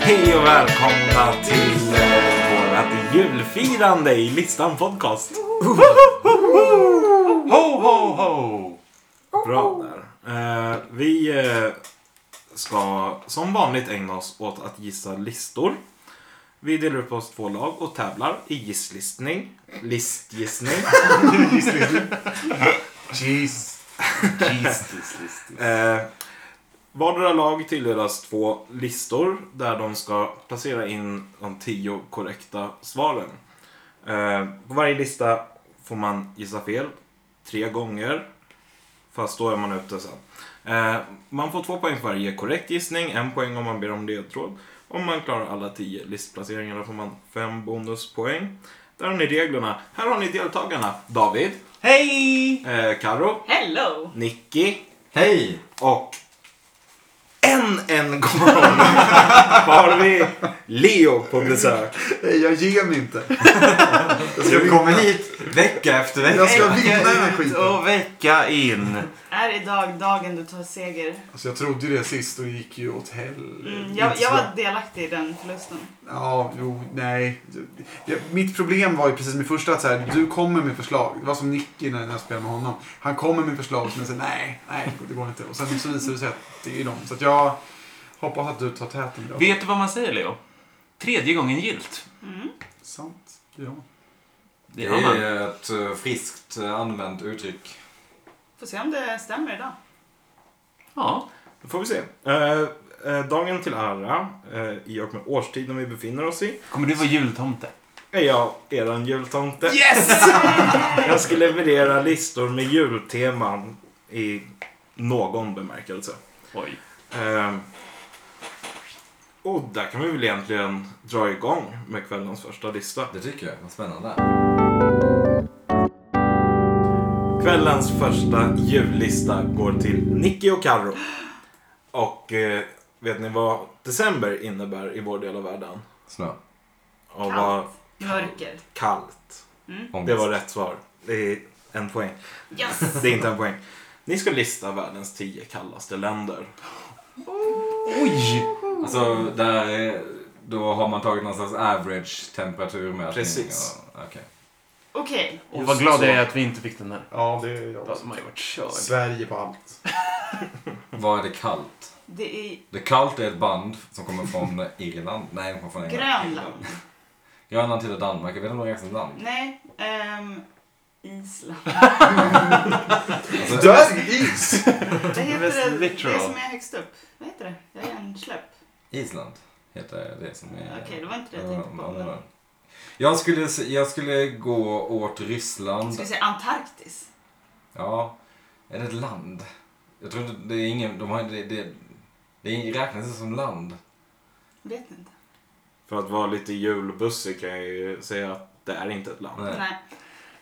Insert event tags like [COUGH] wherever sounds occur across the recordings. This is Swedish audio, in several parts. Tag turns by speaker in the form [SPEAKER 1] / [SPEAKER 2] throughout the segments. [SPEAKER 1] Hej och välkomna till eh, vårat julfirande i Listan Podcast.
[SPEAKER 2] Ho, ho, ho!
[SPEAKER 1] Bra där. Eh, vi eh, ska som vanligt ägna oss åt att gissa listor. Vi delar upp oss två lag och tävlar i gisslistning. Listgissning.
[SPEAKER 2] Jeez. Jeez, this, this, this.
[SPEAKER 1] Eh, vardera lag tilldelas två listor där de ska placera in de tio korrekta svaren. Eh, på varje lista får man gissa fel tre gånger. Fast då är man ute sen. Eh, man får två poäng för varje korrekt gissning, en poäng om man ber om ledtråd. Om man klarar alla tio listplaceringar får man fem bonuspoäng. Där har ni reglerna. Här har ni deltagarna. David,
[SPEAKER 2] Hej!
[SPEAKER 1] eh, Karo,
[SPEAKER 3] Hello!
[SPEAKER 1] Nicky,
[SPEAKER 4] Hej!
[SPEAKER 1] och än en gång [LAUGHS] har vi Leo på besök.
[SPEAKER 4] Hej, jag ger mig inte. Jag ska vinna,
[SPEAKER 2] hit vecka efter vecka.
[SPEAKER 4] jag ska vinna den här skiten.
[SPEAKER 2] Och vecka in.
[SPEAKER 3] Är idag dagen du tar seger?
[SPEAKER 5] Mm,
[SPEAKER 6] Alltså jag trodde ju det sist och gick ju åt helvete.
[SPEAKER 3] Mm, jag, jag var delaktig i den förlusten.
[SPEAKER 6] Ja, jo, nej. Jag, mitt problem var ju precis med första att så här, du kommer med förslag. Det var som Nicky när när jag spelade med honom. Han kommer med förslag och sen säger nej, nej, det går inte. Och sen så visar det sig att det är dem. Så att jag hoppas att du tar täten idag.
[SPEAKER 2] Vet du vad man säger, Leo? Tredje gången gilt.
[SPEAKER 6] Sant. Ja.
[SPEAKER 2] Det
[SPEAKER 5] Det
[SPEAKER 2] har man.
[SPEAKER 5] är ett eh, friskt eh, använt uttryck.
[SPEAKER 3] Får se om det stämmer idag.
[SPEAKER 2] Ja.
[SPEAKER 1] Då får vi se. Eh, eh, dagen till ära, eh, i och med årstiden vi befinner oss i,
[SPEAKER 2] Kommer du vara jultomte?
[SPEAKER 1] är jag eran jultomte.
[SPEAKER 2] Yes!
[SPEAKER 1] [LAUGHS] Jag ska leverera listor med julteman i någon bemärkelse.
[SPEAKER 2] Oj.
[SPEAKER 1] Eh, och där kan vi väl egentligen dra igång med kvällens första lista.
[SPEAKER 5] Det tycker jag. Vad spännande.
[SPEAKER 1] Kvällens första jullista går till Nicky och Carro. Och eh, vet ni vad december innebär i vår del av världen?
[SPEAKER 5] Snö.
[SPEAKER 1] Och vad
[SPEAKER 3] Mörker. Mm.
[SPEAKER 1] kallt.
[SPEAKER 5] Ångest.
[SPEAKER 1] Det var rätt svar. Det är en poäng.
[SPEAKER 3] Yes!
[SPEAKER 1] Det är inte en poäng. Ni ska lista världens tio kallaste länder.
[SPEAKER 2] Oj!
[SPEAKER 5] Alltså, där är, då har man tagit någon slags average temperaturmätning.
[SPEAKER 1] Precis.
[SPEAKER 5] Och, okej.
[SPEAKER 3] Okej.
[SPEAKER 2] Och vad glad jag är att vi inte fick den här.
[SPEAKER 6] ja, det är jag
[SPEAKER 2] Då
[SPEAKER 6] också.
[SPEAKER 2] hade man ju varit körd.
[SPEAKER 6] Sverige på allt.
[SPEAKER 5] Vad är det kallt?
[SPEAKER 3] Det är
[SPEAKER 5] Det kallt är ett band som kommer från eh, Irland. Nej, de kommer från England.
[SPEAKER 3] Grönland.
[SPEAKER 5] Grönland till Danmark. Jag vet inte om det räknas som land.
[SPEAKER 3] Nej. ehm,
[SPEAKER 5] [LAUGHS]
[SPEAKER 3] Island.
[SPEAKER 5] Alltså,
[SPEAKER 6] Dörr is!
[SPEAKER 3] Det heter
[SPEAKER 2] Mest
[SPEAKER 3] det, det som
[SPEAKER 2] literal.
[SPEAKER 3] är högst upp. Vad heter det? Jag är en släpp.
[SPEAKER 5] Island heter det som är...
[SPEAKER 3] Okej, det var inte det jag
[SPEAKER 5] Ja,
[SPEAKER 3] tänkte
[SPEAKER 5] ja,
[SPEAKER 3] på.
[SPEAKER 5] ja.
[SPEAKER 3] Men...
[SPEAKER 5] Jag skulle, se- jag skulle gå åt Ryssland.
[SPEAKER 3] Ska vi säga Antarktis?
[SPEAKER 5] Ja, är det ett land? Jag tror inte, det är ingen, de har det, det, det räknas inte som land.
[SPEAKER 3] Vet inte.
[SPEAKER 1] För att vara lite julbussig kan jag ju säga att det är inte ett land.
[SPEAKER 5] Nej.
[SPEAKER 3] Nej.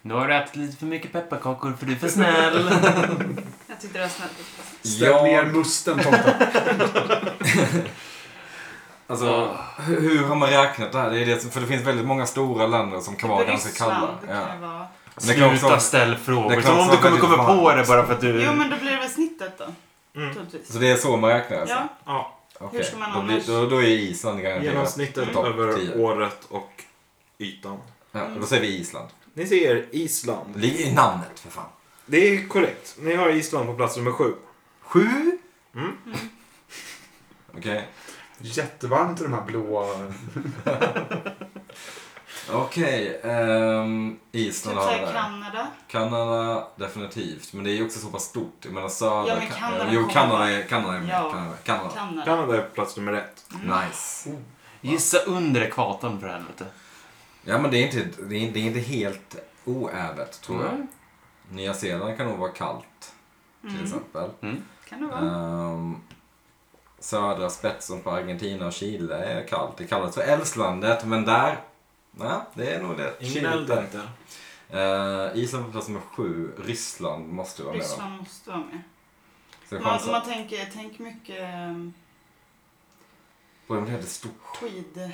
[SPEAKER 2] Nu har du ätit lite för mycket pepparkakor för du är för [LAUGHS] snäll.
[SPEAKER 3] Jag tyckte det var snällt.
[SPEAKER 6] Ställ ner musten, tomten.
[SPEAKER 5] [LAUGHS] alltså, hur, hur har man räknat det här? Det är det, som- för det finns väldigt många stora länder som kan vara ganska kalla.
[SPEAKER 3] Ryssland, det
[SPEAKER 5] Ja.
[SPEAKER 3] kan det vara.
[SPEAKER 5] Men det kan också
[SPEAKER 2] Sluta
[SPEAKER 5] vara-
[SPEAKER 2] ställ
[SPEAKER 5] det
[SPEAKER 2] frågor.
[SPEAKER 5] kan
[SPEAKER 2] Som om
[SPEAKER 5] också
[SPEAKER 2] du kommer
[SPEAKER 5] vara
[SPEAKER 2] komma
[SPEAKER 5] väldigt
[SPEAKER 2] på det bara för att du...
[SPEAKER 3] Jo, men då blir det väl snittet då.
[SPEAKER 1] Mm.
[SPEAKER 3] Troligtvis.
[SPEAKER 5] Så det är så man räknar alltså?
[SPEAKER 3] Ja. typ
[SPEAKER 1] Ja,
[SPEAKER 5] Okej,
[SPEAKER 3] Hur ska man
[SPEAKER 5] då, blir,
[SPEAKER 3] annars-
[SPEAKER 5] då, då är Island garanterat.
[SPEAKER 1] Mm. genomsnittet
[SPEAKER 5] Topp
[SPEAKER 1] över
[SPEAKER 5] 10.
[SPEAKER 1] året och ytan.
[SPEAKER 5] Ja, då säger vi Island.
[SPEAKER 1] Ni ser Island.
[SPEAKER 5] Det ligger i namnet för fan.
[SPEAKER 1] Det är korrekt. Ni har Island på plats nummer sju.
[SPEAKER 5] Sju?
[SPEAKER 3] Mm.
[SPEAKER 5] Okej.
[SPEAKER 6] Jättevarmt i de här blåa...
[SPEAKER 5] Okej, ehm,
[SPEAKER 3] Typ
[SPEAKER 5] Island har vi
[SPEAKER 3] såhär
[SPEAKER 5] där.
[SPEAKER 3] Kanada.
[SPEAKER 5] Kanada, definitivt. Men det är ju också så pass stort. Jag menar södra...
[SPEAKER 3] Ja, men Kanada
[SPEAKER 5] jo,
[SPEAKER 3] kommer
[SPEAKER 5] Kanada
[SPEAKER 3] bara-
[SPEAKER 5] är, Kanada är med.
[SPEAKER 3] Ja.
[SPEAKER 5] Kanada. Kanada.
[SPEAKER 3] Kanada.
[SPEAKER 1] Kanada är på plats nummer ett.
[SPEAKER 5] Nice.
[SPEAKER 3] Mm.
[SPEAKER 2] Gissa under ekvatorn för helvete.
[SPEAKER 5] Ja, men det är inte, det är, det är inte helt oävet, tror jag.
[SPEAKER 3] Mm.
[SPEAKER 2] Nej.
[SPEAKER 5] Nya Zeeland kan nog vara kallt, till
[SPEAKER 3] Mm.
[SPEAKER 5] exempel.
[SPEAKER 3] Kan det vara?
[SPEAKER 5] Ehm, södra spetsen på Argentina och Chile är kallt. Det kallas för Elfslandet, men där... Nej, det är nog det.
[SPEAKER 1] Ingen eld
[SPEAKER 5] Chile.
[SPEAKER 1] inte.
[SPEAKER 5] Eh, Island på plats nummer sju. Ryssland måste vara med. va?
[SPEAKER 3] Ryssland måste vara med.
[SPEAKER 5] Så jag
[SPEAKER 3] Men alltså,
[SPEAKER 5] chansar.
[SPEAKER 3] man tänker, tänk mycket ehm,
[SPEAKER 5] Borde de bli ett stort?
[SPEAKER 3] tweed.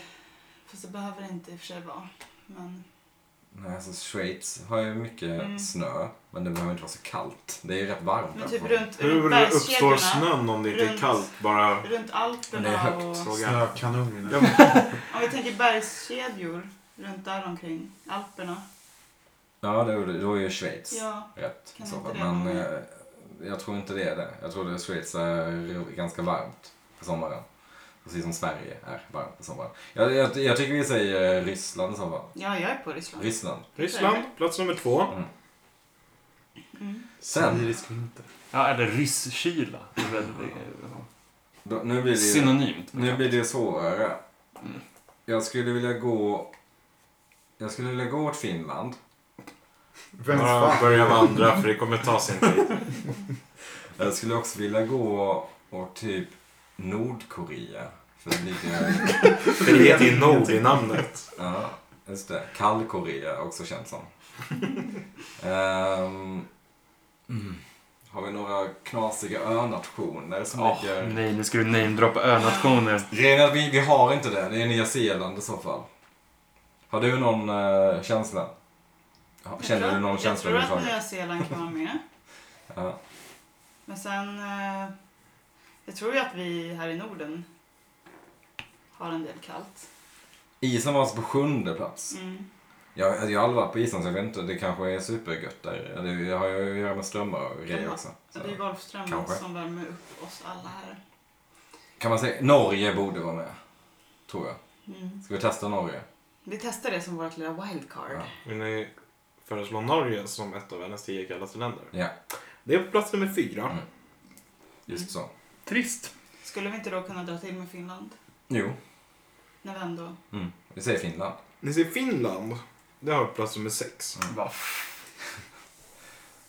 [SPEAKER 3] Fast det behöver det inte i och för sig vara. Men
[SPEAKER 5] Nej, alltså Schweiz har ju mycket
[SPEAKER 3] Mm.
[SPEAKER 5] snö. Men det behöver inte vara så kallt. Det är ju rätt varmt
[SPEAKER 3] men
[SPEAKER 5] där
[SPEAKER 3] typ
[SPEAKER 5] på-
[SPEAKER 3] runt, runt
[SPEAKER 1] Hur uppstår
[SPEAKER 3] bergskedjorna,
[SPEAKER 1] snön om det inte är
[SPEAKER 3] Runt.
[SPEAKER 1] kallt? Bara
[SPEAKER 3] runt
[SPEAKER 5] Men det är
[SPEAKER 3] Alperna
[SPEAKER 5] högt.
[SPEAKER 3] och...
[SPEAKER 1] fråga.
[SPEAKER 6] Snökanon.
[SPEAKER 1] Ja,
[SPEAKER 3] Om vi tänker bergskedjor runt där omkring Alperna.
[SPEAKER 5] Ja, då, då är ju Schweiz
[SPEAKER 3] Ja,
[SPEAKER 5] rätt i
[SPEAKER 3] Kan
[SPEAKER 5] så
[SPEAKER 3] inte
[SPEAKER 5] fall.
[SPEAKER 3] det
[SPEAKER 5] Men
[SPEAKER 3] vara-
[SPEAKER 5] eh, jag tror inte det är det. Jag tror att Schweiz är ganska varmt på sommaren. Precis som Sverige är varmt på sommaren. Jag, jag, jag tycker vi säger Ryssland i så fall.
[SPEAKER 3] ja jag är på Ryssland.
[SPEAKER 5] Ryssland.
[SPEAKER 1] Ryssland, plats nummer två.
[SPEAKER 3] Mm.
[SPEAKER 5] Sen,
[SPEAKER 6] Sibirisk vinter.
[SPEAKER 2] Ja, eller rysskyla. Det är väldigt- eh,
[SPEAKER 5] då, nu blir det ju
[SPEAKER 2] Synonymt.
[SPEAKER 5] nu blir det svårare.
[SPEAKER 2] Mm.
[SPEAKER 5] Jag skulle vilja gå... Jag skulle vilja gå åt Finland.
[SPEAKER 4] Vem
[SPEAKER 1] Bara
[SPEAKER 4] fan?
[SPEAKER 1] börja vandra för det kommer ta sin
[SPEAKER 5] [LAUGHS]
[SPEAKER 1] tid.
[SPEAKER 5] Jag skulle också vilja gå åt typ Nordkorea. För det ligger...
[SPEAKER 1] För det heter ju Nord i namnet.
[SPEAKER 5] Ja, just det. Kallkorea också känt som. Ehm, mm. Har vi några knasiga önationer som
[SPEAKER 7] Ah.
[SPEAKER 2] Åh,
[SPEAKER 5] ligger...
[SPEAKER 2] nej, nu ska du namedroppa önationer.
[SPEAKER 5] Grejen är att vi, vi har inte det. Det är Nya Zeeland i så fall. Har du någon eh, känsla? Ja,
[SPEAKER 3] Jag
[SPEAKER 5] Känner
[SPEAKER 3] tror-
[SPEAKER 5] du någon känsla
[SPEAKER 3] Jag tror att Nya
[SPEAKER 5] överhuvudtaget?
[SPEAKER 3] Zeeland kan vara med.
[SPEAKER 5] [LAUGHS] Ja.
[SPEAKER 3] Men sen... eh, Jag tror ju att vi här i Norden har en del kallt.
[SPEAKER 5] Island var alltså på sjunde plats.
[SPEAKER 3] Mm.
[SPEAKER 5] Jag, jag har aldrig varit på Island så jag vet inte. Det kanske är supergött där. Det har ju att göra med strömmar och grejer också.
[SPEAKER 3] Så
[SPEAKER 5] Så.
[SPEAKER 3] det är Golfströmmen
[SPEAKER 5] Kanske.
[SPEAKER 3] som värmer upp oss alla här.
[SPEAKER 5] Kan man säga Norge borde vara med? Tror jag.
[SPEAKER 3] Mm.
[SPEAKER 5] Ska vi testa Norge?
[SPEAKER 3] Vi testar det som vårt lilla wildcard.
[SPEAKER 5] Ja.
[SPEAKER 1] Vill ni föreslå Norge som ett av hennes tio kallaste länder?
[SPEAKER 5] Ja.
[SPEAKER 1] Det är på plats nummer fyra.
[SPEAKER 5] Mm. Just så.
[SPEAKER 3] Mm.
[SPEAKER 2] Trist.
[SPEAKER 3] Skulle vi inte då kunna dra till med Finland?
[SPEAKER 5] Jo,
[SPEAKER 3] När vi ändå...
[SPEAKER 5] mm. vi säger Finland.
[SPEAKER 1] Ni ser Finland. Det har plats nummer sex.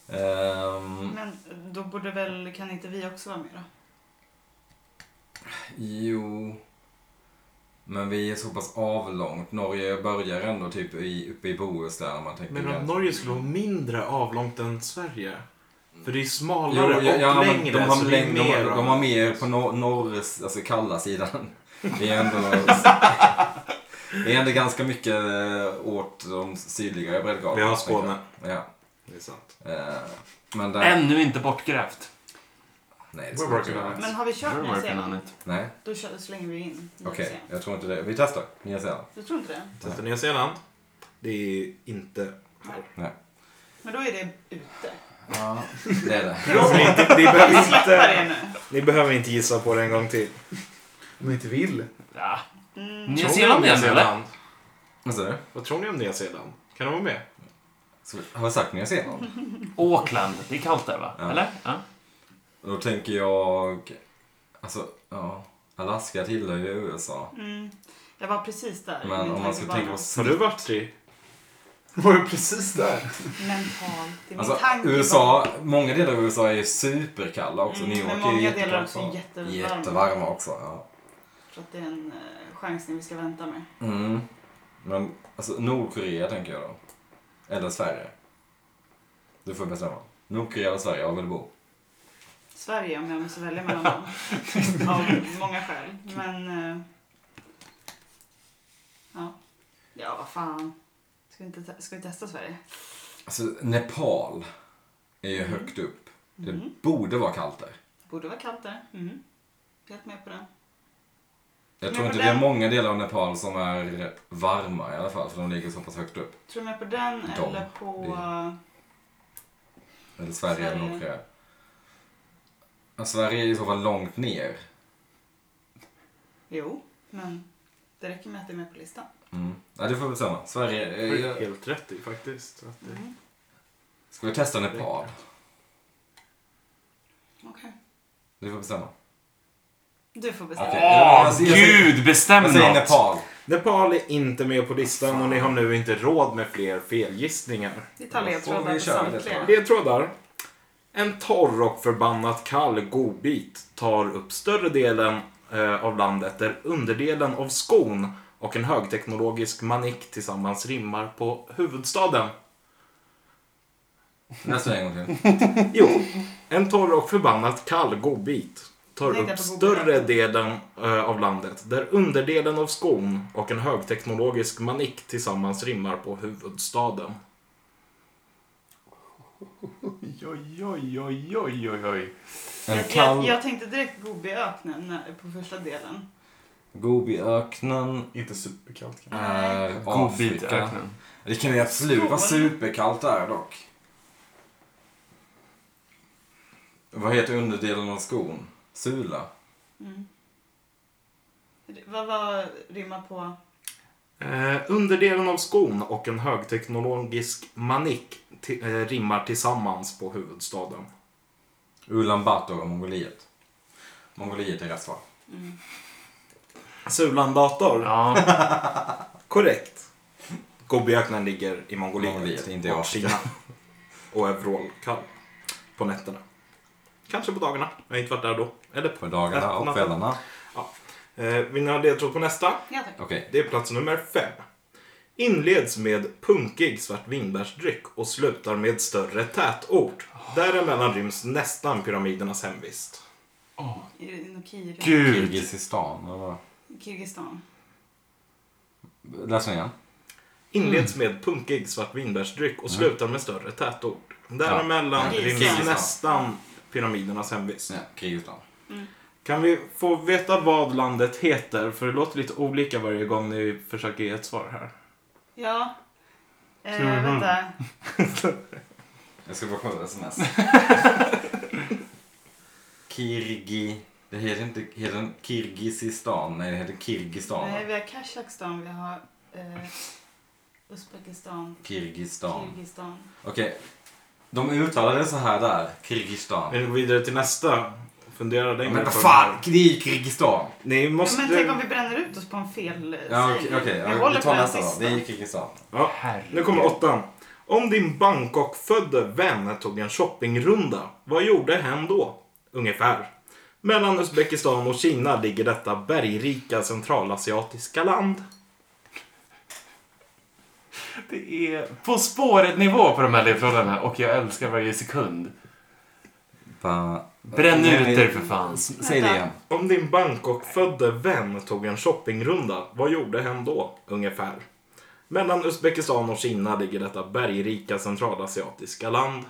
[SPEAKER 5] Ehm,
[SPEAKER 3] Men då borde väl... Kan inte vi också vara med då?
[SPEAKER 5] jo, men vi är så pass avlångt. Norge börjar ändå typ i, uppe i Bohuslän. om Man tänker
[SPEAKER 1] Men om
[SPEAKER 5] gränsen.
[SPEAKER 1] Norge skulle vara mindre avlångt än Sverige? För det är
[SPEAKER 5] Jo,
[SPEAKER 1] smalare
[SPEAKER 5] ja, ja,
[SPEAKER 1] och
[SPEAKER 5] men
[SPEAKER 1] längre.
[SPEAKER 5] de, har
[SPEAKER 1] så det är
[SPEAKER 5] läng- de, har,
[SPEAKER 1] mer av-
[SPEAKER 5] de har alltså, mer på nor- norr, alltså
[SPEAKER 1] [LAUGHS]
[SPEAKER 5] kalla sidan. Det är ändå, det är ändå ganska mycket eh, åt de sydligare breddgraderna.
[SPEAKER 1] Vi har Skåne.
[SPEAKER 5] Ja.
[SPEAKER 1] Det är sant.
[SPEAKER 5] eh, men där...
[SPEAKER 2] Ännu inte bortgrävt.
[SPEAKER 5] Nej, det
[SPEAKER 1] We're
[SPEAKER 5] ska vi inte
[SPEAKER 1] working on
[SPEAKER 5] göra.
[SPEAKER 1] it.
[SPEAKER 3] Men har vi kört Nya Zeeland?
[SPEAKER 5] Nej,
[SPEAKER 3] Då kör- slänger vi in Nya
[SPEAKER 5] okej.
[SPEAKER 3] Zeeland.
[SPEAKER 5] Jag tror inte det. Vi testar. Nya Zeeland.
[SPEAKER 3] Du tror inte det?
[SPEAKER 1] Testa Nya Zeeland. Det är inte här.
[SPEAKER 3] Men då är
[SPEAKER 5] [LAUGHS]
[SPEAKER 3] det ute.
[SPEAKER 5] Ja, det är det.
[SPEAKER 1] Ni, alltså inte, ni,
[SPEAKER 3] Vi
[SPEAKER 1] behöver
[SPEAKER 3] släpper det
[SPEAKER 1] inte,
[SPEAKER 3] nu.
[SPEAKER 1] [LAUGHS] ni behöver inte gissa på det en gång till.
[SPEAKER 6] Om jag inte vill.
[SPEAKER 2] Ja.
[SPEAKER 3] Mm.
[SPEAKER 2] Nya
[SPEAKER 1] Tror ni
[SPEAKER 2] Zeeland
[SPEAKER 1] om Nya
[SPEAKER 2] igen, eller?
[SPEAKER 1] Zeeland?
[SPEAKER 5] Vad sa du?
[SPEAKER 1] Vad tror ni om Nya Zeeland? Kan de vara med?
[SPEAKER 5] Så Har jag sagt Nya Zeeland?
[SPEAKER 2] Auckland. Det är kallt där, va?
[SPEAKER 5] Ja.
[SPEAKER 2] Eller? Ja.
[SPEAKER 5] Och Då tänker jag... Alltså, ja. Alaska tillhör ju USA.
[SPEAKER 3] Mm. Jag var precis där. i
[SPEAKER 5] Men
[SPEAKER 3] min
[SPEAKER 5] om man ska
[SPEAKER 3] tankebana.
[SPEAKER 5] tänka på...
[SPEAKER 1] Har du varit [LAUGHS] tre?
[SPEAKER 6] Var du precis där?
[SPEAKER 3] Mentalt. Det är min
[SPEAKER 5] Alltså,
[SPEAKER 3] tankebana.
[SPEAKER 5] USA, många delar av USA är ju superkalla också.
[SPEAKER 3] Mm,
[SPEAKER 5] New York
[SPEAKER 3] men
[SPEAKER 5] är ju
[SPEAKER 3] många delar
[SPEAKER 5] jättekallt
[SPEAKER 3] också
[SPEAKER 5] också.
[SPEAKER 3] jättevarma.
[SPEAKER 5] Jättevarma också, ja.
[SPEAKER 3] Så att det är en eh, chansning vi ska vänta med.
[SPEAKER 5] Mm. Men alltså, Nordkorea tänker jag då. Eller Sverige. Du får bestämma. Nordkorea eller Sverige, var vill du bo?
[SPEAKER 3] Sverige om jag måste välja mellan
[SPEAKER 5] [LAUGHS]
[SPEAKER 3] dem. Av många skäl. Men... eh, Ja. Ja, vad fan. Ska vi, inte te- ska vi testa Sverige?
[SPEAKER 5] Alltså, Nepal är
[SPEAKER 3] Mm.
[SPEAKER 5] ju högt upp. Det borde vara kallt där.
[SPEAKER 3] Borde vara kallt där. Mm. Helt med på det.
[SPEAKER 5] Jag
[SPEAKER 3] Men
[SPEAKER 5] tror
[SPEAKER 3] på
[SPEAKER 5] inte det är
[SPEAKER 3] den-
[SPEAKER 5] många delar av Nepal som är varma i alla fall, för de ligger så pass högt upp.
[SPEAKER 3] Tror du mer på den
[SPEAKER 5] Dem.
[SPEAKER 3] eller på...
[SPEAKER 5] Eller Sverige eller
[SPEAKER 3] Sverige.
[SPEAKER 5] Nordkorea. Ja, Sverige är i så fall långt ner.
[SPEAKER 3] Jo, men det räcker med att det är med på listan.
[SPEAKER 5] Mm. Ja, du får bestämma. Sverige...
[SPEAKER 1] Det
[SPEAKER 5] eh,
[SPEAKER 1] är
[SPEAKER 5] jag-
[SPEAKER 1] helt rätt i faktiskt. Att det...
[SPEAKER 3] Mm.
[SPEAKER 5] Ska vi testa Nepal?
[SPEAKER 3] Okej.
[SPEAKER 5] Du får bestämma.
[SPEAKER 3] Du får bestämma.
[SPEAKER 5] Okej.
[SPEAKER 2] Åh,
[SPEAKER 3] eh,
[SPEAKER 5] Jag säger- jag säger-
[SPEAKER 2] gud! Bestäm
[SPEAKER 5] Jag säger
[SPEAKER 2] något!
[SPEAKER 5] Nepal.
[SPEAKER 1] Nepal är inte med på listan och ni har nu inte råd med fler felgissningar.
[SPEAKER 3] Vi tar
[SPEAKER 5] Då får
[SPEAKER 3] ledtrådar
[SPEAKER 5] vi
[SPEAKER 3] på
[SPEAKER 5] köra
[SPEAKER 3] samtliga.
[SPEAKER 5] ledtrådar.
[SPEAKER 1] Ledtrådar. En torr och förbannat kall godbit tar upp större delen eh, av landet där underdelen av skon och en högteknologisk manik tillsammans rimmar på huvudstaden.
[SPEAKER 5] Nästa en gång till.
[SPEAKER 1] Jo, en torr och förbannat kall godbit tar
[SPEAKER 3] Nej, det är
[SPEAKER 1] upp
[SPEAKER 3] på
[SPEAKER 1] större
[SPEAKER 3] godbitar.
[SPEAKER 1] delen eh, av landet där underdelen av skon och en högteknologisk manik tillsammans rimmar på huvudstaden.
[SPEAKER 7] Oj, oj, oj, oj, oj, oj, oj.
[SPEAKER 3] [LAUGHS]
[SPEAKER 5] En
[SPEAKER 3] Jag,
[SPEAKER 5] kall...
[SPEAKER 3] jag, jag tänkte direkt Gobiöknen när- eh, på första delen.
[SPEAKER 5] Gobiöknen
[SPEAKER 6] Inte superkallt kanske.
[SPEAKER 5] är Afrika.
[SPEAKER 7] Godbitöknen.
[SPEAKER 5] Det kan ju absolut vara superkallt där dock. Vad heter underdelen av skon? Sula?
[SPEAKER 3] Mm. Vad var rimmar på?
[SPEAKER 1] Eh, underdelen av skon och en högteknologisk manik ti- eh, rimmar tillsammans på huvudstaden.
[SPEAKER 5] Ulan Bator och Mongoliet. Mongoliet är rätt svar.
[SPEAKER 3] Mm.
[SPEAKER 1] Sulan dator.
[SPEAKER 7] Ja,
[SPEAKER 1] Korrekt. Gobiöknen ligger i Mongoliet.
[SPEAKER 5] Mongoliet, inte i
[SPEAKER 1] och
[SPEAKER 5] Afrika.
[SPEAKER 1] Kina. Och är vrålkall. På nätterna. Kanske på dagarna. Jag har inte varit där då. Eller på.
[SPEAKER 5] På dagarna och kvällarna.
[SPEAKER 1] Eh, vill ni ha ledtråd på nästa?
[SPEAKER 3] Ja, tack.
[SPEAKER 5] Okej.
[SPEAKER 1] Det är plats nummer fem. Inleds med punkig svart vinbärsdryck och slutar med större tätort. Däremellan ryms nästan pyramidernas hemvist.
[SPEAKER 3] Är det någon Kir-
[SPEAKER 6] Gud!
[SPEAKER 5] Kirgizistan eller vad?
[SPEAKER 3] Kirgistan.
[SPEAKER 5] Läs den igen.
[SPEAKER 1] Inleds
[SPEAKER 3] Mm.
[SPEAKER 1] med punkig svart vinbärsdryck
[SPEAKER 5] Mm.
[SPEAKER 1] och slutar med större tätort. Däremellan
[SPEAKER 3] Ja.
[SPEAKER 1] ryms
[SPEAKER 3] Kirgistan.
[SPEAKER 1] nästan pyramidernas hemvist.
[SPEAKER 5] Ja, Kirgizistan.
[SPEAKER 3] Mm.
[SPEAKER 1] Kan vi få veta vad landet heter? För det låter lite olika varje gång ni försöker ge ett svar här.
[SPEAKER 3] Ja. Eh,
[SPEAKER 7] Mhm.
[SPEAKER 3] Vänta.
[SPEAKER 5] Jag ska bara kolla sms.
[SPEAKER 3] [LAUGHS]
[SPEAKER 5] Kirgi... Det heter inte... Heter den Kirgizistan? Nej, det heter Kirgistan.
[SPEAKER 3] Nej,
[SPEAKER 5] va?
[SPEAKER 3] vi har Kazakstan, vi har eh, Uzbekistan,
[SPEAKER 5] Kirgistan.
[SPEAKER 3] Kirgistan.
[SPEAKER 5] Okej. De uttalade det så här där. Kirgistan.
[SPEAKER 1] Vi går vidare till nästa. Fundera längre
[SPEAKER 5] Men vad
[SPEAKER 1] på
[SPEAKER 5] fan!
[SPEAKER 1] det.
[SPEAKER 5] Det är ju Kirgistan.
[SPEAKER 1] Ni måste...
[SPEAKER 3] Men tänk om vi bränner ut oss på en fel eh,
[SPEAKER 5] Ja, okej.
[SPEAKER 3] sägning.
[SPEAKER 5] okej.
[SPEAKER 3] Vi
[SPEAKER 5] Ja,
[SPEAKER 3] håller
[SPEAKER 5] Vi
[SPEAKER 3] på
[SPEAKER 5] tar
[SPEAKER 3] den
[SPEAKER 5] nästa då. Det
[SPEAKER 3] sista.
[SPEAKER 5] är Kirgistan.
[SPEAKER 1] ja, nu kommer åttan. Om din Bangkok-födde vän tog en shoppingrunda, vad gjorde hen då? Ungefär. Mellan Uzbekistan och Kina ligger detta bergrika centralasiatiska land.
[SPEAKER 7] det är På spåret-nivå på de här ledtrådarna och jag älskar varje sekund.
[SPEAKER 5] Va...
[SPEAKER 7] Bränn
[SPEAKER 5] Nej,
[SPEAKER 7] ut
[SPEAKER 5] nej.
[SPEAKER 7] er för fan.
[SPEAKER 5] S- Säg det igen.
[SPEAKER 1] Om din Bangkok-födde vän tog en shoppingrunda, vad gjorde hen då? Ungefär. Mellan Uzbekistan och Kina ligger detta bergrika centralasiatiska land.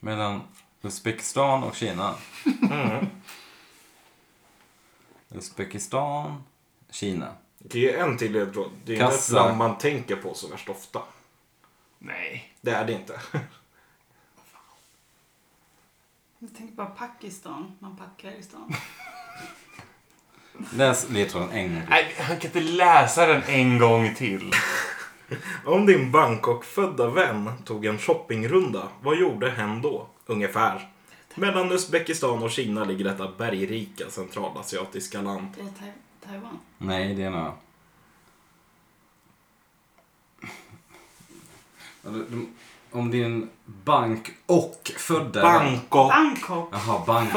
[SPEAKER 5] Mellan Uzbekistan och Kina.
[SPEAKER 7] Mm.
[SPEAKER 5] Uzbekistan, Kina.
[SPEAKER 1] Det är en till ledtråd. Det är inte ett
[SPEAKER 5] Kassa.
[SPEAKER 1] land man tänker på så värst ofta.
[SPEAKER 7] Nej.
[SPEAKER 1] Det är det inte. [LAUGHS]
[SPEAKER 3] Jag tänker bara Pakistan, man packar i
[SPEAKER 5] [LAUGHS]
[SPEAKER 3] stan.
[SPEAKER 5] Läs ledtråden en gång till.
[SPEAKER 7] Nej, han kan inte läsa den en gång till.
[SPEAKER 1] Om din Bangkok-födda vän tog en shoppingrunda, vad gjorde hen då? Ungefär. Mellan Uzbekistan och Kina ligger detta bergrika centralasiatiska land.
[SPEAKER 3] Det är Tai- Taiwan.
[SPEAKER 5] Nej, det är några. Ja, de- de- Om din bank och födde...
[SPEAKER 1] Bangkok.
[SPEAKER 3] Bangkok.
[SPEAKER 5] Jaha, bank.
[SPEAKER 6] [LAUGHS]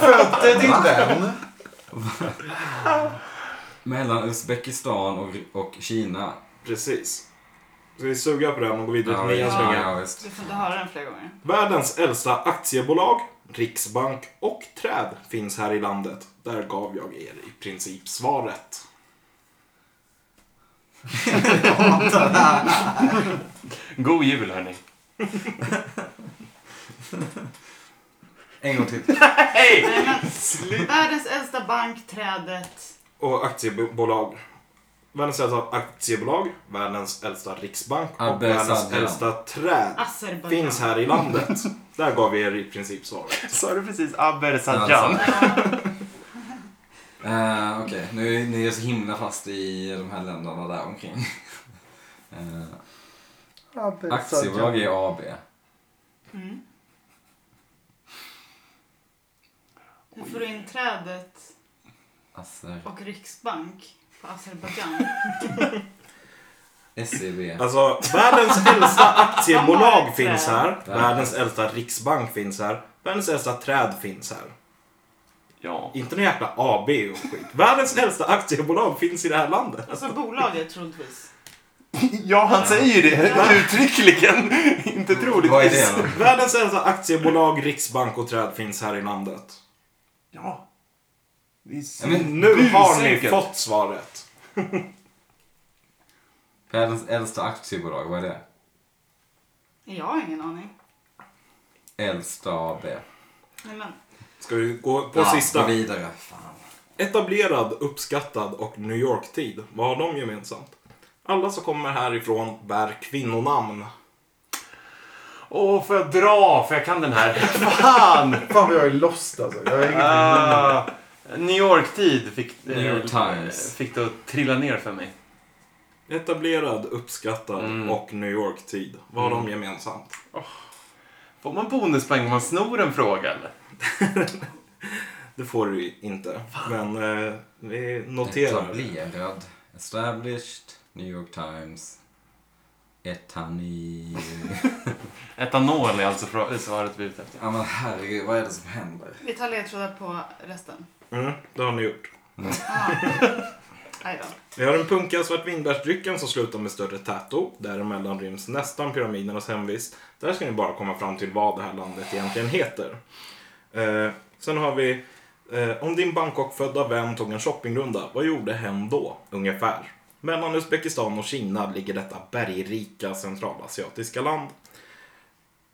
[SPEAKER 6] Födde din vän?
[SPEAKER 5] Mellan Uzbekistan och, och Kina.
[SPEAKER 1] Precis. Ska vi suga på det här och gå vidare till nian
[SPEAKER 5] visst.
[SPEAKER 1] så länge?
[SPEAKER 5] ja, visst.
[SPEAKER 3] Du får inte höra den fler gånger.
[SPEAKER 1] Världens äldsta aktiebolag, riksbank och träd finns här i landet. Där gav jag er i princip svaret.
[SPEAKER 7] God jul hörni.
[SPEAKER 5] En gång till.
[SPEAKER 7] Hej!
[SPEAKER 3] Nej, men, världens äldsta bank, trädet.
[SPEAKER 1] Och aktiebolag. Världens äldsta aktiebolag, världens äldsta riksbank och
[SPEAKER 5] Azerbaijan.
[SPEAKER 1] världens äldsta träd
[SPEAKER 3] Azerbajdzjan.
[SPEAKER 1] finns här i landet. Där gav vi er i princip svaret.
[SPEAKER 7] Sa du precis Azerbajdzjan?
[SPEAKER 5] Eh, Okej, nu är ni är så himla fast i de här länderna där omkring. Eh, aktiebolag är AB.
[SPEAKER 3] Mm. Hur får du in trädet
[SPEAKER 5] Azer,
[SPEAKER 3] och Riksbank på Azerbajdzjan?
[SPEAKER 5] SEB.
[SPEAKER 1] Alltså, världens äldsta aktiebolag finns här. Världens äldsta riksbank finns här. Världens äldsta träd finns här.
[SPEAKER 7] Ja.
[SPEAKER 1] Inte någon jäkla AB och skit. Världens äldsta aktiebolag finns i det här landet.
[SPEAKER 3] Alltså bolaget troligtvis.
[SPEAKER 7] Ja, han säger ju det
[SPEAKER 3] Ja.
[SPEAKER 7] uttryckligen. Inte troligtvis.
[SPEAKER 5] Vad är det då?
[SPEAKER 1] Världens äldsta aktiebolag, riksbank och träd finns här i landet.
[SPEAKER 7] Ja. Det är så
[SPEAKER 5] Ja, men
[SPEAKER 1] Nu har ni
[SPEAKER 7] busenkelt.
[SPEAKER 1] fått svaret.
[SPEAKER 5] Världens äldsta aktiebolag, vad är det?
[SPEAKER 3] Jag har ingen aning.
[SPEAKER 5] Äldsta AB.
[SPEAKER 3] Nej, men.
[SPEAKER 1] Ska vi gå på
[SPEAKER 5] Ja,
[SPEAKER 1] sista?
[SPEAKER 5] Gå vidare. Fan.
[SPEAKER 1] Etablerad, uppskattad och New York-tid. Vad har de gemensamt? Alla som kommer härifrån bär kvinnonamn.
[SPEAKER 7] Åh, får jag dra? För jag kan den här. Fan!
[SPEAKER 6] Fan vad jag är lost alltså. Jag är ingenting.
[SPEAKER 7] Ah, New York-tid fick, eh,
[SPEAKER 5] New York Times.
[SPEAKER 7] fick det att trilla ner för mig.
[SPEAKER 1] Etablerad, uppskattad
[SPEAKER 7] Mm.
[SPEAKER 1] och New York-tid. Vad har de gemensamt?
[SPEAKER 7] Får man bonuspoäng om man snor en fråga eller?
[SPEAKER 1] Det får du inte. Men eh, vi noterar. det.
[SPEAKER 5] Etablerad. Established. New York Times. Etani...
[SPEAKER 7] Etanol är alltså frå- svaret vi är ute efter.
[SPEAKER 5] ja men herregud, vad är det som händer?
[SPEAKER 3] Vi tar ledtrådar på resten.
[SPEAKER 1] Mm, det har ni gjort.
[SPEAKER 5] [LAUGHS]
[SPEAKER 3] Ah. Nej då.
[SPEAKER 1] Vi har den punkiga svartvinbärsdrycken som slutar med större täto. Däremellan ryms nästan pyramidernas hemvist. Där ska ni bara komma fram till vad det här landet egentligen heter. Eh, sen har vi eh, Om din Bangkok-födda vän tog en shoppingrunda, vad gjorde hen då? Ungefär. Mellan Uzbekistan och Kina ligger detta bergrika centralasiatiska land.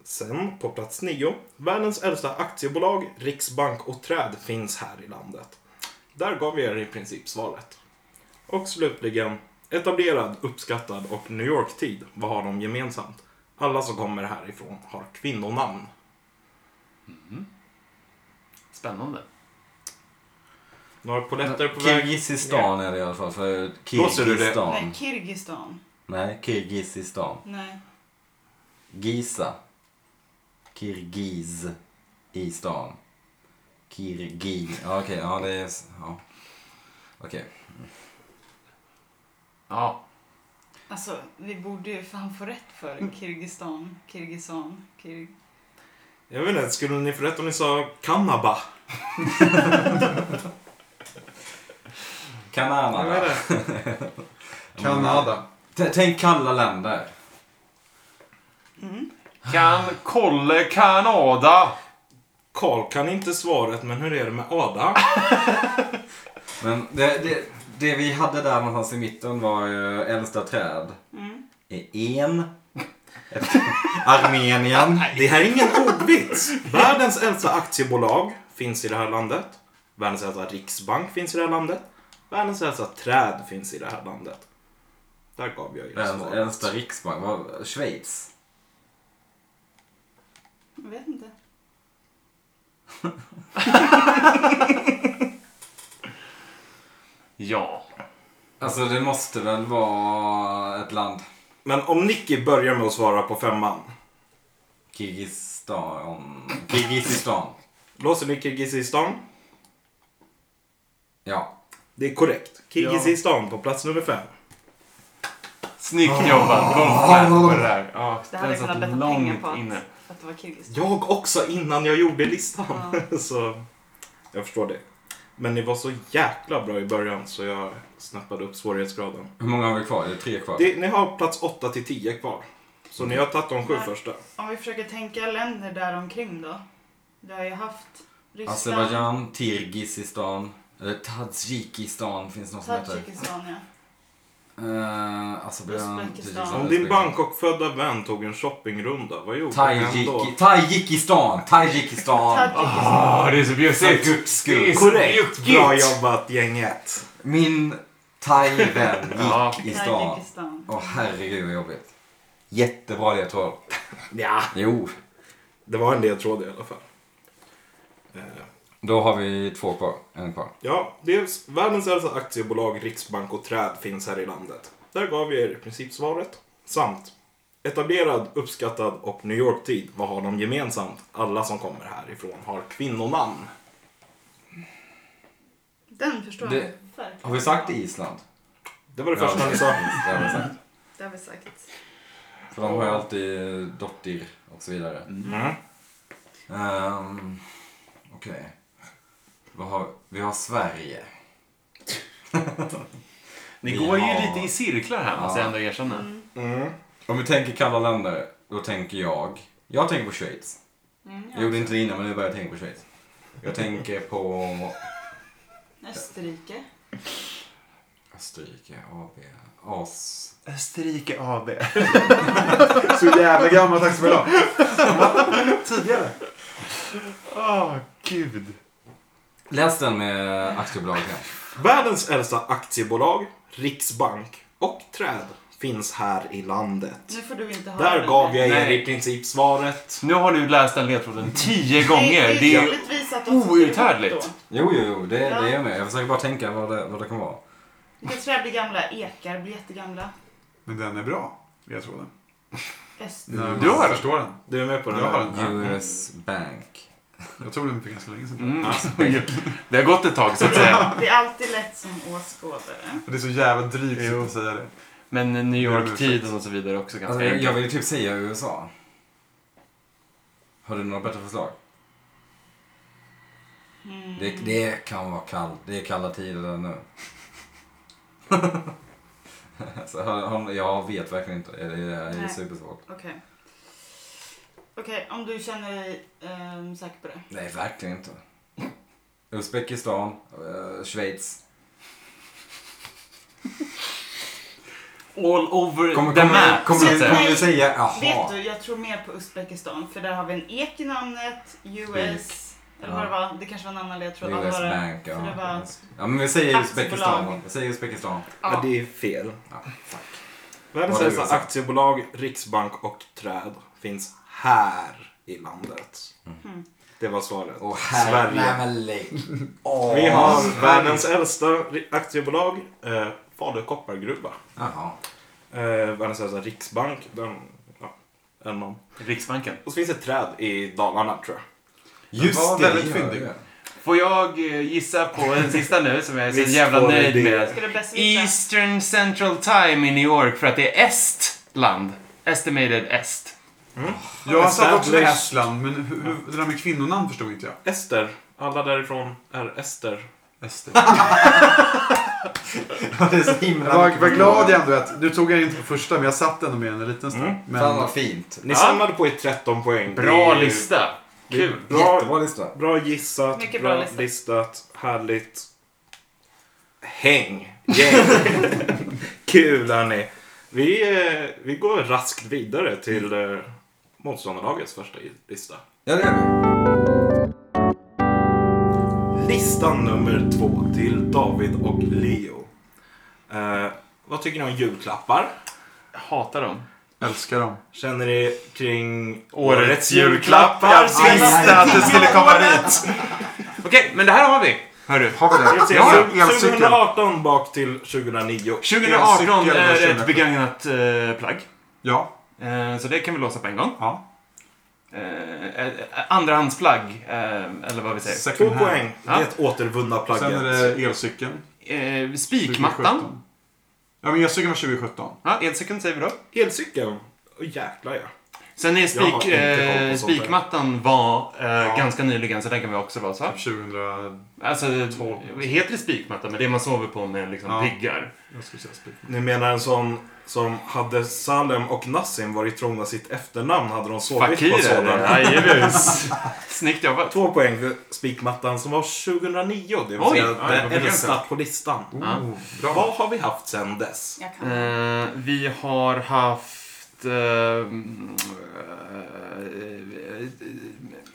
[SPEAKER 1] Sen på plats 9. Världens äldsta aktiebolag, riksbank och träd finns här i landet. Där gav vi er i princip svaret. Och slutligen, etablerad, uppskattad och New York-tid, vad har de gemensamt? Alla som kommer härifrån har kvinnonamn.
[SPEAKER 7] Spännande.
[SPEAKER 1] Några polletter på väg?
[SPEAKER 5] Kirgizistan är det i alla fall. För
[SPEAKER 1] Låser du det?
[SPEAKER 3] Nej,
[SPEAKER 5] Kirgizistan.
[SPEAKER 3] Kirgistan.
[SPEAKER 5] Nej, Kirgizistan.
[SPEAKER 3] Nej.
[SPEAKER 5] Giza. Kirgiz. I stan. Kirgi. Ja, okej. Ja, det är... Ja. Okej.
[SPEAKER 7] Ja.
[SPEAKER 3] Alltså, vi borde ju fan få rätt för Kirgistan, Kirgisan, Kirg...
[SPEAKER 1] Jag vet inte, skulle ni få rätt om ni sa Kanaba?
[SPEAKER 5] Kanada.
[SPEAKER 6] Kanada.
[SPEAKER 5] T- Tänk kalla länder.
[SPEAKER 7] Kan kolle Kanada.
[SPEAKER 1] Karl kan inte svaret, men hur är det med Ada?
[SPEAKER 5] Men det, det, det vi hade där någonstans i mitten var ju äldsta träd.
[SPEAKER 3] Mm.
[SPEAKER 5] I en. [LAUGHS] Armenien.
[SPEAKER 1] Det här är ingen ordvits! Världens äldsta aktiebolag finns i det här landet. Världens äldsta riksbank finns i det här landet. Världens äldsta träd finns i det här landet. Där gav jag er
[SPEAKER 5] Världens
[SPEAKER 1] svaret.
[SPEAKER 5] äldsta riksbank. Vad- Schweiz.
[SPEAKER 3] Jag vet inte.
[SPEAKER 7] Ja.
[SPEAKER 5] Alltså det måste väl vara ett land.
[SPEAKER 1] Men om Nicky börjar med att svara på femman.
[SPEAKER 5] Kirgizistan. Kirgizistan.
[SPEAKER 1] Låser ni Kirgizistan?
[SPEAKER 5] Ja.
[SPEAKER 1] Det är korrekt. Kirgizistan på plats nummer fem.
[SPEAKER 7] Snyggt jobbat. Golfman på det där. Ja,
[SPEAKER 3] Det hade jag kunnat
[SPEAKER 7] den satt
[SPEAKER 3] betta pengar
[SPEAKER 7] långt
[SPEAKER 3] på att,
[SPEAKER 7] inne.
[SPEAKER 3] att det var Kirgistan.
[SPEAKER 1] Jag också innan jag gjorde listan. [LAUGHS] så jag förstår det. Men ni var så jäkla bra i början så jag snappade upp svårighetsgraden.
[SPEAKER 5] Hur många har vi kvar? Det är tre kvar.
[SPEAKER 1] Det, ni har plats 8 till 10 kvar. Så ni har tagit de sju
[SPEAKER 3] Nej.
[SPEAKER 1] första.
[SPEAKER 3] Om vi försöker tänka länder däromkring då. Vi har ju haft Ryssland,
[SPEAKER 5] Azerbajdzjan, Tirgizistan, eller Tadzjikistan finns något som heter.
[SPEAKER 3] Tadzjikistan, ja.
[SPEAKER 5] Uh, Azerbajdzjan,
[SPEAKER 3] Uzbekistan.
[SPEAKER 5] Tadzjikistan,
[SPEAKER 1] Om din Bangkok-födda vän tog en shoppingrunda, vad gjorde han då?
[SPEAKER 5] Tajiki- Tajikistan, Tajikistan.
[SPEAKER 3] Tadzjikistan.
[SPEAKER 7] Åh, det är så
[SPEAKER 5] För
[SPEAKER 7] bjussigt.
[SPEAKER 5] guds skull.
[SPEAKER 1] Korrekt! Bra jobbat gänget!
[SPEAKER 5] Min thai-vän
[SPEAKER 7] Ja.
[SPEAKER 5] gick i stan.
[SPEAKER 3] Tadzjikistan.
[SPEAKER 5] Åh herregud vad jobbigt. Jättebra det tror jag.
[SPEAKER 1] Ja,
[SPEAKER 5] Jo,
[SPEAKER 1] det var en del tråd i alla fall. Eh,
[SPEAKER 5] då har vi två kvar. En kvar.
[SPEAKER 1] Ja, dels världens äldsta aktiebolag, riksbank och träd finns här i landet. Där gav vi er i princip svaret. Samt etablerad, uppskattad och New York-tid. Vad har de gemensamt? Alla som kommer härifrån har kvinnonamn.
[SPEAKER 3] Den förstår
[SPEAKER 5] Det-
[SPEAKER 3] jag verkligen.
[SPEAKER 5] Har vi sagt Island?
[SPEAKER 1] Det var det
[SPEAKER 5] Ja,
[SPEAKER 1] första ni
[SPEAKER 5] det-
[SPEAKER 1] sa.
[SPEAKER 5] Det har vi sagt.
[SPEAKER 3] Det har vi sagt.
[SPEAKER 5] För de har ju alltid dottir och så vidare.
[SPEAKER 1] Mm.
[SPEAKER 5] Ehm, Okej. Vad har, vi har Sverige.
[SPEAKER 7] Ni
[SPEAKER 5] Vi
[SPEAKER 7] går ju
[SPEAKER 5] har-
[SPEAKER 7] lite i cirklar här, måste jag ändå erkänna.
[SPEAKER 3] Mm.
[SPEAKER 1] Mm.
[SPEAKER 5] Om vi tänker kalla länder, då tänker jag... Jag tänker på Schweiz.
[SPEAKER 3] Mm,
[SPEAKER 5] Jag gjorde inte det innan, men nu börjar jag tänka på Schweiz. Jag tänker på
[SPEAKER 3] Österrike.
[SPEAKER 5] Österrike, AB, AS...
[SPEAKER 4] Österrike AB. Så jävla gammal taxibolag. Tidigare.
[SPEAKER 7] Åh,
[SPEAKER 6] Ah,
[SPEAKER 7] gud.
[SPEAKER 5] Läs den med aktiebolag här.
[SPEAKER 1] Världens äldsta aktiebolag, riksbank och träd finns här i landet.
[SPEAKER 3] Nu får du inte ha
[SPEAKER 1] Där
[SPEAKER 3] den
[SPEAKER 1] gav jag er
[SPEAKER 7] Nej.
[SPEAKER 1] i princip svaret.
[SPEAKER 7] Nu har du läst den ledtråden tio
[SPEAKER 3] Nej, [LAUGHS]
[SPEAKER 7] gånger.
[SPEAKER 3] Det
[SPEAKER 7] Det
[SPEAKER 3] är
[SPEAKER 7] är...
[SPEAKER 3] troligtvis att
[SPEAKER 7] outhärdligt.
[SPEAKER 3] då.
[SPEAKER 5] Jo, jo, jo, det, det
[SPEAKER 3] Ja.
[SPEAKER 5] är jag med. Jag försöker bara tänka vad det, vad det kan vara.
[SPEAKER 3] Vilka träd blir gamla? Ekar blir jättegamla.
[SPEAKER 6] Men den är bra, jag tror den.
[SPEAKER 3] Österrike.
[SPEAKER 6] När
[SPEAKER 7] Du har
[SPEAKER 6] man
[SPEAKER 7] den?
[SPEAKER 6] Mm. förstår den.
[SPEAKER 1] Du är med på den
[SPEAKER 6] Jag har
[SPEAKER 1] här?
[SPEAKER 6] den.
[SPEAKER 5] US Bank.
[SPEAKER 6] Jag tog den för ganska länge sedan.
[SPEAKER 7] Mm. [LAUGHS] Det har gått ett tag, så att säga.
[SPEAKER 3] Det är alltid lätt som åskådare.
[SPEAKER 6] Det är så jävla drygt
[SPEAKER 7] Jo.
[SPEAKER 6] att säga det.
[SPEAKER 7] Men New
[SPEAKER 6] Jag ber om
[SPEAKER 7] York-tiden och så vidare är också
[SPEAKER 5] Alltså,
[SPEAKER 7] ganska
[SPEAKER 5] jag, jag
[SPEAKER 7] enkel.
[SPEAKER 5] vill ju typ säga USA. Har du några bättre förslag?
[SPEAKER 3] Mm.
[SPEAKER 5] Det, det kan vara kallt. Det är kalla tider där nu. [LAUGHS] alltså, har, har, jag vet verkligen inte. Det är, det är
[SPEAKER 3] Nej.
[SPEAKER 5] supersvårt.
[SPEAKER 3] Okej. Okej, om du känner dig ehm, säker på det.
[SPEAKER 5] Nej, verkligen inte. Uzbekistan, eh, Schweiz.
[SPEAKER 7] All over
[SPEAKER 5] Kommer,
[SPEAKER 7] the
[SPEAKER 5] kommer,
[SPEAKER 7] map,
[SPEAKER 5] kommer,
[SPEAKER 7] så att
[SPEAKER 5] du-
[SPEAKER 7] säga.
[SPEAKER 5] kommer du säga
[SPEAKER 3] Vet
[SPEAKER 5] jaha?
[SPEAKER 3] du, jag tror mer på Uzbekistan för där har vi en ek i namnet, US, eller vad
[SPEAKER 5] Ja.
[SPEAKER 3] det var. Det kanske var en annan ledtråd. Ja, det
[SPEAKER 5] US
[SPEAKER 3] var det.
[SPEAKER 5] Bank.
[SPEAKER 3] För det
[SPEAKER 5] Ja.
[SPEAKER 3] var-
[SPEAKER 5] ja, men vi säger
[SPEAKER 3] Aktiebolag.
[SPEAKER 5] Uzbekistan. då. Vi säger Uzbekistan.
[SPEAKER 1] Ja,
[SPEAKER 3] Ja.
[SPEAKER 1] det är fel.
[SPEAKER 5] Ja, fuck.
[SPEAKER 1] Världens
[SPEAKER 5] Var det
[SPEAKER 1] äldsta
[SPEAKER 5] USA?
[SPEAKER 1] aktiebolag, riksbank och träd finns här i landet.
[SPEAKER 3] Mm.
[SPEAKER 1] Det var svaret.
[SPEAKER 5] Och
[SPEAKER 1] Sverige.
[SPEAKER 5] här, nej men lägg av.
[SPEAKER 1] Vi har världens äldsta ri- aktiebolag, eh, Falu koppargruva.
[SPEAKER 5] Jaha.
[SPEAKER 1] Eh, världens äldsta riksbank, den, ja, en man.
[SPEAKER 7] Riksbanken.
[SPEAKER 1] Och så finns det ett träd i Dalarna tror jag.
[SPEAKER 5] Just
[SPEAKER 6] var
[SPEAKER 5] det,
[SPEAKER 6] väldigt
[SPEAKER 5] det gör
[SPEAKER 6] fyndig.
[SPEAKER 5] jag.
[SPEAKER 7] Får jag eh, gissa på en sista nu som jag är så
[SPEAKER 1] Visst
[SPEAKER 7] jävla
[SPEAKER 1] får du
[SPEAKER 7] nöjd
[SPEAKER 1] det.
[SPEAKER 7] med?
[SPEAKER 3] Ska du bäst visa?
[SPEAKER 7] Eastern Central Time i New York för att det är estland. Estimated est.
[SPEAKER 6] Jag satt också
[SPEAKER 1] Established.
[SPEAKER 6] med Estland, men hur, hur, det där med kvinnonamn förstod inte jag.
[SPEAKER 1] Ester. Alla därifrån är Ester.
[SPEAKER 6] [LAUGHS] Ester.
[SPEAKER 5] [LAUGHS] Ja, det är så himla
[SPEAKER 6] Vad
[SPEAKER 5] mycket
[SPEAKER 6] vad
[SPEAKER 5] bra.
[SPEAKER 6] glad jag ändå är att, nu tog jag inte på första, men jag satt ändå med en liten stund.
[SPEAKER 1] Mm.
[SPEAKER 6] Men
[SPEAKER 5] Fan vad fint.
[SPEAKER 1] Ni
[SPEAKER 7] Ja.
[SPEAKER 1] samlade på er 13 poäng.
[SPEAKER 7] Bra
[SPEAKER 1] Det är-
[SPEAKER 7] lista.
[SPEAKER 1] det är
[SPEAKER 7] Kul.
[SPEAKER 1] Bra,
[SPEAKER 5] Jättebra lista.
[SPEAKER 1] bra gissat,
[SPEAKER 3] Mycket
[SPEAKER 1] bra,
[SPEAKER 3] bra listat.
[SPEAKER 1] listat, härligt. Häng! Gäng! [LAUGHS] Kul hörni. Vi, eh, vi går raskt vidare till eh, motståndarlagets första i- lista.
[SPEAKER 5] Ja, det är det.
[SPEAKER 1] Listan nummer två till David och Leo. Eh, vad tycker ni om julklappar?
[SPEAKER 7] Hatar dem.
[SPEAKER 6] älskar dem.
[SPEAKER 1] Känner ni kring
[SPEAKER 7] Årets julklappar,
[SPEAKER 1] Ja,
[SPEAKER 7] sista.
[SPEAKER 1] ja,
[SPEAKER 6] att det skulle komma dit!
[SPEAKER 7] Okej, men det här har vi. Hörru.
[SPEAKER 6] Har vi
[SPEAKER 1] ja.
[SPEAKER 6] det?
[SPEAKER 1] Vi
[SPEAKER 6] Ja,
[SPEAKER 1] ser
[SPEAKER 6] elcykel.
[SPEAKER 1] 2018 bak till 2009.
[SPEAKER 7] 2018
[SPEAKER 6] Elcykel var
[SPEAKER 7] är
[SPEAKER 6] 2017.
[SPEAKER 7] ett begagnat eh, plagg.
[SPEAKER 6] Ja.
[SPEAKER 7] Eh, så det kan vi låsa på en gång.
[SPEAKER 6] Ja.
[SPEAKER 7] Eh, eh, andrahandsplagg, eh, eller vad vi säger.
[SPEAKER 1] Två
[SPEAKER 6] Second hand.
[SPEAKER 1] poäng. Det är ett återvunna plagget.
[SPEAKER 6] Sen är det elcykeln.
[SPEAKER 7] Eh, spikmattan.
[SPEAKER 6] 2017. Ja, men elcykeln var 2017.
[SPEAKER 7] Ja, elcykeln säger vi då.
[SPEAKER 1] Elcykeln? Åh jäklar ja.
[SPEAKER 7] Sen är
[SPEAKER 1] Jag har
[SPEAKER 7] spik,
[SPEAKER 1] inte koll på
[SPEAKER 7] eh,
[SPEAKER 1] sånt där.
[SPEAKER 7] spikmattan var eh,
[SPEAKER 6] Ja.
[SPEAKER 7] ganska nyligen, så den kan vi också låsa.
[SPEAKER 6] Typ 2000...
[SPEAKER 7] Alltså, heter det spikmatta? Men det man sover på med liksom
[SPEAKER 6] Ja.
[SPEAKER 7] piggar.
[SPEAKER 6] Jag skulle säga spik.
[SPEAKER 1] Ni menar en sån som hade Salem och Nassim varit trogna sitt efternamn hade de sovit på
[SPEAKER 7] Fakirer.
[SPEAKER 1] sådan.
[SPEAKER 7] Jajebus. [LAUGHS] Snyggt jobbat.
[SPEAKER 1] Två poäng för spikmattan som var 2009. Det vill
[SPEAKER 7] Oj,
[SPEAKER 1] säga
[SPEAKER 7] oj,
[SPEAKER 1] den
[SPEAKER 7] vad
[SPEAKER 1] äldsta
[SPEAKER 7] begränsat.
[SPEAKER 1] på listan. Mm.
[SPEAKER 7] Ja.
[SPEAKER 6] Oh, bra.
[SPEAKER 1] Vad har vi haft sen dess?
[SPEAKER 3] Jag kan.
[SPEAKER 7] Eh, vi har haft... Eh, mm, eh,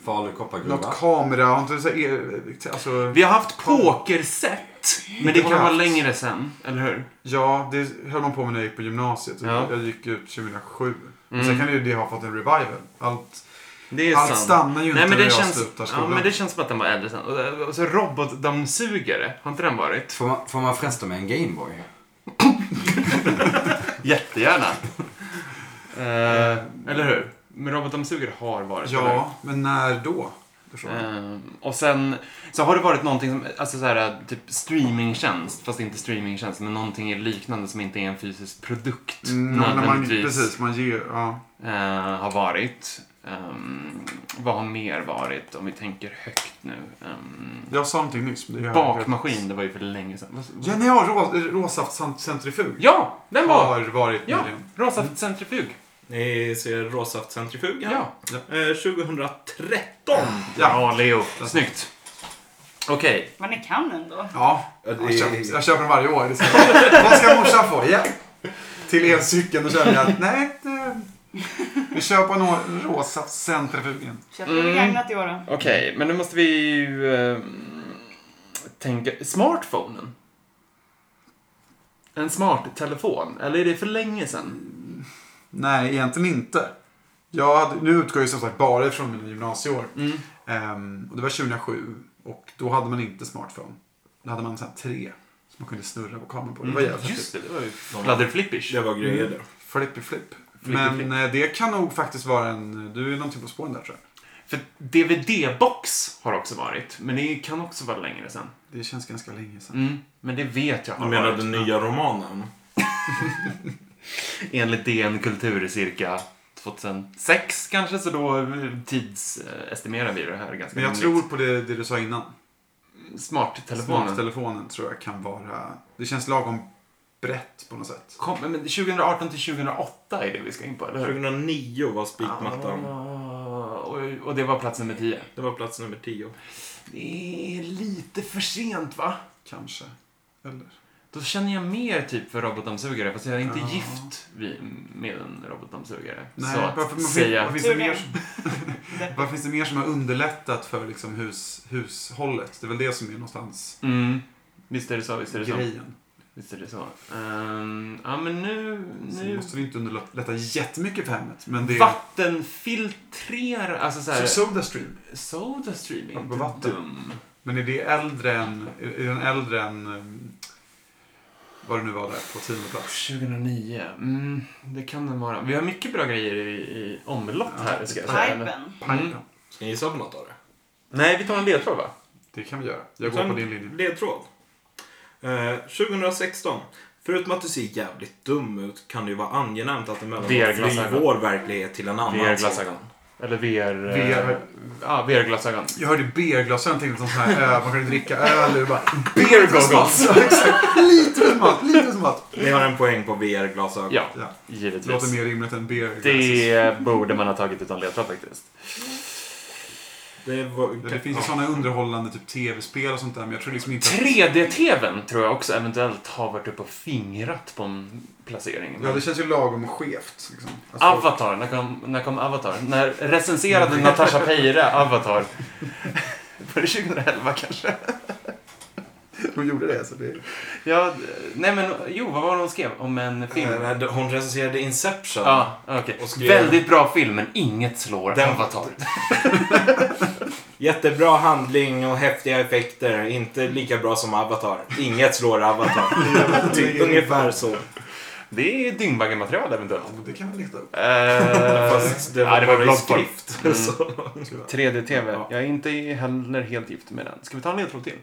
[SPEAKER 5] Falu
[SPEAKER 6] Något
[SPEAKER 5] koppargruva.
[SPEAKER 6] kamera... Har inte du så här el-
[SPEAKER 7] eh,
[SPEAKER 6] alltså,
[SPEAKER 7] vi har haft pokerset. Men det
[SPEAKER 6] har
[SPEAKER 7] kan
[SPEAKER 6] vi
[SPEAKER 7] vara
[SPEAKER 6] haft.
[SPEAKER 7] längre sen, eller hur?
[SPEAKER 6] Ja, det höll man på med när jag gick på gymnasiet.
[SPEAKER 7] Ja.
[SPEAKER 6] Jag gick ut 2007. Men
[SPEAKER 7] Mm.
[SPEAKER 6] Sen kan ju det ha fått en revival. Allt,
[SPEAKER 7] Det är
[SPEAKER 6] allt
[SPEAKER 7] sant.
[SPEAKER 6] stannar ju inte
[SPEAKER 7] Nej, men
[SPEAKER 6] när
[SPEAKER 7] det,
[SPEAKER 6] jag
[SPEAKER 7] känns,
[SPEAKER 6] slutar skolan.
[SPEAKER 7] ja, men det känns som att den var äldre sen. Och, eh, Och så robotdammsugare, har inte
[SPEAKER 6] [LAUGHS]
[SPEAKER 7] den varit?
[SPEAKER 5] Får man, får man fresta med en Gameboy?
[SPEAKER 7] Jättegärna. [LAUGHS] Eh, eller hur? Men robotdammsugare har varit, eller hur?
[SPEAKER 6] Ja, men när då? Det är så.
[SPEAKER 7] Eh, och sen så har det varit någonting som, alltså så här, typ streamingtjänst, fast inte streamingtjänst, men någonting liknande som inte är en fysisk produkt
[SPEAKER 6] Mm, när man,
[SPEAKER 7] nödvändigtvis
[SPEAKER 6] precis, man ger... Ja.
[SPEAKER 7] eh, har varit. Ehm, vad har mer varit, om vi tänker högt nu? Ehm,
[SPEAKER 6] Jag sa någonting nyss. men det gör jag
[SPEAKER 7] bakmaskin, det var ju för länge sedan. Vad-
[SPEAKER 6] inte. Ja, nej, ja, rå, råsaftcentrifug.
[SPEAKER 7] Ja, den var!
[SPEAKER 6] Har varit
[SPEAKER 7] Ja.
[SPEAKER 6] nyligen.
[SPEAKER 7] Råsaftcentrifug.
[SPEAKER 1] Ni ser råsaftcentrifugen.
[SPEAKER 7] Ja.
[SPEAKER 1] Eh, 2013.
[SPEAKER 6] Ja.
[SPEAKER 7] Bra, Leo. Snyggt. Okej.
[SPEAKER 3] Men ni kan ändå.
[SPEAKER 6] Ja,
[SPEAKER 1] Ja, det-
[SPEAKER 6] jag köper, jag köper den varje år. Det är så här, Vad ska morsan få? Ja. Till elcykeln. Då känner jag att nej, det, vi köper nog råsaftcentrifugen.
[SPEAKER 3] Köper mm.
[SPEAKER 7] Mm.
[SPEAKER 3] begagnat i år då.
[SPEAKER 7] Okej, men nu måste vi ju eh, tänka... Smartphonen? En smarttelefon? Eller är det för länge sedan?
[SPEAKER 6] Nej, egentligen inte. Jag hade, nu utgår jag ju som sagt bara från mina gymnasieår.
[SPEAKER 7] Mm.
[SPEAKER 6] Ehm, och det var 2007 och då hade man inte smartphone. Då hade man en sån här tre som man kunde snurra på kameran på. Det var jävligt
[SPEAKER 7] Mm. Just
[SPEAKER 6] häftigt.
[SPEAKER 7] det, det var ju
[SPEAKER 1] De-
[SPEAKER 7] fladderflippish.
[SPEAKER 1] Det var grejer
[SPEAKER 6] Mm.
[SPEAKER 1] det.
[SPEAKER 6] Flippy flip.
[SPEAKER 7] Flippy
[SPEAKER 6] Men
[SPEAKER 7] flip.
[SPEAKER 6] eh, det kan nog faktiskt vara en... Du är någonting på spåren där tror jag.
[SPEAKER 7] För DVD-box har också varit, men det kan också vara längre sedan.
[SPEAKER 6] Det känns ganska länge sedan.
[SPEAKER 7] Mm. Men det vet jag
[SPEAKER 1] Du
[SPEAKER 7] har
[SPEAKER 1] menar
[SPEAKER 7] varit.
[SPEAKER 1] den nya romanen?
[SPEAKER 7] Enligt DN Kultur cirka 2006 kanske, så då eh, tidsestimerar vi det här ganska
[SPEAKER 6] Men jag
[SPEAKER 7] rimligt.
[SPEAKER 6] tror på det, det du sa innan.
[SPEAKER 7] Smarttelefonen.
[SPEAKER 6] Smarttelefonen tror jag kan vara... Det känns lagom brett på något sätt.
[SPEAKER 7] Kom, men 2018 till 2008 är det vi ska in på, eller hur?
[SPEAKER 1] 2009 var spikmattan.
[SPEAKER 7] Ah, och, och det var plats nummer 10.
[SPEAKER 1] Det var plats nummer 10.
[SPEAKER 7] Det är lite för sent va?
[SPEAKER 6] Kanske. Eller?
[SPEAKER 7] Då känner jag mer typ för robotdammsugare fast jag är inte
[SPEAKER 6] Ja.
[SPEAKER 7] gift vid- med en robotdammsugare.
[SPEAKER 6] Nej,
[SPEAKER 7] Så
[SPEAKER 6] varför,
[SPEAKER 7] att
[SPEAKER 6] varför,
[SPEAKER 7] säga...
[SPEAKER 6] varför, finns det mer som, varför finns det mer som [LAUGHS] har underlättat för liksom hus, hushållet? Det är väl det som är någonstans
[SPEAKER 7] Mm, visst är det så, visst är det så.
[SPEAKER 6] grejen.
[SPEAKER 7] Visst är det så. Ehm, ja men nu...
[SPEAKER 6] Sen
[SPEAKER 7] nu...
[SPEAKER 6] måste det inte underlätta jättemycket för hemmet. Men det är...
[SPEAKER 7] Vattenfiltrera, alltså såhär...
[SPEAKER 6] Så Sodastream.
[SPEAKER 7] Soda streaming,
[SPEAKER 6] Apropå
[SPEAKER 7] inte
[SPEAKER 6] vatten.
[SPEAKER 7] dum.
[SPEAKER 6] Men är det äldre än... Är är den äldre än... um, Vad det nu var där på tionde plats?
[SPEAKER 7] 2009, mm, det kan den vara. Vi har mycket bra grejer i, i omlopp
[SPEAKER 6] Ja,
[SPEAKER 7] här ska jag säga.
[SPEAKER 3] Pipen.
[SPEAKER 6] Pipen.
[SPEAKER 7] Mm.
[SPEAKER 1] Ska ni gissa på något av det?
[SPEAKER 7] Nej, vi tar en ledtråd va?
[SPEAKER 6] Det kan vi göra. Jag går på din linje.
[SPEAKER 1] Ledtråd. Eh, 2016. Förutom att du ser jävligt dum ut kan det ju vara angenämt att emellanåt fly
[SPEAKER 7] VR-glasögon.
[SPEAKER 1] vår verklighet till en annan.
[SPEAKER 7] VR-glasögon. Eller VR...
[SPEAKER 6] VR.
[SPEAKER 7] Ja, VR-glasögon.
[SPEAKER 6] Jag hörde beerglasögon tänkte som sån här öl, man kunde dricka öl ur bara...
[SPEAKER 7] Beer goggles.
[SPEAKER 6] [LAUGHS] Ja, exakt. Lite som allt, lite som allt.
[SPEAKER 1] Ni har en poäng på VR-glasögon.
[SPEAKER 7] Ja,
[SPEAKER 6] Ja. Det låter
[SPEAKER 7] givetvis.
[SPEAKER 6] mer rimligt än beer.
[SPEAKER 7] Det borde man ha tagit utan ledtråd faktiskt.
[SPEAKER 1] Det, var,
[SPEAKER 6] Ja, det finns ju
[SPEAKER 1] ja.
[SPEAKER 6] sådana underhållande typ tv-spel och sånt där, men jag tror liksom inte...
[SPEAKER 7] 3D-TVn tror jag också eventuellt har varit uppe och fingrat på en placering.
[SPEAKER 6] Ja, det känns ju lagom skevt. Liksom. Alltså,
[SPEAKER 7] Avatar, när kom, när kom Avatar? När recenserade Natasha Peire Avatar? Var det 2011 kanske?
[SPEAKER 6] Hon gjorde det, så det...
[SPEAKER 7] Ja, nej men jo, vad var det hon skrev om en film?
[SPEAKER 1] Eh, nej, Hon recenserade Inception.
[SPEAKER 7] Ja, okej.
[SPEAKER 1] Och skrev-
[SPEAKER 7] Väldigt bra film, men inget slår
[SPEAKER 1] Den-
[SPEAKER 7] Avatar.
[SPEAKER 1] Jättebra handling och häftiga effekter. Inte lika bra som Avatar. Inget slår
[SPEAKER 6] [LAUGHS]
[SPEAKER 1] Avatar. typ, ungefär så.
[SPEAKER 6] Eh,
[SPEAKER 7] Det är dyngbaggarmaterial eventuellt.
[SPEAKER 6] Ja, men det kan man leta upp.
[SPEAKER 7] [LAUGHS] Eh,
[SPEAKER 1] Fast det var,
[SPEAKER 7] ja, det var Mm.
[SPEAKER 1] bara i
[SPEAKER 7] bloggform.
[SPEAKER 1] skrift. [LAUGHS] Så.
[SPEAKER 7] 3D-TV.
[SPEAKER 1] Ja.
[SPEAKER 7] Jag är inte heller helt gift med den. Ska vi ta en ledtråd till?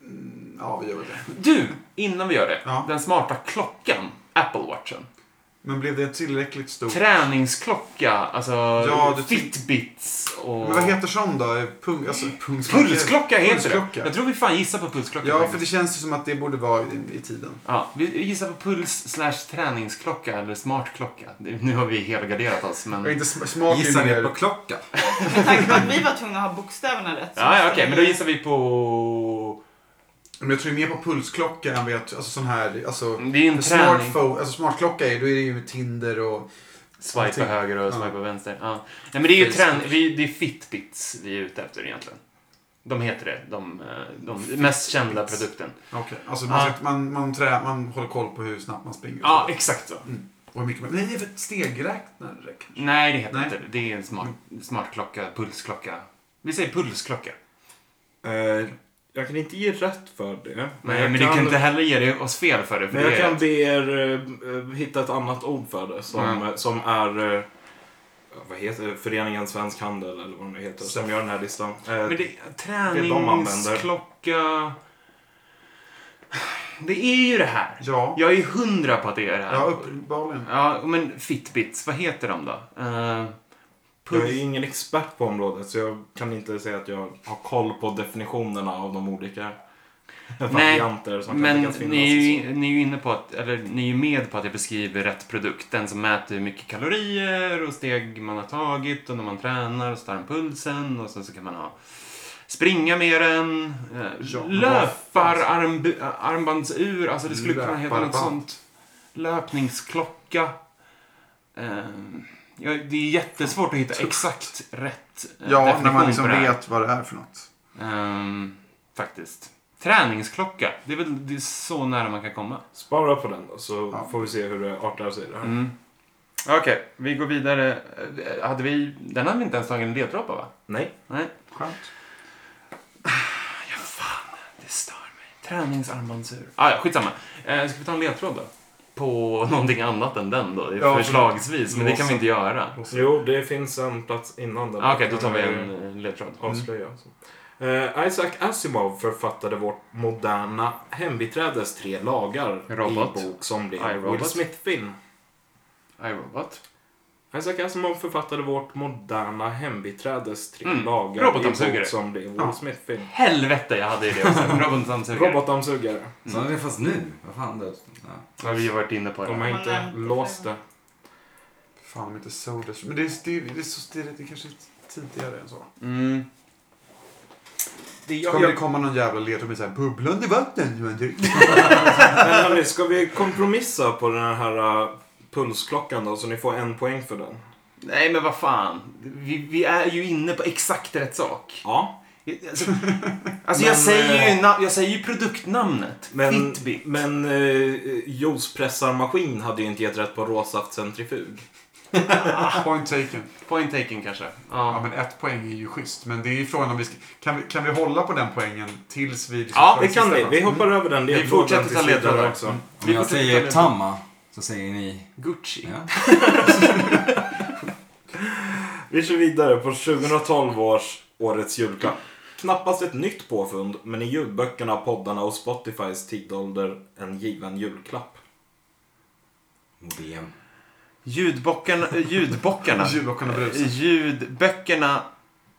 [SPEAKER 6] Mm, Ja, vi gör väl det.
[SPEAKER 7] Du, innan vi gör det.
[SPEAKER 6] Ja.
[SPEAKER 7] Den smarta klockan. Apple Watchen.
[SPEAKER 6] Men blev det en tillräckligt stor...
[SPEAKER 7] Träningsklocka, alltså
[SPEAKER 6] Ja, du-
[SPEAKER 7] Fitbits och...
[SPEAKER 6] Men vad heter sån då? Pung... Alltså, pungsklocka?
[SPEAKER 7] Pulsklocka heter
[SPEAKER 6] Pulsklocka.
[SPEAKER 7] det. Jag tror vi fan gissar på pulsklocka.
[SPEAKER 6] Ja,
[SPEAKER 7] faktiskt.
[SPEAKER 6] för det känns ju som att det borde vara i, i tiden.
[SPEAKER 7] Ja, vi gissar på puls slash träningsklocka eller smartklocka. Det- Nu har vi helgarderat oss, men...
[SPEAKER 6] Jag är
[SPEAKER 7] Ja,
[SPEAKER 6] inte sm- smak
[SPEAKER 4] Gissar ni på
[SPEAKER 6] mer...
[SPEAKER 4] klocka?
[SPEAKER 3] Med tanke på att vi var tvungna att ha bokstäverna rätt. så
[SPEAKER 7] ja okej,
[SPEAKER 3] måste vi-
[SPEAKER 7] men då gissar vi på...
[SPEAKER 6] Men jag tror ju mer på pulsklocka än vet... Alltså sån här... Alltså,
[SPEAKER 7] Det är ju en träning.
[SPEAKER 6] smartphone... Alltså smartklocka är, då är det ju Tinder och...
[SPEAKER 7] Swipa höger och
[SPEAKER 6] Ja.
[SPEAKER 7] swipa vänster. Ja. Nej, men det är ju
[SPEAKER 4] Facebook.
[SPEAKER 7] trän- vi, det är Fitbits vi är ute efter egentligen. De heter det, de, eh, de mest kända produkten.
[SPEAKER 6] Okej, alltså man,
[SPEAKER 7] Ja.
[SPEAKER 6] ska- man, man, trä, man håller koll på hur snabbt man springer.
[SPEAKER 7] Ja, exakt så.
[SPEAKER 6] Och hur mycket man... Nej, det är för stegräknare kanske.
[SPEAKER 7] Nej, det heter
[SPEAKER 6] Nej.
[SPEAKER 7] inte det. Det är en smart, smart klocka, pulsklocka. Vi säger pulsklocka.
[SPEAKER 1] Eh, jag kan inte ge rätt för det. Men
[SPEAKER 7] Nej,
[SPEAKER 1] jag
[SPEAKER 7] men du kan inte heller ge det oss fel för det. För
[SPEAKER 1] Men
[SPEAKER 7] det
[SPEAKER 1] jag
[SPEAKER 7] är
[SPEAKER 1] kan be er eh, eh, hitta ett annat ord för det som,
[SPEAKER 7] Mm.
[SPEAKER 1] eh, som är eh, vad heter det? Föreningen Svensk Handel eller vad den nu heter som gör den här listan. Eh,
[SPEAKER 7] Men det,
[SPEAKER 1] de använder.
[SPEAKER 7] träningsklocka... Det är ju det här.
[SPEAKER 6] Ja,
[SPEAKER 7] Jag är hundra på att det är det här.
[SPEAKER 6] ja uppenbarligen.
[SPEAKER 7] Ja, men Fitbits, vad heter de då? Eh,
[SPEAKER 1] Jag är ju ingen expert på området så jag kan inte säga att jag har koll på definitionerna av de olika varianter som kan
[SPEAKER 7] Men
[SPEAKER 1] tänkas finnas.
[SPEAKER 7] ni är,
[SPEAKER 1] och alltså, så.
[SPEAKER 7] ju, ni är ju inne på att, eller ni är ju med på att jag beskriver rätt produkt. Den som mäter hur mycket kalorier och steg man har tagit och när man tränar och så tar den pulsen och sen så kan man ha springa med den, eh,
[SPEAKER 6] Ja,
[SPEAKER 7] löpar, armb, armbandsur, alltså det skulle kunna heta något
[SPEAKER 6] Löparband.
[SPEAKER 7] sånt. Löpningsklocka. Eh, ja, det är jättesvårt att hitta exakt rätt eh,
[SPEAKER 6] Ja, när
[SPEAKER 7] definition
[SPEAKER 6] man
[SPEAKER 7] på
[SPEAKER 6] liksom
[SPEAKER 7] det här.
[SPEAKER 6] vet vad det är för något.
[SPEAKER 7] Ehm, faktiskt. Träningsklocka. Det är väl det är så nära man kan komma.
[SPEAKER 1] Spara på den då så
[SPEAKER 6] Ja.
[SPEAKER 1] får vi se hur det artar sig. Det här.
[SPEAKER 7] Mm. Okej, vi går vidare. Eh, Hade vi... Den hade vi inte ens tagit en ledtråd på, va?
[SPEAKER 1] Nej.
[SPEAKER 7] Nej.
[SPEAKER 6] Skönt.
[SPEAKER 7] Ja, fan. Det stör mig. Träningsarmbandsur. Ah, ja, skitsamma. Eh, ska vi ta en ledtråd då? På någonting annat än den då?
[SPEAKER 6] Ja,
[SPEAKER 7] förslagsvis. Men det kan vi inte göra.
[SPEAKER 1] Jo, det finns en plats innan den.
[SPEAKER 7] Ah, Okej, då tar
[SPEAKER 1] Kan
[SPEAKER 7] vi
[SPEAKER 1] jag
[SPEAKER 7] en eh, ledtråd.
[SPEAKER 1] Avslöja. Eh, Isaac Asimov författade vårt moderna hembiträdes tre lagar
[SPEAKER 7] Robot.
[SPEAKER 1] i bok som blev
[SPEAKER 7] I, Robot.
[SPEAKER 1] Will Smith-film.
[SPEAKER 7] iRobot.
[SPEAKER 1] Isaac Asimov författade vårt moderna hembiträdes tre
[SPEAKER 7] Mm.
[SPEAKER 1] lagar i
[SPEAKER 7] Robotdammsugare.
[SPEAKER 1] bok som blev Will
[SPEAKER 6] Ja.
[SPEAKER 1] Smith-film.
[SPEAKER 7] Helvete, jag hade ju det [LAUGHS] också. Robotdammsugare.
[SPEAKER 1] Robotdammsugare.
[SPEAKER 5] Så det är fast nu? Vad fan? Det, ja.
[SPEAKER 7] Ja, vi har varit inne på det.
[SPEAKER 1] De har
[SPEAKER 3] Man
[SPEAKER 1] inte
[SPEAKER 3] är-
[SPEAKER 1] låst det.
[SPEAKER 6] Fan, de heter Soda Stream. Men det är, det, är, det, är så, det, är, det är kanske tidigare än så.
[SPEAKER 7] Mm.
[SPEAKER 6] Så kommer det komma någon jävla ledtråd med såhär bubblande vatten. men det-
[SPEAKER 1] Men hörni, ska vi kompromissa på den här uh, pulsklockan då? Så ni får en poäng för den.
[SPEAKER 7] Nej, men vad fan. Vi, vi är ju inne på exakt rätt sak.
[SPEAKER 1] Ja.
[SPEAKER 7] [LAUGHS] Alltså, alltså
[SPEAKER 1] Men,
[SPEAKER 7] jag, säger
[SPEAKER 1] eh,
[SPEAKER 7] ju, na- jag säger ju produktnamnet.
[SPEAKER 1] Men,
[SPEAKER 7] Fitbit.
[SPEAKER 1] men uh, juicepressarmaskin hade ju inte gett rätt på råsaftcentrifug. Ah.
[SPEAKER 6] Point taken.
[SPEAKER 7] Point taken kanske. Ja.
[SPEAKER 6] Ja, men ett poäng är ju schysst. Men det är ju frågan om vi ska... Kan vi, kan vi hålla på den poängen tills vi... liksom
[SPEAKER 7] Ja,
[SPEAKER 6] får
[SPEAKER 1] Det
[SPEAKER 6] en
[SPEAKER 1] kan
[SPEAKER 6] sista
[SPEAKER 1] vi.
[SPEAKER 6] chans?
[SPEAKER 1] Vi hoppar över den ledtråden.
[SPEAKER 7] fortsätter
[SPEAKER 1] till
[SPEAKER 7] ta
[SPEAKER 1] sidan
[SPEAKER 7] ledtrådar.
[SPEAKER 1] också.
[SPEAKER 5] Om jag
[SPEAKER 7] fortsätter
[SPEAKER 5] säger
[SPEAKER 7] ta
[SPEAKER 5] Tamma så säger ni...
[SPEAKER 7] Gucci.
[SPEAKER 5] Ja.
[SPEAKER 1] Vi kör vidare på 2012 års årets julklapp. Knappast ett nytt påfund, men i ljudböckerna, poddarna och Spotifys tidålder en given julklapp.
[SPEAKER 5] Modem.
[SPEAKER 7] Ljudbockarna. eh, [LAUGHS] ljudbockarna.
[SPEAKER 6] Ljudbockarna brusar.
[SPEAKER 7] Ljudböckerna.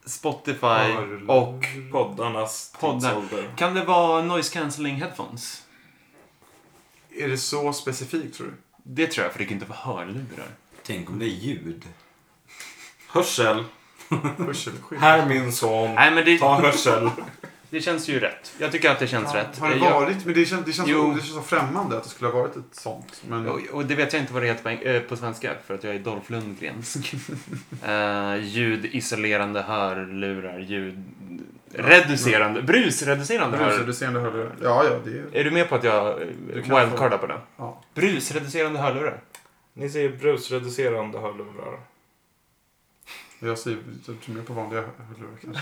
[SPEAKER 7] Spotify
[SPEAKER 6] Hörlurar.
[SPEAKER 7] och...
[SPEAKER 1] Poddarnas
[SPEAKER 7] Poddar.
[SPEAKER 1] tidsålder.
[SPEAKER 7] Kan det vara noise cancelling headphones?
[SPEAKER 6] Är det så specifikt tror du?
[SPEAKER 7] Det tror jag, för det kan inte vara hörlurar.
[SPEAKER 5] Tänk om det är ljud.
[SPEAKER 1] Hörsel.
[SPEAKER 6] Hörselskydd?
[SPEAKER 1] Här min son.
[SPEAKER 7] Nej, men det,
[SPEAKER 1] Ta hörsel.
[SPEAKER 7] det känns ju rätt. Jag tycker att det känns rätt.
[SPEAKER 6] Har det
[SPEAKER 7] Jag-
[SPEAKER 6] varit? Men det känns, det, känns
[SPEAKER 7] Jo.
[SPEAKER 6] så, det känns så främmande att det skulle ha varit ett sånt. Men
[SPEAKER 7] Och, och det vet jag inte vad det heter på, eng- eh, på svenska för att jag är Dolph [LAUGHS] Lundgrensk. Eh, ljudisolerande hörlurar, ljud... Reducerande, brusreducerande hörlurar.
[SPEAKER 6] brusreducerande hörlurar. Ja, ja, det är
[SPEAKER 7] Är du med på att jag eh,
[SPEAKER 6] kan
[SPEAKER 7] wildcardar på det?
[SPEAKER 6] Ja.
[SPEAKER 7] Brusreducerande hörlurar.
[SPEAKER 1] Ni säger brusreducerande hörlurar.
[SPEAKER 6] Jag säger jag tror mer på vanliga hörlurar
[SPEAKER 7] [LAUGHS]
[SPEAKER 6] kanske.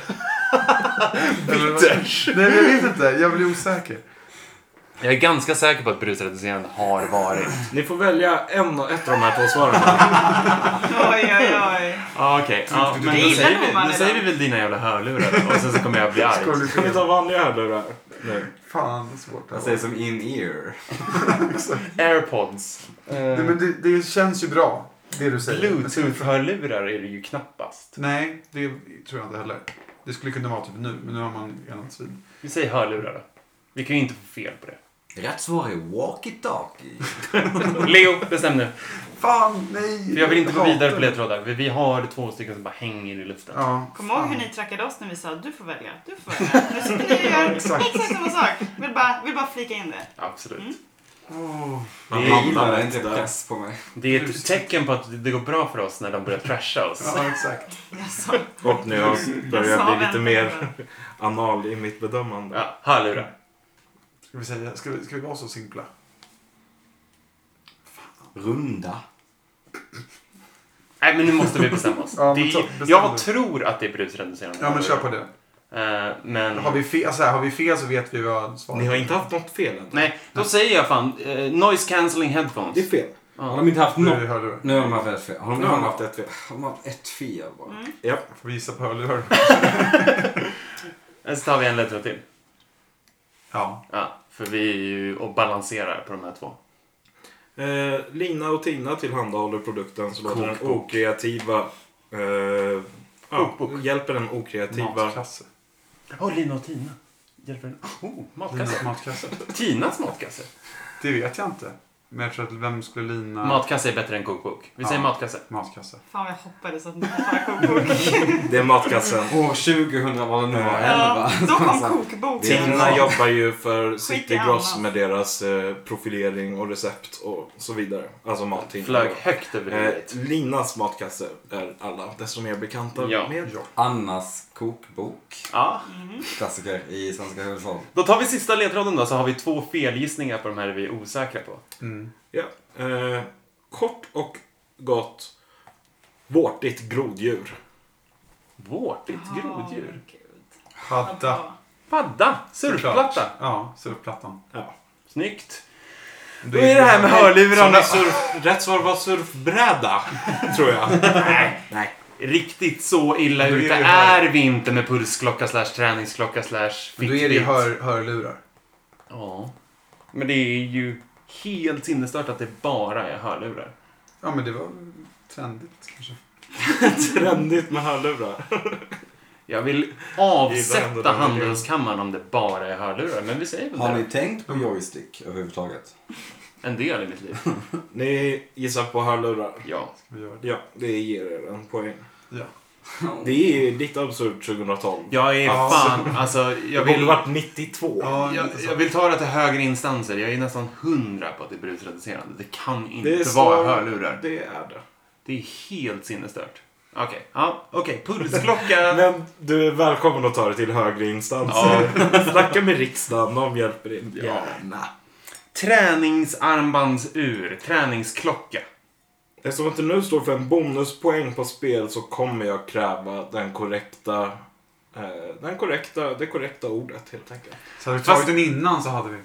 [SPEAKER 6] Eller vad-
[SPEAKER 7] Bitters!
[SPEAKER 6] Nej, men jag vet inte. Jag blir osäker.
[SPEAKER 7] Jag är ganska säker på att brusreducerande har varit.
[SPEAKER 1] Ni får välja en och ett av de här två svaren.
[SPEAKER 3] Oj, oj, oj.
[SPEAKER 7] Ah, Okej, [LAUGHS] ja, men då
[SPEAKER 3] Det gillar
[SPEAKER 7] säger, vi,
[SPEAKER 3] man
[SPEAKER 7] då säger vi väl dina jävla hörlurar då, och sen så kommer jag bli arg.
[SPEAKER 6] Ska vi
[SPEAKER 1] Kan vi
[SPEAKER 6] fel?
[SPEAKER 1] ta vanliga hörlurar? Nu.
[SPEAKER 6] Fan, vad svårt det
[SPEAKER 5] Jag
[SPEAKER 6] här
[SPEAKER 5] säger
[SPEAKER 6] var.
[SPEAKER 5] som in-ear.
[SPEAKER 7] Airpods.
[SPEAKER 6] Nej, men det, det känns ju bra, det du säger. Men ska vi fråga-
[SPEAKER 7] Bluetooth-hörlurar är det ju knappast.
[SPEAKER 6] Nej, det tror jag inte heller. Det skulle kunna vara typ nu, men nu har man enats vid.
[SPEAKER 7] Vi säger hörlurar då. Vi kan ju inte få fel på det.
[SPEAKER 5] Rätt svar är walkie-talkie.
[SPEAKER 7] [LAUGHS] Leo, bestäm nu.
[SPEAKER 6] Fan, nej!
[SPEAKER 7] För jag vill inte gå
[SPEAKER 6] hatar
[SPEAKER 7] vidare på
[SPEAKER 6] det.
[SPEAKER 7] ledtrådar. för Vi har två stycken som bara hänger i luften.
[SPEAKER 6] Ja,
[SPEAKER 3] Kom ihåg hur ni trackade oss när vi sa du får välja, du får välja. Nu sitter ni och gör
[SPEAKER 6] Exakt.
[SPEAKER 3] exakt samma sak. Vill bara, vill bara flika in det.
[SPEAKER 7] Absolut.
[SPEAKER 3] Mm.
[SPEAKER 6] Åh.
[SPEAKER 1] Man
[SPEAKER 5] [LAUGHS] Jag gillar
[SPEAKER 1] hamnar
[SPEAKER 5] inte
[SPEAKER 1] där.
[SPEAKER 5] press på mig.
[SPEAKER 7] Det är ett tecken på att det går bra för oss när de börjar trasha oss.
[SPEAKER 6] Ja, exakt.
[SPEAKER 3] Jag sa, jag
[SPEAKER 1] Och nu har jag börjar
[SPEAKER 3] sa
[SPEAKER 1] bli lite
[SPEAKER 3] vänta,
[SPEAKER 1] mer
[SPEAKER 3] vänta.
[SPEAKER 1] anal i mitt bedömande.
[SPEAKER 7] Ja, hörlurar.
[SPEAKER 6] Ska vi säga, ska vi, ska vi vara så simpla?
[SPEAKER 5] Runda.
[SPEAKER 7] Nej, men nu måste vi bestämma oss.
[SPEAKER 6] [LAUGHS] Ja, men
[SPEAKER 7] det
[SPEAKER 6] ta-
[SPEAKER 7] är,
[SPEAKER 6] bestäm
[SPEAKER 7] jag
[SPEAKER 6] du.
[SPEAKER 7] tror att det är brusreducerande.
[SPEAKER 6] Ja, men kör på det.
[SPEAKER 7] Eh, men...
[SPEAKER 6] Har vi fel, alltså, här, har vi fel så vet vi vad svaret
[SPEAKER 1] Ni har inte haft något fel än.
[SPEAKER 7] Nej, då säger jag fan eh, noise cancelling headphones.
[SPEAKER 1] Det är fel.
[SPEAKER 5] Har
[SPEAKER 7] Ja.
[SPEAKER 5] de inte haft
[SPEAKER 6] Nu är
[SPEAKER 5] något?
[SPEAKER 6] det hörlurar.
[SPEAKER 5] Nu har de haft ett fel. Har de,
[SPEAKER 1] Nu har
[SPEAKER 5] har de
[SPEAKER 1] ni
[SPEAKER 5] haft
[SPEAKER 1] haft
[SPEAKER 5] ett,
[SPEAKER 1] ett fel.
[SPEAKER 5] har de haft ett fel bara?
[SPEAKER 3] Mm.
[SPEAKER 1] Ja.
[SPEAKER 6] Får vi gissa på hörlurar?
[SPEAKER 7] Sen Eh, så tar vi en ledtråd till.
[SPEAKER 6] Ja.
[SPEAKER 7] Ja, för vi är ju och balanserar på de här två.
[SPEAKER 1] Eh, Lina och Tina tillhandahåller produkten så låter den
[SPEAKER 7] Kokbok.
[SPEAKER 1] okreativa Eh, ja,
[SPEAKER 6] Kokbok.
[SPEAKER 1] hjälper den
[SPEAKER 7] typ
[SPEAKER 1] okreativa...
[SPEAKER 6] Matkasse.
[SPEAKER 7] Åh, Lina och Tina. Hjälper en... Oh, matkasse.
[SPEAKER 6] Linas matkasse.
[SPEAKER 7] Tinas matkasse.
[SPEAKER 6] Det vet jag inte. Men jag tror att vem skulle lina...
[SPEAKER 7] Matkasse är bättre än kokbok. Vi
[SPEAKER 6] Ja.
[SPEAKER 7] säger matkasse.
[SPEAKER 6] matkasse.
[SPEAKER 3] Fan vad jag hoppades att ni skulle kokbok.
[SPEAKER 1] Det är [LAUGHS]
[SPEAKER 7] [LAUGHS]
[SPEAKER 1] matkassen.
[SPEAKER 5] År 2000 var det nog
[SPEAKER 1] Ja.
[SPEAKER 5] elva.
[SPEAKER 3] ja, då kom kokboken. Ah,
[SPEAKER 1] Tina jobbar ju för
[SPEAKER 3] Skit i
[SPEAKER 1] City
[SPEAKER 3] annat.
[SPEAKER 1] Gross med deras eh, profilering och recept och så vidare. Alltså mat till-
[SPEAKER 7] Flög högt över
[SPEAKER 1] Eh,
[SPEAKER 7] huvudet.
[SPEAKER 1] Linas matkasse är alla desto mer bekanta
[SPEAKER 7] Ja.
[SPEAKER 1] med.
[SPEAKER 5] Annas kokbok.
[SPEAKER 7] Ja.
[SPEAKER 5] Klassiker i svenska hushåll.
[SPEAKER 7] Då tar vi sista ledtråden då, så har vi två felgissningar på de här vi är osäkra på.
[SPEAKER 6] Mm.
[SPEAKER 1] Ja. Eh, kort och gott. Vårtigt groddjur.
[SPEAKER 7] Vårtigt groddjur.
[SPEAKER 6] Hadda.
[SPEAKER 7] Padda! Surfplatta!
[SPEAKER 6] Såklart. Ja, surfplattan.
[SPEAKER 1] Ja.
[SPEAKER 7] Snyggt! Då är det här med hörlurarna.
[SPEAKER 1] Som är surf, rätt svar var
[SPEAKER 7] [LAUGHS]
[SPEAKER 1] surfbräda, tror jag. Nej. Nej.
[SPEAKER 7] Riktigt så illa
[SPEAKER 6] Då är
[SPEAKER 7] ute
[SPEAKER 6] det ju
[SPEAKER 7] är vi inte med pulsklocka slash träningsklocka slash
[SPEAKER 6] Men Då är det ju
[SPEAKER 7] Fitbit.
[SPEAKER 6] hör, hörlurar.
[SPEAKER 7] Ja. Men det är ju helt sinnesstört att det bara är hörlurar.
[SPEAKER 6] Ja, men det var trendigt kanske.
[SPEAKER 1] Trendigt med hörlurar.
[SPEAKER 7] Jag vill
[SPEAKER 1] Gillar ändå
[SPEAKER 7] avsätta
[SPEAKER 1] den här
[SPEAKER 7] handelskammaren om det bara är hörlurar, men vi säger väl
[SPEAKER 5] Har ni
[SPEAKER 7] det.
[SPEAKER 5] tänkt på joystick överhuvudtaget?
[SPEAKER 7] En del i mitt liv.
[SPEAKER 1] Ni gissar på hörlurar.
[SPEAKER 7] Ja.
[SPEAKER 6] Ska vi göra det?
[SPEAKER 1] Ja, det ger er en poäng.
[SPEAKER 6] Ja.
[SPEAKER 1] Det är ditt absurt 2012.
[SPEAKER 7] Jag är
[SPEAKER 6] Ja.
[SPEAKER 7] fan, alltså jag
[SPEAKER 1] Det borde
[SPEAKER 7] vill...
[SPEAKER 1] varit 92.
[SPEAKER 6] Ja,
[SPEAKER 7] Jag,
[SPEAKER 6] lite så.
[SPEAKER 7] jag vill ta det till högre instanser. Jag är nästan hundra på att det är brusreducerande. Det kan inte
[SPEAKER 1] Det står-
[SPEAKER 7] vara hörlurar.
[SPEAKER 1] Det är det.
[SPEAKER 7] Det är helt sinnesstört. Okej, ja, okej. Pulsklocka.
[SPEAKER 1] [LAUGHS] Men du är välkommen att ta det till högre instanser.
[SPEAKER 7] ja.
[SPEAKER 1] [LAUGHS] Snacka med riksdagen, de hjälper in.
[SPEAKER 7] Ja.
[SPEAKER 1] Gärna.
[SPEAKER 7] Träningsarmbandsur. Träningsklocka.
[SPEAKER 1] Eftersom inte nu står för en bonuspoäng på spel så kommer jag kräva den korrekta, eh, den korrekta, det korrekta ordet helt enkelt.
[SPEAKER 6] Så hade vi
[SPEAKER 7] Fast-
[SPEAKER 6] tagit den innan så hade vi...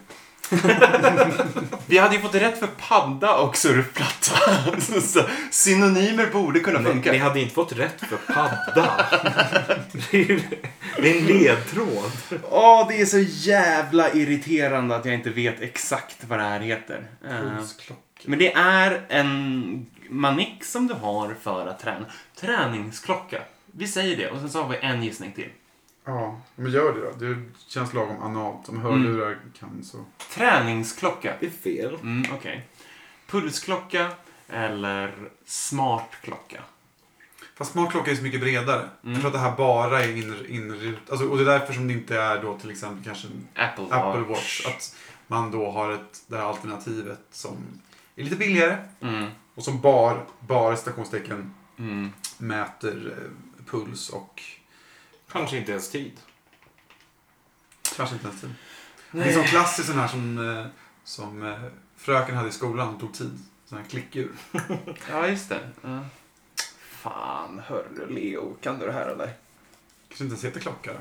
[SPEAKER 7] Vi hade ju fått rätt för padda och surfplatta. [LAUGHS] Så Synonymer borde kunna
[SPEAKER 1] Ni,
[SPEAKER 7] funka.
[SPEAKER 1] ni hade inte fått rätt för padda. det, är, ju- det är en ledtråd.
[SPEAKER 7] Åh, det är så jävla irriterande att jag inte vet exakt vad det här heter. Eh,
[SPEAKER 6] Pulsklocka.
[SPEAKER 7] men det är en manik som du har för att träna. Träningsklocka. Vi säger det och sen så har vi en gissning till.
[SPEAKER 6] Ja, men gör det då. Det känns lagom analt. Om hörlurar kan så...
[SPEAKER 7] Träningsklocka.
[SPEAKER 1] Det är fel.
[SPEAKER 7] Mm, okej. Pulsklocka eller smart klocka.
[SPEAKER 6] Fast smart klocka är så mycket bredare.
[SPEAKER 7] Mm.
[SPEAKER 6] Jag tror att det här bara är inr- inrut... Alltså, och det är därför som det inte är då till exempel kanske en
[SPEAKER 7] Apple Watch.
[SPEAKER 6] Apple Watch. Att man då har ett, det här alternativet som är lite billigare
[SPEAKER 7] Mm,
[SPEAKER 6] och som bar, bara stationstecken
[SPEAKER 7] mm.
[SPEAKER 6] mäter eh, puls och
[SPEAKER 1] Kanske inte ens tid.
[SPEAKER 6] kanske inte ens tid. Det är som klassiskt sån här som, eh, som eh, fröken hade i skolan, hon tog tid. Sån här klickur.
[SPEAKER 7] Ja, just det. Ja. Fan, hörru Leo. Kan du det här eller?
[SPEAKER 6] Kanske inte ens heter klocka. då.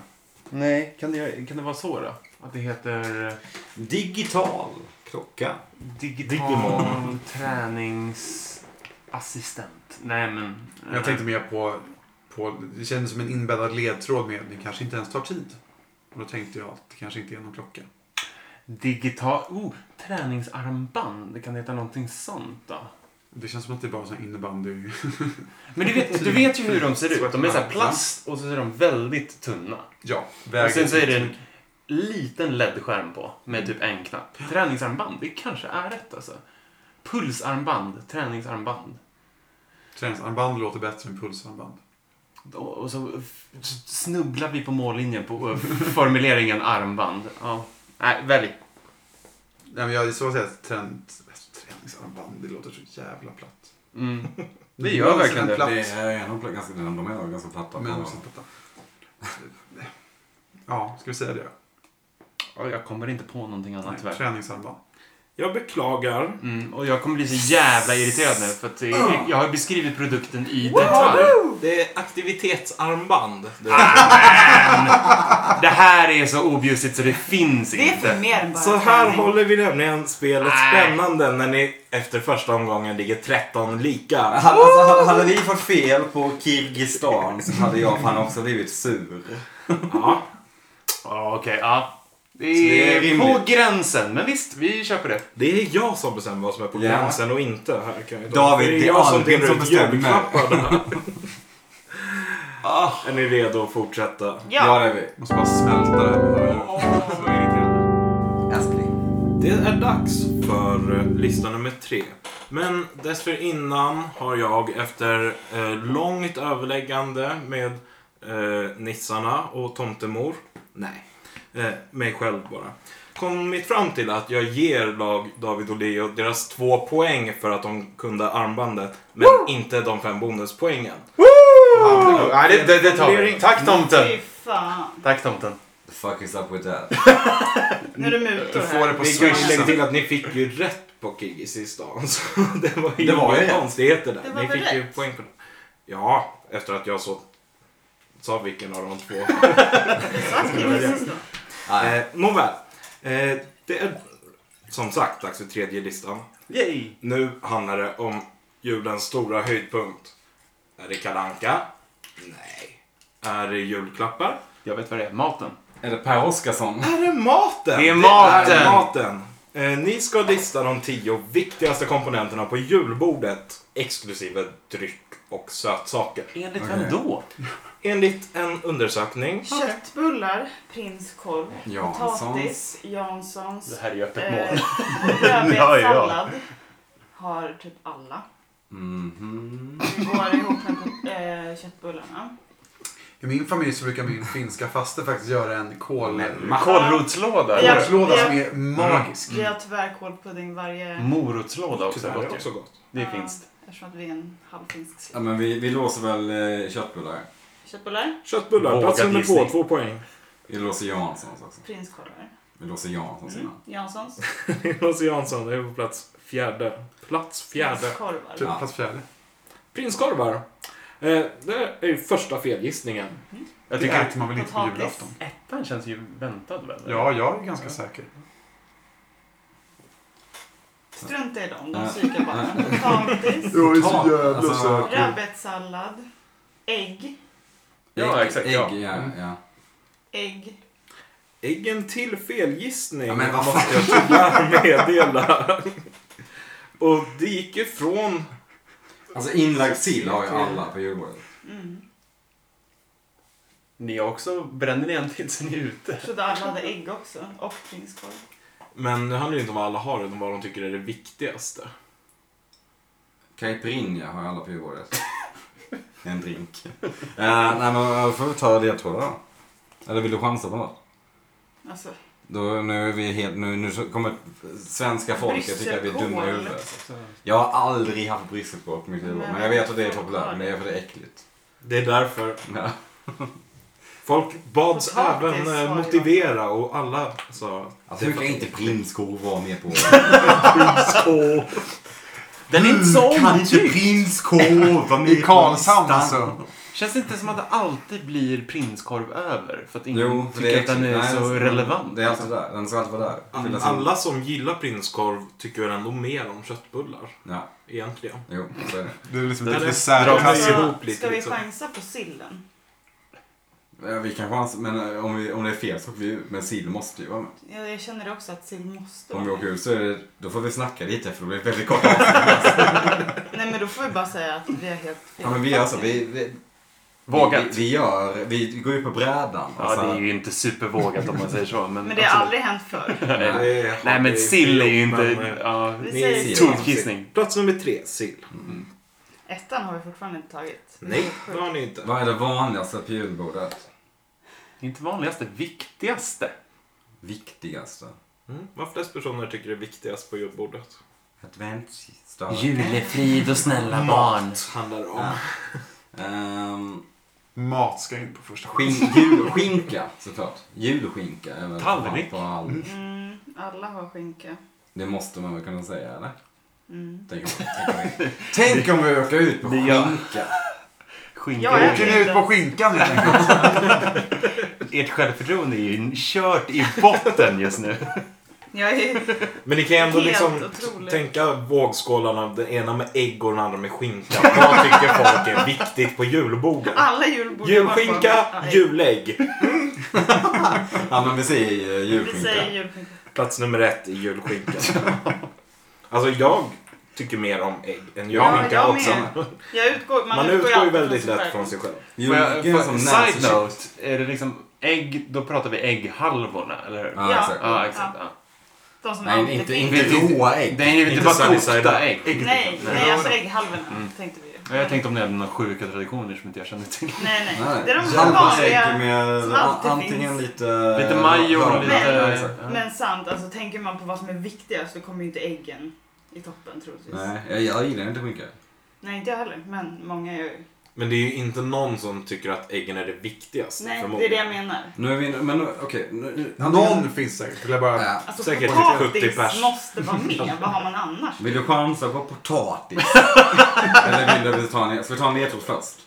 [SPEAKER 7] Nej, kan det, kan det vara så då? Att det heter eh,
[SPEAKER 5] Digital klocka.
[SPEAKER 7] digital
[SPEAKER 1] Digimon.
[SPEAKER 7] träningsassistent? Nej, men...
[SPEAKER 6] Jag tänkte mer på, på, det kändes som en inbäddad ledtråd med att det kanske inte ens tar tid. Och då tänkte jag att det kanske inte är någon klocka.
[SPEAKER 7] Digital... Oh, träningsarmband. Det kan heta någonting sånt då.
[SPEAKER 6] Det känns som att det är bara sån här innebandy. [LAUGHS]
[SPEAKER 7] Men [LAUGHS] du vet, du vet ju hur de ser ut. De är så här plast och så är de väldigt tunna.
[SPEAKER 6] Ja,
[SPEAKER 7] Och sen så är det en liten LED-skärm på med typ en knapp. Träningsarmband, det kanske är rätt alltså. Pulsarmband, träningsarmband.
[SPEAKER 6] Träningsarmband låter bättre än pulsarmband.
[SPEAKER 7] Och och så f- s- snubblar vi på mållinjen på eh, formuleringen armband. Ja. Nej, välj.
[SPEAKER 6] Nej, men jag är så att säga att trend, träningsarmband, det låter så jävla platt. [LAUGHS]
[SPEAKER 7] Mm. Det gör verkligen det.
[SPEAKER 6] Platt.
[SPEAKER 5] Det är nog ganska, de är nog ganska platta. på-
[SPEAKER 6] Men också platta. [LAUGHS] Ja, ska vi säga det?
[SPEAKER 7] Ja, Jag kommer inte på någonting annat
[SPEAKER 6] Nej,
[SPEAKER 7] tyvärr.
[SPEAKER 6] träningsarmband.
[SPEAKER 1] Jag beklagar.
[SPEAKER 7] Mm, och jag kommer bli så jävla irriterad nu för att det är, jag har beskrivit produkten i
[SPEAKER 1] Ja,
[SPEAKER 7] detalj.
[SPEAKER 1] du, Det är aktivitetsarmband. Det är-
[SPEAKER 7] Det här är så objussigt så det finns
[SPEAKER 3] Det är för
[SPEAKER 7] inte.
[SPEAKER 3] mer än bara
[SPEAKER 1] Så här
[SPEAKER 3] träning.
[SPEAKER 1] håller vi nämligen spelet
[SPEAKER 7] Nej.
[SPEAKER 1] spännande när ni efter första omgången ligger 13 lika.
[SPEAKER 5] Alltså, hade- hade vi fått fel på Kirgistan så hade jag fan också blivit sur.
[SPEAKER 1] Ja.
[SPEAKER 7] Ja, okej. ja. Det
[SPEAKER 5] det är
[SPEAKER 7] är på
[SPEAKER 5] rimligt.
[SPEAKER 7] gränsen, men visst, vi köper det.
[SPEAKER 1] Det är jag som bestämmer vad som är på
[SPEAKER 5] Ja.
[SPEAKER 1] gränsen och inte här kan jag
[SPEAKER 5] David, det är
[SPEAKER 1] jag [LAUGHS]
[SPEAKER 5] alltid som bestämmer.
[SPEAKER 1] julklappar där. Är ni redo att fortsätta?
[SPEAKER 3] Ja.
[SPEAKER 5] det är vi.
[SPEAKER 6] Måste bara smälta det här med hörlurar.
[SPEAKER 4] Älskling.
[SPEAKER 1] Det är dags för eh, lista nummer tre. Men dessförinnan har jag efter eh, långt överläggande med eh, nissarna och tomtemor, nej, eh, mig själv bara, kommit fram till att jag ger lag David och Leo deras två poäng för att de kunde armbandet, men inte de fem bonuspoängen.
[SPEAKER 7] Woo! Nej, det, det, det tar vi. Tack tomten!
[SPEAKER 3] Fy fan.
[SPEAKER 7] Tack tomten.
[SPEAKER 5] The fuck is up with that?
[SPEAKER 3] Nu är det mutor
[SPEAKER 6] Du får det
[SPEAKER 3] här.
[SPEAKER 6] på
[SPEAKER 1] Vi kan ju lägga
[SPEAKER 6] swishen.
[SPEAKER 1] till att ni fick ju rätt på Kiggis i stan. Så [LAUGHS] det var ju
[SPEAKER 5] Det var ju
[SPEAKER 1] inga
[SPEAKER 5] rätt.
[SPEAKER 1] konstigheter där.
[SPEAKER 3] Det var
[SPEAKER 1] ni
[SPEAKER 3] väl
[SPEAKER 1] fick ju
[SPEAKER 3] rätt?
[SPEAKER 1] poäng på det. Ja, efter att jag så sa vilken av de två.
[SPEAKER 3] Exakt, det var precis då.
[SPEAKER 5] Nej.
[SPEAKER 1] eh, nåväl. Eh, det är som sagt dags för tredje listan.
[SPEAKER 7] Yay!
[SPEAKER 1] Nu handlar det om julens stora höjdpunkt. Är det kalanka? Nej. Är det julklappar?
[SPEAKER 7] Jag vet vad det är. Maten.
[SPEAKER 5] Är det Per Oscarsson?
[SPEAKER 1] Är det maten?
[SPEAKER 7] Det är maten.
[SPEAKER 1] Det är maten. Eh, ni ska lista de tio viktigaste komponenterna på julbordet exklusive dryck och sötsaker.
[SPEAKER 7] Enligt vem då?
[SPEAKER 1] Enligt en undersökning.
[SPEAKER 3] Köttbullar, prinskorv,
[SPEAKER 5] Janssons.
[SPEAKER 3] potatis, Janssons,
[SPEAKER 7] här är ju öppet
[SPEAKER 3] eh,
[SPEAKER 7] [LAUGHS] Ja, ja.
[SPEAKER 3] rödbetssallad har typ alla.
[SPEAKER 5] Mhm.
[SPEAKER 3] Det går ihop med eh, köttbullarna.
[SPEAKER 6] I min familj så brukar min finska faster faktiskt göra en kål...
[SPEAKER 7] Kålrotslåda.
[SPEAKER 3] Ja. Mm.
[SPEAKER 6] Kålslåda som är magisk.
[SPEAKER 3] Vi har tyvärr kålpudding
[SPEAKER 7] Mm.
[SPEAKER 3] varje...
[SPEAKER 7] Morotslåda också.
[SPEAKER 1] Tyvärr, det är
[SPEAKER 7] Gott
[SPEAKER 1] också
[SPEAKER 7] ju.
[SPEAKER 1] gott.
[SPEAKER 7] Det är
[SPEAKER 3] Ja,
[SPEAKER 7] finskt.
[SPEAKER 3] Eftersom att vi är en halvfinsk
[SPEAKER 5] Ja,
[SPEAKER 3] släkt.
[SPEAKER 5] men
[SPEAKER 7] Mm.
[SPEAKER 5] vi, vi låser väl eh, köttbullar.
[SPEAKER 3] Köttbullar,
[SPEAKER 1] Köttbullar, plats
[SPEAKER 7] Vågad
[SPEAKER 1] nummer två,
[SPEAKER 7] gissning.
[SPEAKER 1] två poäng. [LAUGHS]
[SPEAKER 5] Vi låser Janssons också.
[SPEAKER 3] prinskorvar,
[SPEAKER 5] Vi låser Janssons
[SPEAKER 3] mm.
[SPEAKER 5] innan.
[SPEAKER 3] Janssons,
[SPEAKER 1] Jonas Jansson är på plats fjärde. Plats fjärde.
[SPEAKER 3] prinskorvar.
[SPEAKER 6] Typ
[SPEAKER 5] Ja.
[SPEAKER 6] plats fjärde.
[SPEAKER 1] Prinskorvar. Eh, det är ju första felgissningen.
[SPEAKER 7] Jag
[SPEAKER 6] Det
[SPEAKER 7] tycker
[SPEAKER 6] äter man väl inte på
[SPEAKER 3] Potatis.
[SPEAKER 6] julafton?
[SPEAKER 7] ettan känns ju väntad väl?
[SPEAKER 6] Ja, jag är ganska säker.
[SPEAKER 3] Strunt i dem, de
[SPEAKER 5] Ja.
[SPEAKER 3] psykar bara.
[SPEAKER 7] [LAUGHS]
[SPEAKER 3] Potatis,
[SPEAKER 6] Jag
[SPEAKER 5] är så jävla Alltså- säker.
[SPEAKER 3] rödbetssallad, ägg,
[SPEAKER 7] Ja,
[SPEAKER 5] Ägg-
[SPEAKER 7] exakt,
[SPEAKER 5] Ägg,
[SPEAKER 7] ja.
[SPEAKER 5] ja. ja.
[SPEAKER 3] ägg.
[SPEAKER 1] Egen till felgissning.
[SPEAKER 5] Ja, men vad fan.
[SPEAKER 1] måste jag tyvärr meddela. Och det gick ju från
[SPEAKER 5] Alltså inlagd sill har ju alla på julbordet.
[SPEAKER 3] Mm.
[SPEAKER 7] Ni har också, bränner ni en till så ni är [LAUGHS] ute?
[SPEAKER 3] Jag trodde alla hade ägg också. Och prinskorv.
[SPEAKER 1] Men det handlar ju inte om vad alla har utan vad de tycker är det viktigaste.
[SPEAKER 5] Caipirinha har alla på julbordet. en drink. Eh, nej men eh, får vi ta ledtrådar då? Eller vill du chansa på något?
[SPEAKER 3] Alltså,
[SPEAKER 5] Då, nu, är vi helt, nu, nu så kommer svenska folket tycka att vi är dumma i huvudet.
[SPEAKER 7] Så-
[SPEAKER 5] Jag har aldrig haft brysselkål på mitt julbord. Men jag vet att det är populärt. Men det är för det är äckligt.
[SPEAKER 1] Det är därför.
[SPEAKER 5] Ja.
[SPEAKER 1] Folk bads
[SPEAKER 3] Potatis
[SPEAKER 1] även
[SPEAKER 3] har
[SPEAKER 1] eh,
[SPEAKER 3] jag.
[SPEAKER 1] motivera och alla sa att
[SPEAKER 5] Alltså hur kan inte prinskorv vara med [LAUGHS] på?
[SPEAKER 1] Åh,
[SPEAKER 7] Den är inte så
[SPEAKER 5] Kan inte
[SPEAKER 7] omtyckt.
[SPEAKER 5] prinskorv vara med
[SPEAKER 6] I Karlshamn
[SPEAKER 5] listan?
[SPEAKER 6] alltså.
[SPEAKER 7] Känns det inte som att det alltid blir prinskorv över? För att ingen
[SPEAKER 5] Jo, för det
[SPEAKER 7] tycker att den är alltså,
[SPEAKER 5] äckligt.
[SPEAKER 7] så
[SPEAKER 5] Nej,
[SPEAKER 7] relevant.
[SPEAKER 5] Det är alltid där. Den ska alltid vara där. Fyllas in.
[SPEAKER 1] alla
[SPEAKER 7] alltså-
[SPEAKER 1] som gillar prinskorv tycker ändå mer om köttbullar.
[SPEAKER 5] Ja,
[SPEAKER 1] Egentligen.
[SPEAKER 5] jo, så är det.
[SPEAKER 6] Det är liksom
[SPEAKER 1] Det
[SPEAKER 6] ett
[SPEAKER 1] är-
[SPEAKER 6] dessertkass.
[SPEAKER 1] Dras
[SPEAKER 3] ska,
[SPEAKER 1] ihop lite,
[SPEAKER 3] ska vi
[SPEAKER 1] liksom.
[SPEAKER 3] chansa på sillen?
[SPEAKER 5] Ja, Vi kan chansa, men eh, om, vi, om det är fel så åker vi ut. Men sill måste ju vara med.
[SPEAKER 3] Jag, jag känner också att sill måste
[SPEAKER 5] Om vi
[SPEAKER 3] vara
[SPEAKER 5] åker
[SPEAKER 3] med.
[SPEAKER 5] ut så är det, då får vi snacka lite för då blir det väldigt [LAUGHS] kort.
[SPEAKER 3] Nej men då får vi bara säga att vi har helt fel.
[SPEAKER 5] Ja, men vi, alltså, vi, vi,
[SPEAKER 7] Vågat. Alltså-
[SPEAKER 5] vi, vi gör, vi går ut på brädan.
[SPEAKER 7] Ja, det är ju inte supervågat om man säger så.
[SPEAKER 3] [LAUGHS]
[SPEAKER 7] Men,
[SPEAKER 3] Men det har
[SPEAKER 7] absolut.
[SPEAKER 3] aldrig hänt förr.
[SPEAKER 5] Alltså,
[SPEAKER 7] Nej,
[SPEAKER 5] eh,
[SPEAKER 1] Det är-
[SPEAKER 7] Nej,
[SPEAKER 1] det
[SPEAKER 7] men sill är ju inte...
[SPEAKER 1] men, eh,
[SPEAKER 7] Ja,
[SPEAKER 3] Vi
[SPEAKER 1] Ni-
[SPEAKER 3] säger
[SPEAKER 5] sill.
[SPEAKER 7] Tokgissning.
[SPEAKER 1] Plats nummer tre, sill.
[SPEAKER 3] Ettan har vi fortfarande inte tagit. Det är
[SPEAKER 1] Nej,
[SPEAKER 3] helt
[SPEAKER 1] det
[SPEAKER 3] sjukt.
[SPEAKER 1] har ni inte.
[SPEAKER 5] Vad är det vanligaste på julbordet?
[SPEAKER 7] Inte vanligaste, viktigaste.
[SPEAKER 5] Viktigaste?
[SPEAKER 1] Mm. Vad flest personer tycker är viktigast på julbordet?
[SPEAKER 5] Adventsstad.
[SPEAKER 2] Julefrid och snälla barn.
[SPEAKER 1] handlar det om.
[SPEAKER 5] Ja. Ehm,
[SPEAKER 6] Mat ska in på första skit.
[SPEAKER 5] skin, julskinka såklart. Julskinka. är väl
[SPEAKER 7] Tallrik.
[SPEAKER 5] På all,
[SPEAKER 3] Mm, alla har skinka.
[SPEAKER 5] det måste man väl kunna säga eller?
[SPEAKER 3] Mm.
[SPEAKER 5] Tänk om, tänk om, vi, tänk om vi åker ut på
[SPEAKER 7] Det gör-
[SPEAKER 5] skinka.
[SPEAKER 7] Skinka
[SPEAKER 3] Jag
[SPEAKER 7] är
[SPEAKER 6] Åker ni ut på skinkan helt enkelt?
[SPEAKER 7] Ert självförtroende är ju kört i botten just [LAUGHS] nu.
[SPEAKER 3] Jag är...
[SPEAKER 1] Men ni kan ju ändå
[SPEAKER 3] Helt
[SPEAKER 1] liksom
[SPEAKER 3] otroligt.
[SPEAKER 1] tänka vågskålarna, den ena med ägg och den andra med skinka. Vad tycker folk är viktigt på julbordet?
[SPEAKER 3] Alla julbord
[SPEAKER 1] Julskinka, julägg.
[SPEAKER 5] Ja men vi säger eh,
[SPEAKER 3] Vi säger
[SPEAKER 5] julskinka.
[SPEAKER 3] julskinka.
[SPEAKER 1] Plats nummer ett är julskinka. Alltså jag tycker mer om ägg än
[SPEAKER 3] Ja,
[SPEAKER 1] jag.
[SPEAKER 3] jag
[SPEAKER 1] Ja, också.
[SPEAKER 3] med. Jag utgår, man,
[SPEAKER 1] Man utgår ju
[SPEAKER 3] alltid
[SPEAKER 1] väldigt
[SPEAKER 3] sig själv.
[SPEAKER 1] lätt från sig själv.
[SPEAKER 5] Jo,
[SPEAKER 7] Får jag,
[SPEAKER 5] vilken
[SPEAKER 7] får,
[SPEAKER 5] som
[SPEAKER 7] side
[SPEAKER 5] näsa-
[SPEAKER 7] note, är det liksom ägg, då pratar vi ägghalvorna, eller hur?
[SPEAKER 5] Ja,
[SPEAKER 3] Ja.
[SPEAKER 5] exakt.
[SPEAKER 7] Ja, exakt. Ja.
[SPEAKER 3] De som
[SPEAKER 5] Nej,
[SPEAKER 3] alltid
[SPEAKER 5] inte,
[SPEAKER 3] finns.
[SPEAKER 7] Vet
[SPEAKER 5] inte
[SPEAKER 7] inte-
[SPEAKER 5] råa ägg.
[SPEAKER 7] Det är ju
[SPEAKER 1] Inte
[SPEAKER 7] inte bara
[SPEAKER 1] sunny-side
[SPEAKER 7] kokta
[SPEAKER 1] up.
[SPEAKER 7] ägg.
[SPEAKER 3] Nej, nej, alltså ägghalvorna
[SPEAKER 7] Mm.
[SPEAKER 3] tänkte vi ju.
[SPEAKER 7] Jag tänkte om ni hade några sjuka traditioner som inte jag känner till.
[SPEAKER 3] Nej, nej.
[SPEAKER 5] Nej.
[SPEAKER 3] Det är de här
[SPEAKER 5] Halva ägg
[SPEAKER 3] vanliga.
[SPEAKER 5] med
[SPEAKER 3] som
[SPEAKER 5] an-
[SPEAKER 3] alltid
[SPEAKER 5] antingen
[SPEAKER 3] finns.
[SPEAKER 5] lite...
[SPEAKER 7] Lite majo och
[SPEAKER 5] hörn-
[SPEAKER 7] lite...
[SPEAKER 5] Ja,
[SPEAKER 3] Men-
[SPEAKER 5] exakt.
[SPEAKER 7] ja.
[SPEAKER 3] Men sant, alltså tänker man på vad som är viktigast så kommer ju inte äggen i toppen troligtvis. Nej,
[SPEAKER 5] Nej, jag, jag gillar inte skinka.
[SPEAKER 3] inte jag heller. Men många gör ju.
[SPEAKER 1] Men det är ju inte någon som tycker att äggen är det viktigaste.
[SPEAKER 3] Nej, det är
[SPEAKER 1] förmodligen.
[SPEAKER 3] det jag menar.
[SPEAKER 5] Nu är vi... Men nu- okej. nu- nu-
[SPEAKER 6] Någon finns säkert. skulle Jag bara...
[SPEAKER 5] Ja.
[SPEAKER 3] Alltså
[SPEAKER 1] Säkert typ 70
[SPEAKER 3] potatis
[SPEAKER 1] pers.
[SPEAKER 3] måste vara med. Vad har man annars?
[SPEAKER 5] Vill du chansa
[SPEAKER 3] [LAUGHS]
[SPEAKER 5] på potatis? Eller vill du ta en... Ska vi ta en ledtråd först?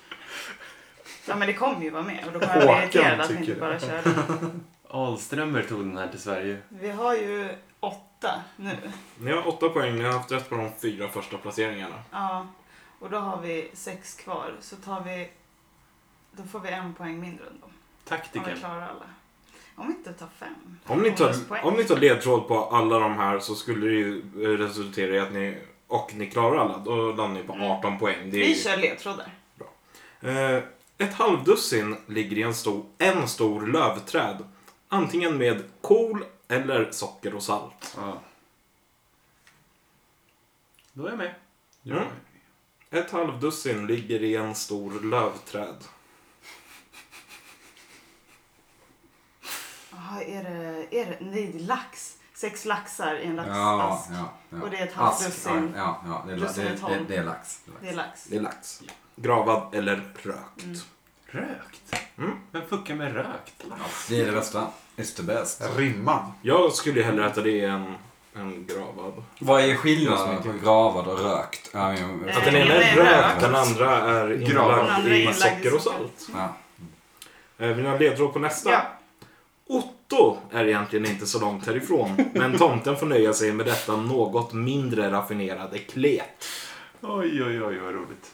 [SPEAKER 3] Ja, men det kommer ju vara med. Och då kommer jag
[SPEAKER 6] Håkan
[SPEAKER 3] bli irriterad att ni
[SPEAKER 6] tycker
[SPEAKER 3] inte
[SPEAKER 6] det.
[SPEAKER 3] bara kör den.
[SPEAKER 7] Ahlströmer tog den här till Sverige.
[SPEAKER 3] Vi har ju åtta nu.
[SPEAKER 1] Ni har åtta poäng, ni har haft rätt på de fyra första placeringarna.
[SPEAKER 3] Ja. Och då har vi sex kvar. Så tar vi... Då får vi en poäng mindre än dem. Om vi
[SPEAKER 7] Taktiken.
[SPEAKER 3] klarar alla. Om vi inte tar fem.
[SPEAKER 1] Om ni tar,
[SPEAKER 3] Bonuspoäng.
[SPEAKER 1] om ni tar ledtråd på alla de här så skulle det ju eh, resultera i att ni... Och ni klarar alla, då landar ni på
[SPEAKER 3] Mm.
[SPEAKER 1] 18 poäng. Det är
[SPEAKER 3] Vi
[SPEAKER 1] ju,
[SPEAKER 3] kör ledtrådar.
[SPEAKER 1] eh, ett halvdussin ligger i en stor, en stor lövträd. Antingen med kol eller socker och salt.
[SPEAKER 7] Ja. Då är jag med.
[SPEAKER 1] Mm. Ett halvdussin ligger i en stor lövträd.
[SPEAKER 3] Jaha, är det, är det, nej, det är lax. Sex laxar i en
[SPEAKER 5] Ja,
[SPEAKER 3] laxask.
[SPEAKER 5] ja, ja.
[SPEAKER 3] Och det är ett halvt
[SPEAKER 5] Ask,
[SPEAKER 3] dussin.
[SPEAKER 5] Ja, ja, ja. Det, är,
[SPEAKER 3] Dussin är
[SPEAKER 5] det,
[SPEAKER 3] tolv.
[SPEAKER 5] det, det är lax.
[SPEAKER 3] Det är lax.
[SPEAKER 1] Det är lax. Gravad eller rökt.
[SPEAKER 3] Mm.
[SPEAKER 7] Rökt?
[SPEAKER 1] Mm.
[SPEAKER 7] Vem fuckar med rökt?
[SPEAKER 5] Det är det bästa. It's the best.
[SPEAKER 6] Rimman.
[SPEAKER 1] Jag skulle ju hellre äta det än, än gravad.
[SPEAKER 5] Vad är skillnaden på gravad och rökt? Ja, men-
[SPEAKER 3] Att
[SPEAKER 1] Att den ena är rökt, den andra är
[SPEAKER 3] Den
[SPEAKER 1] inlagd
[SPEAKER 3] andra är
[SPEAKER 1] i
[SPEAKER 3] inlagd i
[SPEAKER 1] socker och
[SPEAKER 3] socker.
[SPEAKER 1] salt.
[SPEAKER 5] Ja.
[SPEAKER 1] Eh, Vill ni ha ledtråd på nästa?
[SPEAKER 3] Ja.
[SPEAKER 1] Otto är egentligen inte så långt
[SPEAKER 3] [LAUGHS]
[SPEAKER 1] härifrån, men tomten får nöja sig med detta något mindre raffinerade klet.
[SPEAKER 7] Oj, oj, oj, vad roligt.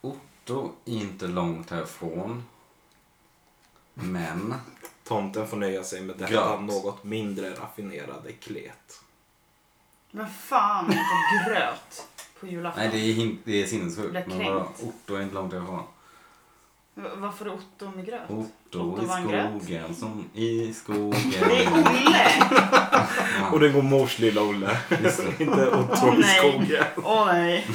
[SPEAKER 5] Otto, inte långt härifrån. Men.
[SPEAKER 1] Tomten får nöja sig med detta
[SPEAKER 5] Gröt.
[SPEAKER 1] något mindre raffinerade klet.
[SPEAKER 3] Men fan inte gröt på julafton.
[SPEAKER 5] Nej, det är, hin- det är
[SPEAKER 3] Blir
[SPEAKER 5] sinnessjukt. Men
[SPEAKER 3] kränkt.
[SPEAKER 5] vadå? Otto är inte långt härifrån.
[SPEAKER 3] V- Varför är Otto med gröt?
[SPEAKER 5] Otto
[SPEAKER 3] Otto
[SPEAKER 5] i
[SPEAKER 3] var en gröt.
[SPEAKER 5] skogen som i skogen.
[SPEAKER 3] Det är Olle!
[SPEAKER 1] Och det går mors lilla Olle,
[SPEAKER 5] Just det.
[SPEAKER 1] [LAUGHS] inte Otto
[SPEAKER 3] Åh,
[SPEAKER 1] i
[SPEAKER 3] nej.
[SPEAKER 1] skogen.
[SPEAKER 3] Åh nej.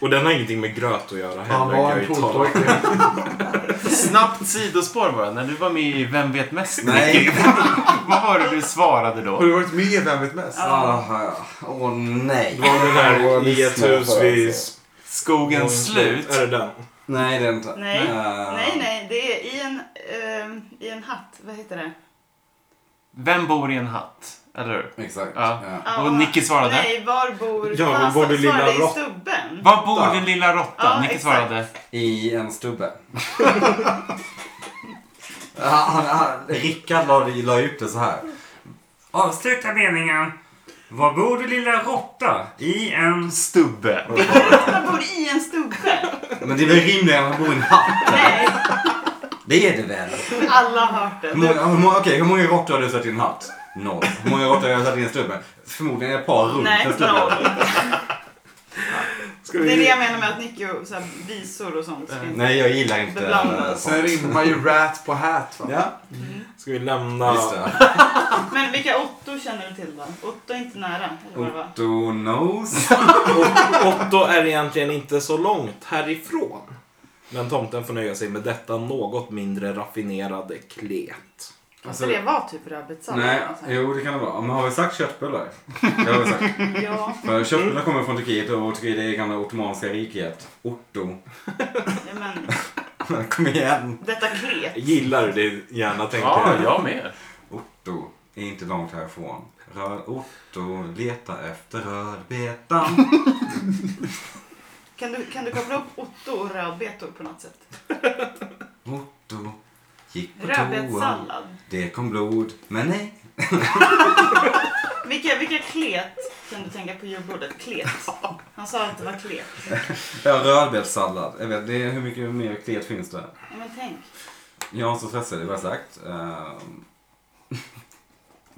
[SPEAKER 1] Och den har ingenting med gröt att göra
[SPEAKER 6] Han
[SPEAKER 1] heller.
[SPEAKER 6] var
[SPEAKER 1] kan
[SPEAKER 6] en
[SPEAKER 1] jag ju tala om.
[SPEAKER 6] polpojke.
[SPEAKER 7] Snabbt sidospår bara. När du var med i Vem vet mest?
[SPEAKER 1] [LAUGHS]
[SPEAKER 5] Nej.
[SPEAKER 7] [LAUGHS] Vad var det du svarade
[SPEAKER 6] Har
[SPEAKER 7] då?
[SPEAKER 6] du varit med i Vem vet mest?
[SPEAKER 5] Ah, ja. Åh nej.
[SPEAKER 1] Det var den
[SPEAKER 5] [LAUGHS]
[SPEAKER 1] där i ett
[SPEAKER 5] Lyssna
[SPEAKER 1] hus
[SPEAKER 5] på
[SPEAKER 1] vid...
[SPEAKER 5] alltså.
[SPEAKER 7] Skogens slut.
[SPEAKER 1] Är det den?
[SPEAKER 5] Nej, det är inte.
[SPEAKER 3] Nej.
[SPEAKER 5] Eh,
[SPEAKER 3] Nej nej, det är i en, ehm, i en hatt. Vad heter det?
[SPEAKER 7] Vem bor i en hatt? Eller hur?
[SPEAKER 5] Exakt.
[SPEAKER 7] Ja.
[SPEAKER 5] Ja.
[SPEAKER 3] Ja,
[SPEAKER 7] Och Nicky svarade?
[SPEAKER 3] Nej, var bor...
[SPEAKER 1] Ja, var
[SPEAKER 3] Fan,
[SPEAKER 1] bor det
[SPEAKER 3] svarade
[SPEAKER 1] lilla
[SPEAKER 3] i
[SPEAKER 1] rått-
[SPEAKER 3] stubben?
[SPEAKER 7] Var bor den lilla råttan?
[SPEAKER 3] Ja,
[SPEAKER 7] Nicke
[SPEAKER 3] exakt.
[SPEAKER 7] svarade.
[SPEAKER 5] I en [LAUGHS] stubbe. han, han, Rickard la, la ut det så här. Avsluta meningen. Var bor du lilla råtta? I en...
[SPEAKER 7] Stubbe.
[SPEAKER 3] Råttorna bor i en stubbe.
[SPEAKER 5] Men det är väl rimligare än att bo i en hatt?
[SPEAKER 3] Nej,
[SPEAKER 5] Det är det väl?
[SPEAKER 3] alla har hört
[SPEAKER 5] Hur
[SPEAKER 3] den.
[SPEAKER 5] många, hur många, okej, hur många råttor har du satt i en hatt? Noll. Hur många råttor har jag satt i en stubbe? Förmodligen ett par runt
[SPEAKER 3] Nej,
[SPEAKER 5] en stubbe.
[SPEAKER 3] noll.
[SPEAKER 1] Ska
[SPEAKER 3] Det är det jag menar med att Nicky och så här, visor och sånt. ska inte-
[SPEAKER 5] Äh, Nej, jag gillar inte
[SPEAKER 3] Det blandar.
[SPEAKER 5] eh,
[SPEAKER 6] Sen
[SPEAKER 5] sånt.
[SPEAKER 6] rimmar ju rat på hat va?
[SPEAKER 5] Ja,
[SPEAKER 1] Ska vi lämna...
[SPEAKER 5] just det.
[SPEAKER 3] Men vilka Otto känner du till då? Otto är inte nära, eller vad det var?
[SPEAKER 5] Otto knows.
[SPEAKER 1] Och Otto är egentligen inte så långt härifrån. Men tomten får nöja sig med detta något mindre raffinerade klet.
[SPEAKER 3] Alltså det var typ rödbetssallad.
[SPEAKER 5] Nej,
[SPEAKER 3] alltså.
[SPEAKER 5] jo det kan det vara. Men har vi sagt köttbullar? Det har vi sagt.
[SPEAKER 3] Ja,
[SPEAKER 5] För köttbullar kommer från Turkiet och Turkiet är gamla Ottomanska riket. Otto. [LAUGHS]
[SPEAKER 3] ja, men
[SPEAKER 5] Kom igen.
[SPEAKER 3] detta klet.
[SPEAKER 1] Jag gillar det gärna tänker
[SPEAKER 7] Ja,
[SPEAKER 1] jag.
[SPEAKER 7] jag med.
[SPEAKER 5] Otto är inte långt härifrån. Röd Otto letar efter rödbetan. [LAUGHS]
[SPEAKER 3] Kan du, kan du koppla upp Otto och rödbetor på något sätt?
[SPEAKER 5] Otto gick på toa.
[SPEAKER 3] Rödbetssallad.
[SPEAKER 5] Det kom blod. Men nej.
[SPEAKER 3] Vilka, vilka klet kan du tänka på julbordet? Klet. Han sa att det var klet.
[SPEAKER 5] Ja, rödbetssallad. Jag vet, det är, hur mycket mer klet finns det?
[SPEAKER 3] Ja, men tänk.
[SPEAKER 5] Jag är inte så stressad, det var sagt. Ehm,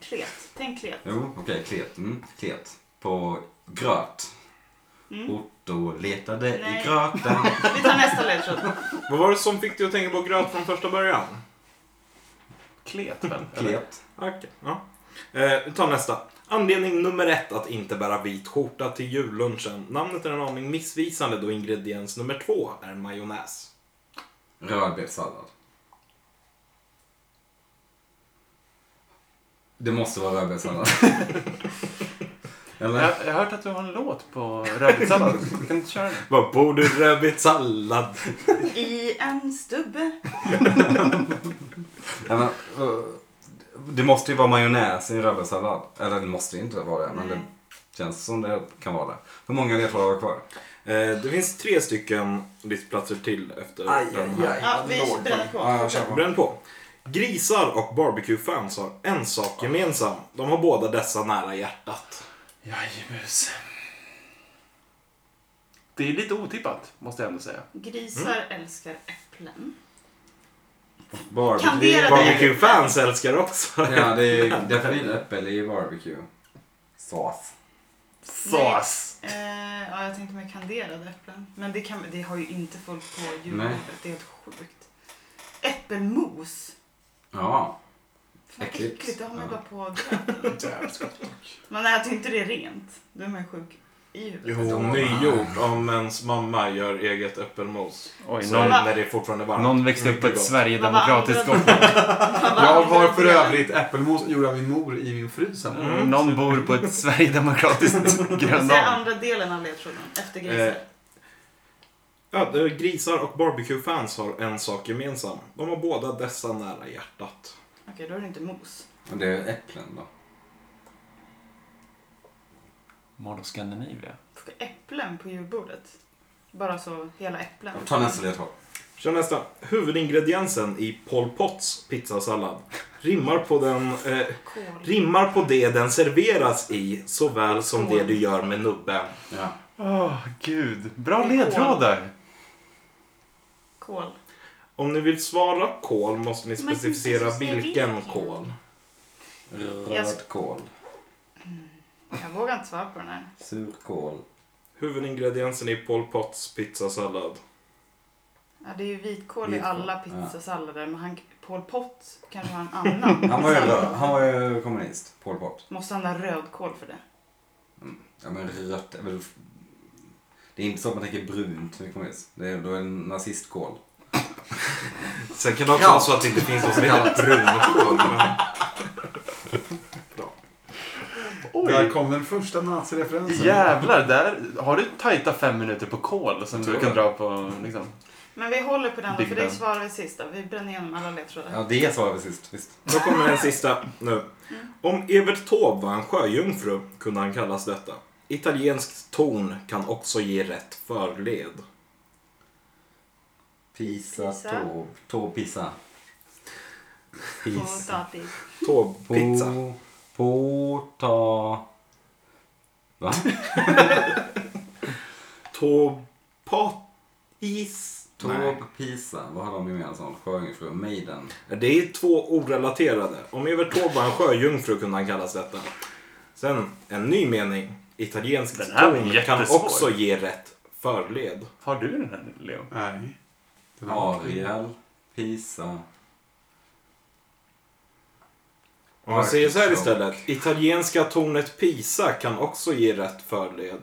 [SPEAKER 3] Klet. Tänk klet.
[SPEAKER 5] Jo, okej, klet. Mm, klet. På gröt.
[SPEAKER 3] Mm.
[SPEAKER 5] Otto letade
[SPEAKER 3] Nej.
[SPEAKER 5] i gröten.
[SPEAKER 3] [LAUGHS] Vi tar nästa ledtråd.
[SPEAKER 1] Vad var det som fick dig att tänka på gröt från första början?
[SPEAKER 7] Klet väl? eller?
[SPEAKER 5] Klet.
[SPEAKER 1] Okej, ja. Eh, vi tar nästa. Anledning nummer ett att inte bära vit skjorta till jullunchen. Namnet är en aning missvisande då ingrediens nummer två är majonnäs.
[SPEAKER 5] Rödbetssallad. Det måste vara [LAUGHS] rödbetssallad. Eller?
[SPEAKER 7] Jag, jag har hört att du har en låt på rödbetssallad. Kan du inte köra den?
[SPEAKER 1] Vad bor du rödbetssallad?
[SPEAKER 3] I en stubbe.
[SPEAKER 5] Ja, men, eh, det måste ju vara majonnäs i en rödbetssallad. Eller det måste ju inte vara det, men det
[SPEAKER 3] Nej.
[SPEAKER 5] känns som det kan vara det. Hur många ledtrådar har vi kvar?
[SPEAKER 1] Eh, det finns tre stycken listplatser till efter den här.
[SPEAKER 3] Ja, vi bränner på.
[SPEAKER 5] Ja, jag kör på.
[SPEAKER 1] Bränn på. Grisar och barbecue-fans har en sak gemensam. De har båda dessa nära hjärtat.
[SPEAKER 7] Jajebus. Det är lite otippat, måste jag ändå säga.
[SPEAKER 3] Grisar
[SPEAKER 5] Mm.
[SPEAKER 3] älskar äpplen.
[SPEAKER 5] Barbecue.
[SPEAKER 3] Kanderade äpplen.
[SPEAKER 1] Barbecue-fans älskar också.
[SPEAKER 5] Ja, det är definitivt äppel i barbecue. Sås.
[SPEAKER 7] Sås!
[SPEAKER 3] Eh, ja, jag tänkte med kanderade äpplen. Men det, kan, det har ju inte folk på
[SPEAKER 5] Nej.
[SPEAKER 3] julbordet. Det är helt sjukt. Äppelmos.
[SPEAKER 5] Ja.
[SPEAKER 3] Fan,
[SPEAKER 5] Äckligt.
[SPEAKER 3] äckligt. Det har man ju
[SPEAKER 5] Ja.
[SPEAKER 3] bara på gröten. man äter ju inte det rent. Då är man ju sjuk i huvudet. Alltså.
[SPEAKER 1] Jo, nygjord om ens mamma gör eget äppelmos.
[SPEAKER 7] Oj,
[SPEAKER 1] Så
[SPEAKER 7] någon,
[SPEAKER 1] när det är fortfarande varmt.
[SPEAKER 7] någon växte upp på
[SPEAKER 1] Mycket
[SPEAKER 7] ett
[SPEAKER 1] gott.
[SPEAKER 7] sverigedemokratiskt
[SPEAKER 3] Vad
[SPEAKER 7] Gotland.
[SPEAKER 3] [LAUGHS]
[SPEAKER 6] Jag har för övrigt äppelmos gjord av min mor i min frys hemma.
[SPEAKER 1] Mm.
[SPEAKER 7] Någon bor på ett [LAUGHS] sverigedemokratiskt
[SPEAKER 3] Det är
[SPEAKER 7] Gröndal.
[SPEAKER 3] andra delen av ledtråden. Efter
[SPEAKER 1] Eh,
[SPEAKER 3] grisar.
[SPEAKER 1] ja, det är grisar och barbecue-fans har en sak gemensam. De har båda dessa nära hjärtat.
[SPEAKER 3] Okej, då är det inte mos.
[SPEAKER 5] Men det är äpplen då.
[SPEAKER 7] Mall of Scandinavia.
[SPEAKER 3] Får Äpplen på julbordet. Bara så, hela äpplen.
[SPEAKER 5] Ta nästa ledtråd.
[SPEAKER 1] Kör nästa. Huvudingrediensen i Pol Pots pizzasallad rimmar på den eh,
[SPEAKER 3] Kål.
[SPEAKER 1] Rimmar på det den serveras i såväl som det du gör med nubben.
[SPEAKER 5] Ja.
[SPEAKER 7] Åh, gud. Bra ledtrådar.
[SPEAKER 3] Kål.
[SPEAKER 1] Om ni vill svara kol måste ni
[SPEAKER 3] Men
[SPEAKER 1] specificera
[SPEAKER 3] precis, det vet
[SPEAKER 1] vilken
[SPEAKER 3] jag.
[SPEAKER 1] kol.
[SPEAKER 5] Rödkål.
[SPEAKER 3] Jag vågar inte svara på den här.
[SPEAKER 5] Surkål.
[SPEAKER 1] Huvudingrediensen i Pol Pots pizzasallad.
[SPEAKER 3] Ja, det är ju vitkål i
[SPEAKER 5] Vitkål,
[SPEAKER 3] alla
[SPEAKER 5] ja.
[SPEAKER 3] pizzasallader. Men han, Pol Pot kanske
[SPEAKER 5] [LAUGHS]
[SPEAKER 3] har en annan.
[SPEAKER 5] Han var ju,
[SPEAKER 3] sallad.
[SPEAKER 5] röd, han var ju kommunist. Pol Pot.
[SPEAKER 3] Måste han ha rödkål för det?
[SPEAKER 5] Ja men rött är väl... Det är inte så att man tänker brunt med kommunism. Det är, då är det nazistkål.
[SPEAKER 1] Sen kan det också vara så att det inte finns något som heter brunkål. men-
[SPEAKER 6] Där kom den första nazireferensen.
[SPEAKER 7] Jävlar, där har du tajta fem minuter på kol som du
[SPEAKER 5] Tror
[SPEAKER 7] kan
[SPEAKER 5] jag.
[SPEAKER 7] dra på liksom.
[SPEAKER 3] Men vi håller på den då,
[SPEAKER 7] Big
[SPEAKER 3] för det
[SPEAKER 7] Ben.
[SPEAKER 3] svarar vi sist då. Vi bränner igenom alla ledtrådar.
[SPEAKER 5] Ja det sa vi sist. Visst.
[SPEAKER 1] Då kommer den sista nu. Om Evert Taube var en sjöjungfru kunde han kallas detta. Italiensk ton kan också ge rätt förled.
[SPEAKER 5] Pisa,
[SPEAKER 3] Pisa.
[SPEAKER 5] tå, tå, pisa. Pisa.
[SPEAKER 3] Potatis.
[SPEAKER 1] Taube-pizza.
[SPEAKER 5] Po, po, ta...
[SPEAKER 7] [LAUGHS]
[SPEAKER 5] Va?
[SPEAKER 1] Taube-patis. Nej.
[SPEAKER 5] Tåg, pisa. Vad har de gemensamt? Sjöjungfru, Maiden.
[SPEAKER 1] Det är två orelaterade. Om Evert Taube var en sjöjungfru kunde han kallas detta. Sen en ny mening. Italiensk
[SPEAKER 7] Den här var
[SPEAKER 1] ton kan
[SPEAKER 7] jättesvår.
[SPEAKER 1] också ge rätt förled.
[SPEAKER 7] Har du den här Leo?
[SPEAKER 6] Nej. Det var-
[SPEAKER 5] Ariel, pisa.
[SPEAKER 1] Om man säger så här
[SPEAKER 5] Arkansas.
[SPEAKER 1] istället. Italienska tornet Pisa kan också ge rätt förled.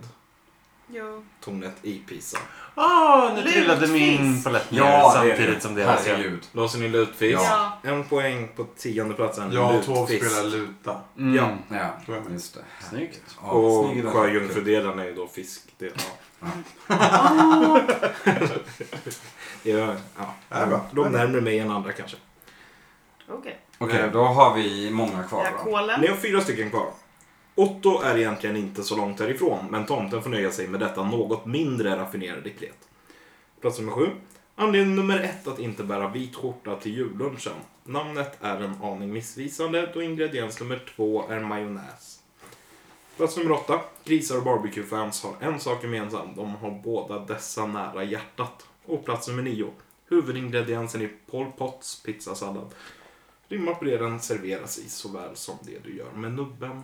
[SPEAKER 3] Jo.
[SPEAKER 1] Tornet i Pisa.
[SPEAKER 7] Ah, nu
[SPEAKER 3] Lutfisk.
[SPEAKER 7] trillade min palett ner samtidigt som det här.
[SPEAKER 5] Herregud.
[SPEAKER 1] Låser ni lutfisk?
[SPEAKER 3] Ja.
[SPEAKER 1] En poäng på tionde platsen.
[SPEAKER 6] Jag och Taube spelar luta.
[SPEAKER 7] Mm.
[SPEAKER 1] Ja.
[SPEAKER 5] Ja,
[SPEAKER 6] Då är jag med.
[SPEAKER 5] just det.
[SPEAKER 7] Snyggt.
[SPEAKER 5] Ja,
[SPEAKER 1] Och
[SPEAKER 5] snygg idé.
[SPEAKER 1] sjöjungfrudelen är ju då fiskdel. Ja. [LAUGHS] ja,
[SPEAKER 6] Det är
[SPEAKER 1] ja.
[SPEAKER 6] bra.
[SPEAKER 1] De närmar mig än andra kanske.
[SPEAKER 3] Okej.
[SPEAKER 5] Okej, då har vi många kvar
[SPEAKER 3] Okay.
[SPEAKER 5] då.
[SPEAKER 1] Ni
[SPEAKER 3] Kålen.
[SPEAKER 1] har fyra stycken kvar. Otto är egentligen inte så långt härifrån, men tomten får nöja sig med detta något mindre raffinerade klet. Plats nummer sju. Anledning nummer ett att inte bära vit skjorta till jullunchen. Namnet är en aning missvisande då ingrediens nummer två är majonnäs. Plats nummer åtta. Grisar och barbecuefans har en sak gemensamt. De har båda dessa nära hjärtat. Och plats nummer nio. Huvudingrediensen i Pol Pots pizzasallad Rimmar på det den serveras i såväl som det du gör med nubben.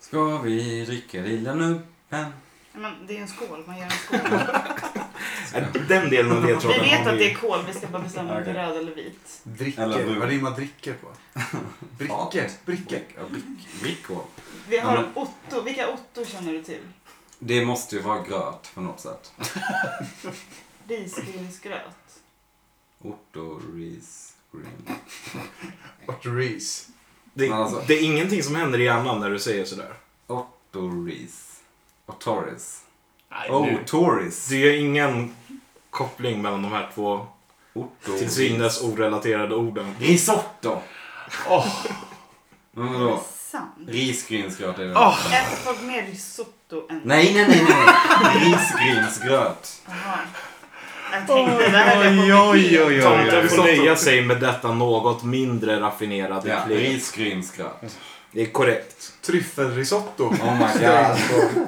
[SPEAKER 5] Ska vi dricka lilla nubben?
[SPEAKER 3] Nej, Men det är en skål, man gör en
[SPEAKER 5] [LAUGHS]
[SPEAKER 3] skål.
[SPEAKER 1] Äh, Den delen av
[SPEAKER 3] vi
[SPEAKER 1] ledtråden
[SPEAKER 3] vet
[SPEAKER 1] har
[SPEAKER 3] att det
[SPEAKER 1] vi
[SPEAKER 3] är kol, vi ska bara bestämma om det är röd eller vit.
[SPEAKER 5] Eller
[SPEAKER 6] Dricker.
[SPEAKER 5] bror.
[SPEAKER 6] Vad rimmar dricker [LAUGHS] på? Bricker. Bricker.
[SPEAKER 5] Ja, brick- Brickor.
[SPEAKER 3] Vi
[SPEAKER 5] Ja,
[SPEAKER 3] har
[SPEAKER 5] men-
[SPEAKER 3] Otto, vilka Otto känner du till?
[SPEAKER 5] Det måste ju vara gröt på något sätt.
[SPEAKER 3] Risgrynsgröt.
[SPEAKER 5] Otto, ris, green.
[SPEAKER 6] Otto Rees.
[SPEAKER 1] det,
[SPEAKER 5] Men alltså-
[SPEAKER 1] det är ingenting som händer i hjärnan när du säger sådär.
[SPEAKER 5] Otto, ris. Otoris.
[SPEAKER 2] Nej,
[SPEAKER 5] Oh,
[SPEAKER 2] nu.
[SPEAKER 5] Toris.
[SPEAKER 1] Det är ingen koppling mellan de här två
[SPEAKER 5] Otto.
[SPEAKER 1] till synes orelaterade orden.
[SPEAKER 5] Risotto.
[SPEAKER 2] Åh.
[SPEAKER 5] Men
[SPEAKER 3] Det är
[SPEAKER 5] vadå?
[SPEAKER 3] sant.
[SPEAKER 5] Risgrynsgröt är det.
[SPEAKER 3] Äter folk mer risotto än...
[SPEAKER 5] Nej, nej, nej, nej. Risgrynsgröt.
[SPEAKER 3] Jaha. Jag tänkte, det här höll jag på
[SPEAKER 7] Oj,
[SPEAKER 3] med
[SPEAKER 7] oj, oj,
[SPEAKER 3] helt.
[SPEAKER 7] oj.
[SPEAKER 1] Tomten får nöja sig med detta något mindre raffinerade
[SPEAKER 5] Ja,
[SPEAKER 1] klipp.
[SPEAKER 5] risgrynsgröt.
[SPEAKER 1] Det är korrekt.
[SPEAKER 6] Tryffelrisotto.
[SPEAKER 5] Oh my
[SPEAKER 3] [LAUGHS]
[SPEAKER 5] god.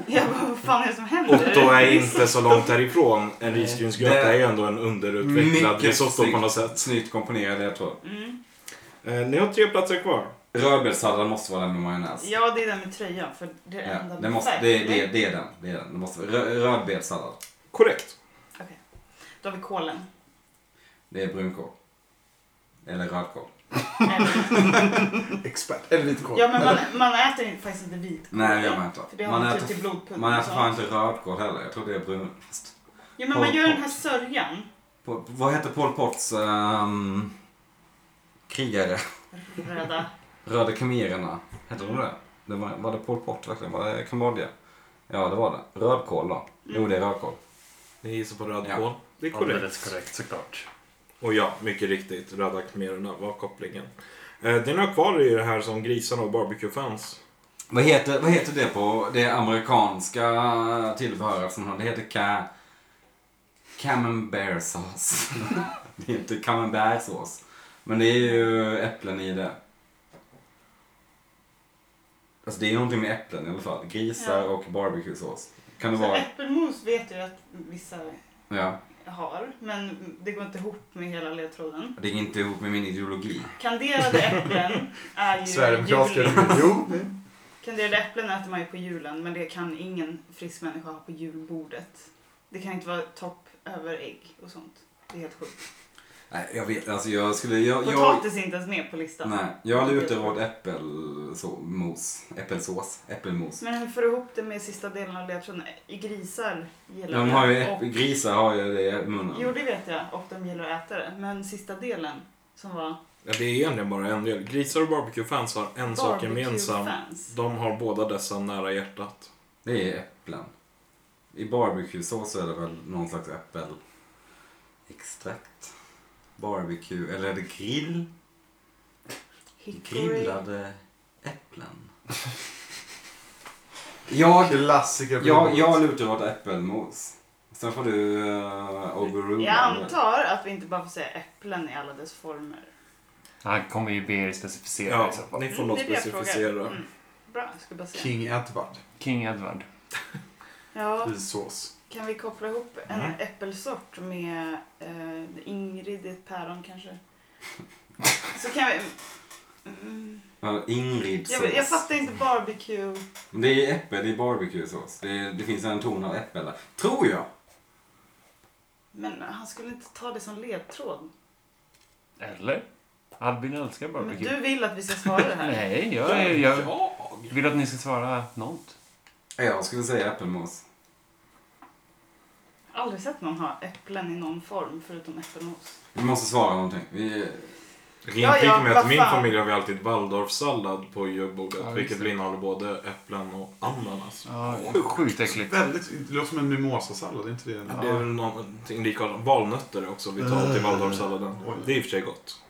[SPEAKER 3] Jag bara, vad fan är det som händer?
[SPEAKER 1] Otto är inte så långt härifrån. En risgrynsgröt
[SPEAKER 5] Det-
[SPEAKER 1] är ju ändå en underutvecklad
[SPEAKER 5] Mycket
[SPEAKER 1] risotto på något sätt.
[SPEAKER 5] Snyggt komponerad, jag tror.
[SPEAKER 3] Mm.
[SPEAKER 1] Eh, ni har tre platser kvar.
[SPEAKER 5] Rödbetssallad måste vara den med majonnäs.
[SPEAKER 3] Ja, det är den med tröjan. För det är
[SPEAKER 5] Ja,
[SPEAKER 3] enda
[SPEAKER 5] det,
[SPEAKER 3] med
[SPEAKER 5] måste,
[SPEAKER 3] färg.
[SPEAKER 5] det, det, det är den. Det är den. Det måste vara rö- rödbetssallad.
[SPEAKER 1] Korrekt.
[SPEAKER 3] Då har vi kolen.
[SPEAKER 5] Det är brunkål. Eller rödkål.
[SPEAKER 3] Eller-
[SPEAKER 6] Expert. Eller lite kol.
[SPEAKER 3] ja, men man, man äter ju faktiskt inte vitkål.
[SPEAKER 5] Nej, det gör man
[SPEAKER 3] För det
[SPEAKER 5] inte.
[SPEAKER 3] har
[SPEAKER 5] Man
[SPEAKER 3] man
[SPEAKER 5] äter,
[SPEAKER 3] typ till blodpudding.
[SPEAKER 5] man äter
[SPEAKER 3] och
[SPEAKER 5] fan
[SPEAKER 3] sånt.
[SPEAKER 5] inte rödkål heller. Jag tror det är brunost.
[SPEAKER 3] Jo, men man
[SPEAKER 5] Pol
[SPEAKER 3] gör den
[SPEAKER 5] Pot.
[SPEAKER 3] här sörjan.
[SPEAKER 5] På- Vad heter Pol Pots ehm, krigare? [LAUGHS]
[SPEAKER 3] Röda.
[SPEAKER 5] Röda kamirerna. Hette de det? det var, var det Pol Pot verkligen? Var det Kambodja? Ja, det var det. Rödkål då? Jo, det är rödkål.
[SPEAKER 1] Ni gissar på rödkål.
[SPEAKER 5] Ja.
[SPEAKER 1] Det är korrekt.
[SPEAKER 2] Alldeles korrekt såklart.
[SPEAKER 1] Och ja, mycket riktigt. Röda khmererna var kopplingen. Eh, det är några kvar i det här som grisarna och barbecue fanns.
[SPEAKER 5] Vad heter, vad heter det på det amerikanska tillbehöret som har? Det heter ca... Camembert sauce. [LAUGHS] det är inte camembert sås. Men det är ju äpplen i det. Alltså det är någonting med äpplen i alla fall. Grisar
[SPEAKER 3] Ja.
[SPEAKER 5] och barbecuesås. Kan det
[SPEAKER 3] Så
[SPEAKER 5] vara?
[SPEAKER 3] äppelmos vet jag att vissa
[SPEAKER 5] Ja.
[SPEAKER 3] har, men det går inte ihop med hela ledtråden.
[SPEAKER 5] Det är inte ihop med min ideologi.
[SPEAKER 3] Kanderade äpplen är ju
[SPEAKER 6] Sverigedemokratiska.
[SPEAKER 3] jul.
[SPEAKER 6] Jo.
[SPEAKER 3] Kanderade äpplen äter man ju på julen, men det kan ingen frisk människa ha på julbordet. Det kan inte vara topp över ägg och sånt. Det är helt sjukt.
[SPEAKER 5] Nej, jag vet Alltså jag skulle... Jag, jag,
[SPEAKER 3] Potatis är inte ens med på listan.
[SPEAKER 5] nej, jag lutar åt äppelmos. Äppelsås. Äppelmos.
[SPEAKER 3] Men hur får du ihop det med sista delen av ledtråden? I Grisar gillar
[SPEAKER 5] De har ju
[SPEAKER 3] det,
[SPEAKER 5] äpp- grisar har ju det i munnen.
[SPEAKER 3] Jo, det vet jag. Och de gillar att äta det. Men sista delen som var
[SPEAKER 1] Ja, det är egentligen bara en del. Grisar och barbecue fans har en sak gemensam.
[SPEAKER 3] barbecue-fans.
[SPEAKER 1] De har båda dessa nära hjärtat.
[SPEAKER 5] Det är äpplen. I barbecuesås är det väl någon slags äppelextrakt. Barbecue, eller är det grill?
[SPEAKER 3] Hickory.
[SPEAKER 5] Grillade äpplen. Jag,
[SPEAKER 6] Klassiker.
[SPEAKER 5] jag, jag lutar åt äppelmos. Sen får du uh, overrule.
[SPEAKER 3] Jag antar att vi inte bara får säga äpplen i alla dess former.
[SPEAKER 7] Han kommer ju be er specificera
[SPEAKER 1] Ja,
[SPEAKER 7] i så fall.
[SPEAKER 1] ni får
[SPEAKER 3] Mm,
[SPEAKER 1] nog
[SPEAKER 3] det är det jag frågar.
[SPEAKER 1] specificera.
[SPEAKER 3] Mm. Bra, jag skulle bara säga.
[SPEAKER 6] King Edward.
[SPEAKER 7] King Edward.
[SPEAKER 3] Ja,
[SPEAKER 6] I sås.
[SPEAKER 3] kan vi koppla ihop en
[SPEAKER 1] Mm.
[SPEAKER 3] äppelsort med eh, Ingrid i ett päron kanske? Så kan vi... Mm.
[SPEAKER 5] Ja, Ingrid
[SPEAKER 3] Jag, jag fattar inte barbecue.
[SPEAKER 5] Men Det är äppel i barbecuesås. Det, det finns en ton av äppel där. Tror jag.
[SPEAKER 3] Men han skulle inte ta det som ledtråd.
[SPEAKER 7] Eller? Albin älskar
[SPEAKER 3] Men
[SPEAKER 7] barbecue.
[SPEAKER 3] du vill att vi ska svara det
[SPEAKER 1] [LAUGHS]
[SPEAKER 3] här.
[SPEAKER 7] Nej, jag, är- jag vill att ni ska svara något.
[SPEAKER 5] Jag skulle säga äppelmos.
[SPEAKER 3] Aldrig sett någon ha äpplen i någon form förutom äppelmos.
[SPEAKER 5] Vi måste svara någonting. Vi,
[SPEAKER 1] Jag
[SPEAKER 3] Ja,
[SPEAKER 1] kan inflika
[SPEAKER 3] ja,
[SPEAKER 1] med
[SPEAKER 3] vad
[SPEAKER 1] att i min
[SPEAKER 3] fan.
[SPEAKER 1] familj har vi alltid waldorfsallad på julbordet.
[SPEAKER 7] Ja, just
[SPEAKER 1] vilket
[SPEAKER 7] det.
[SPEAKER 1] innehåller både äpplen och ananas.
[SPEAKER 7] Ja, sjukt äckligt.
[SPEAKER 6] Väldigt, det låter som en mimosasallad, är inte det?
[SPEAKER 1] Det är väl någonting likadant. Valnötter är också vitalt i waldorfsalladen.
[SPEAKER 6] Oj.
[SPEAKER 1] Det är i och för sig gott.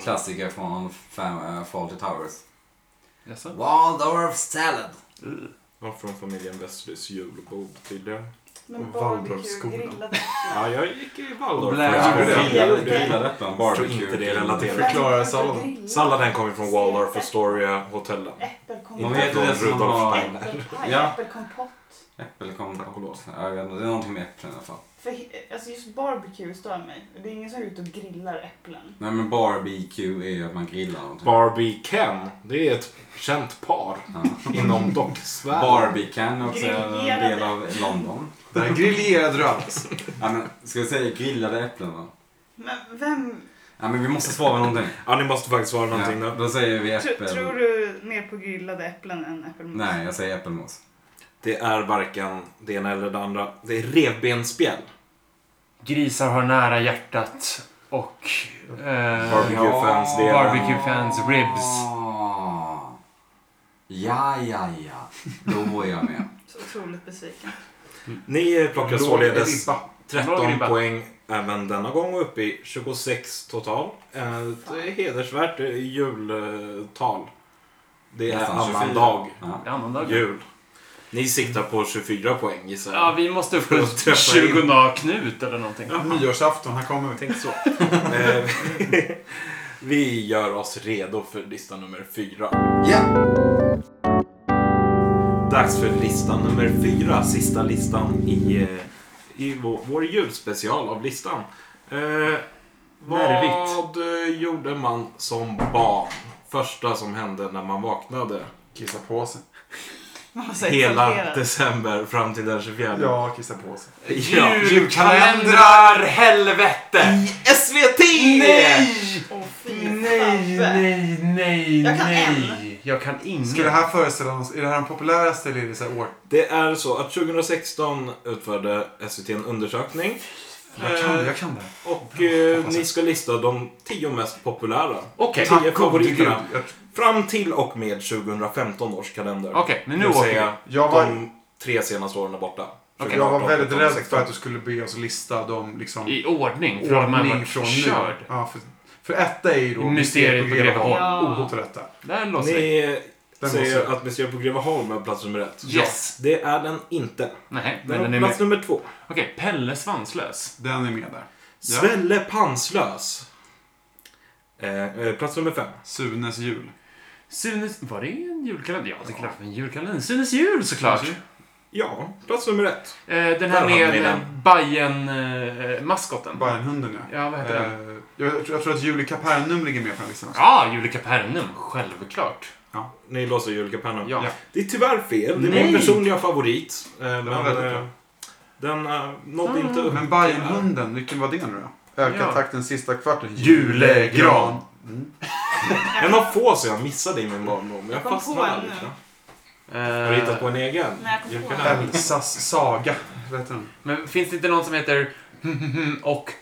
[SPEAKER 5] klassiker från fam, äh, Fawlty Towers.
[SPEAKER 7] Jaså?
[SPEAKER 5] Waldorf salad.
[SPEAKER 1] Var från familjen Westerlys julbord tydligen.
[SPEAKER 3] Men barbecue,
[SPEAKER 6] Waldorfskolan.
[SPEAKER 3] grillade
[SPEAKER 1] Ja, jag gick i Waldorf.
[SPEAKER 7] Blä-
[SPEAKER 1] Jag skulle
[SPEAKER 3] Ja,
[SPEAKER 1] vilja-
[SPEAKER 3] grillade-
[SPEAKER 5] Grillade äpplen,
[SPEAKER 1] Jag
[SPEAKER 5] barbecue.
[SPEAKER 1] tror inte det är
[SPEAKER 5] grill.
[SPEAKER 1] relaterat.
[SPEAKER 6] Förklara
[SPEAKER 3] Varför
[SPEAKER 6] salladen.
[SPEAKER 3] grilla?
[SPEAKER 1] Salladen kommer från Waldorf Astoria hotellen.
[SPEAKER 3] Äppelkompott.
[SPEAKER 5] Vad heter det som
[SPEAKER 1] Rudolf
[SPEAKER 5] har...
[SPEAKER 3] Äppelpaj,
[SPEAKER 5] Ja.
[SPEAKER 3] äppelkompott. Äppelkompott.
[SPEAKER 1] Tack och lov.
[SPEAKER 5] Äppelkompott. Ja, jag vet inte, det är någonting med äpplen i alla fall.
[SPEAKER 3] För he- alltså just barbecue stör mig. Det är ingen som är ute och grillar äpplen.
[SPEAKER 5] Nej men barbecue är ju att man grillar någonting.
[SPEAKER 1] Barbie Ken, det är ett känt par
[SPEAKER 5] Ja.
[SPEAKER 1] inom docksfären.
[SPEAKER 5] Barbican är också en
[SPEAKER 3] Grillerade.
[SPEAKER 5] del av London.
[SPEAKER 6] Det här är grillerad rödis.
[SPEAKER 5] Ja, men, ska vi säga grillade äpplen då?
[SPEAKER 3] Men vem...
[SPEAKER 5] Ja, men vi måste svara någonting.
[SPEAKER 1] Ja, ni måste faktiskt svara någonting
[SPEAKER 5] Ja,
[SPEAKER 1] nu.
[SPEAKER 5] då säger vi
[SPEAKER 3] Tr-
[SPEAKER 5] äppel.
[SPEAKER 3] tror du mer på grillade äpplen än äppelmos?
[SPEAKER 5] Nej, jag säger äppelmos.
[SPEAKER 1] Det är varken det ena eller det andra. Det är revbensspjäll.
[SPEAKER 7] Grisar har nära hjärtat och... Eh,
[SPEAKER 1] Barbecue-fans, det är-
[SPEAKER 7] Barbecue-fans, ribs.
[SPEAKER 5] Ah. Ja, ja, ja. Då är jag med.
[SPEAKER 3] Så otroligt besviken.
[SPEAKER 1] Ni plockar
[SPEAKER 6] Låg
[SPEAKER 1] således
[SPEAKER 6] ribba.
[SPEAKER 1] 13
[SPEAKER 7] Låg ribba.
[SPEAKER 1] poäng även denna gång och uppe i 26 total. Eh, Det är hedersvärt eh, jultal. Det är
[SPEAKER 5] Nästan
[SPEAKER 1] annan
[SPEAKER 5] 24.
[SPEAKER 1] dag,
[SPEAKER 5] Ja.
[SPEAKER 7] Det är annandag.
[SPEAKER 1] jul. Ni siktar på 24 poäng gissar
[SPEAKER 7] Ja,
[SPEAKER 1] jag.
[SPEAKER 7] vi måste upp
[SPEAKER 1] För
[SPEAKER 7] på
[SPEAKER 1] att träffa in.
[SPEAKER 7] 20 dagar Knut eller någonting.
[SPEAKER 6] Nyårsafton, här kommer vi.
[SPEAKER 1] Tänk så. Eh, vi- Vi gör oss redo för lista nummer 4.
[SPEAKER 5] Ja.
[SPEAKER 1] Dags för lista nummer fyra, sista listan i, eh, i vår, vår julspecial av listan. Eh,
[SPEAKER 7] Nervigt.
[SPEAKER 1] vad eh, gjorde man som barn? Första som hände när man vaknade.
[SPEAKER 6] Kissa på sig.
[SPEAKER 3] Man var så
[SPEAKER 1] Hela
[SPEAKER 3] exalterad.
[SPEAKER 1] december fram till den 24.
[SPEAKER 6] Ja, kissa på sig.
[SPEAKER 1] Ja.
[SPEAKER 7] Julkalendrar, helvete!
[SPEAKER 1] SVT!
[SPEAKER 3] Åh fy
[SPEAKER 7] Nej,
[SPEAKER 3] fan.
[SPEAKER 7] nej, nej,
[SPEAKER 3] Jag kan
[SPEAKER 7] nej. Jag kan ingen.
[SPEAKER 6] Ska det här föreställa oss, är det här den populäraste eller är det så här år?
[SPEAKER 1] Det är så att 2016 utförde SVT en undersökning.
[SPEAKER 6] Jag kan det, jag kan det.
[SPEAKER 1] Och eh, ni ska lista de tio mest populära.
[SPEAKER 7] Okej,
[SPEAKER 1] Tack
[SPEAKER 6] Tack gode gud.
[SPEAKER 1] favoriterna.
[SPEAKER 6] Jag,
[SPEAKER 1] Fram till och med 2015 års kalender.
[SPEAKER 7] Okej, men nu
[SPEAKER 1] Det vill
[SPEAKER 7] åker
[SPEAKER 1] säga,
[SPEAKER 6] jag var,
[SPEAKER 1] de tre senaste åren är borta.
[SPEAKER 6] jag var
[SPEAKER 1] 2018,
[SPEAKER 6] väldigt
[SPEAKER 1] 2018,
[SPEAKER 6] rädd för att du skulle be oss lista dem liksom
[SPEAKER 7] I ordning, för då hade man
[SPEAKER 6] ordning
[SPEAKER 7] varit
[SPEAKER 6] från
[SPEAKER 7] körd.
[SPEAKER 6] nu. Ja, för, för etta är ju då
[SPEAKER 7] Mysteriet på Greveholm.
[SPEAKER 3] Ja.
[SPEAKER 6] Ohotad etta.
[SPEAKER 7] Där låser vi.
[SPEAKER 1] Ni
[SPEAKER 6] Den
[SPEAKER 1] säger
[SPEAKER 6] måste-
[SPEAKER 1] att Museum på Greveholm är plats nummer ett.
[SPEAKER 7] Yes.
[SPEAKER 1] Det är den inte.
[SPEAKER 7] Nej,
[SPEAKER 1] Den
[SPEAKER 7] men den
[SPEAKER 1] är
[SPEAKER 7] är
[SPEAKER 1] plats
[SPEAKER 7] med.
[SPEAKER 1] nummer två.
[SPEAKER 7] Okej, Pelle Svanslös.
[SPEAKER 6] Den är med där. Ja.
[SPEAKER 1] Svelle Panslös. Eh, eh, plats nummer fem.
[SPEAKER 6] Sunes jul.
[SPEAKER 7] Sunes... Var det en julkalender? Ja, det är klart det var en julkalender. Sunes jul såklart.
[SPEAKER 6] Sunes
[SPEAKER 1] Ja, plats nummer ett.
[SPEAKER 7] Eh, den
[SPEAKER 1] Där
[SPEAKER 7] här
[SPEAKER 1] hade vi
[SPEAKER 7] med
[SPEAKER 1] den.
[SPEAKER 7] eh, Bajen-maskoten.
[SPEAKER 6] Bayernhunden ja.
[SPEAKER 7] ja, vad heter den?
[SPEAKER 6] Eh, jag, jag tror- jag tror att Julie Capernaum ligger med på den listan. också.
[SPEAKER 7] Ja, Julika Pernum. Självklart.
[SPEAKER 1] Ni låser Julika Pennan.
[SPEAKER 7] Ja.
[SPEAKER 6] Ja.
[SPEAKER 1] Det är tyvärr fel. Det är
[SPEAKER 7] Nej.
[SPEAKER 1] min personliga favorit. Eh, men,
[SPEAKER 6] väldigt bra.
[SPEAKER 1] eh, den eh, nådde
[SPEAKER 3] Mm.
[SPEAKER 7] Ah.
[SPEAKER 1] inte upp.
[SPEAKER 6] Men Bayernhunden, vilken var det nu då? Öka
[SPEAKER 7] Ja.
[SPEAKER 6] takten sista kvarten.
[SPEAKER 7] Julegran.
[SPEAKER 6] Mm.
[SPEAKER 1] En av få som jag missade i min barndom. Jag
[SPEAKER 3] Jag kom på
[SPEAKER 1] fastnade
[SPEAKER 3] en
[SPEAKER 1] aldrig.
[SPEAKER 3] nu.
[SPEAKER 1] tror jag. Har du hittat på
[SPEAKER 7] Eh,
[SPEAKER 1] en egen?
[SPEAKER 3] Nej, jag kom på
[SPEAKER 1] Julkalender.
[SPEAKER 3] en.
[SPEAKER 6] Elsas saga. Vad heter den?
[SPEAKER 7] men finns det inte någon som heter och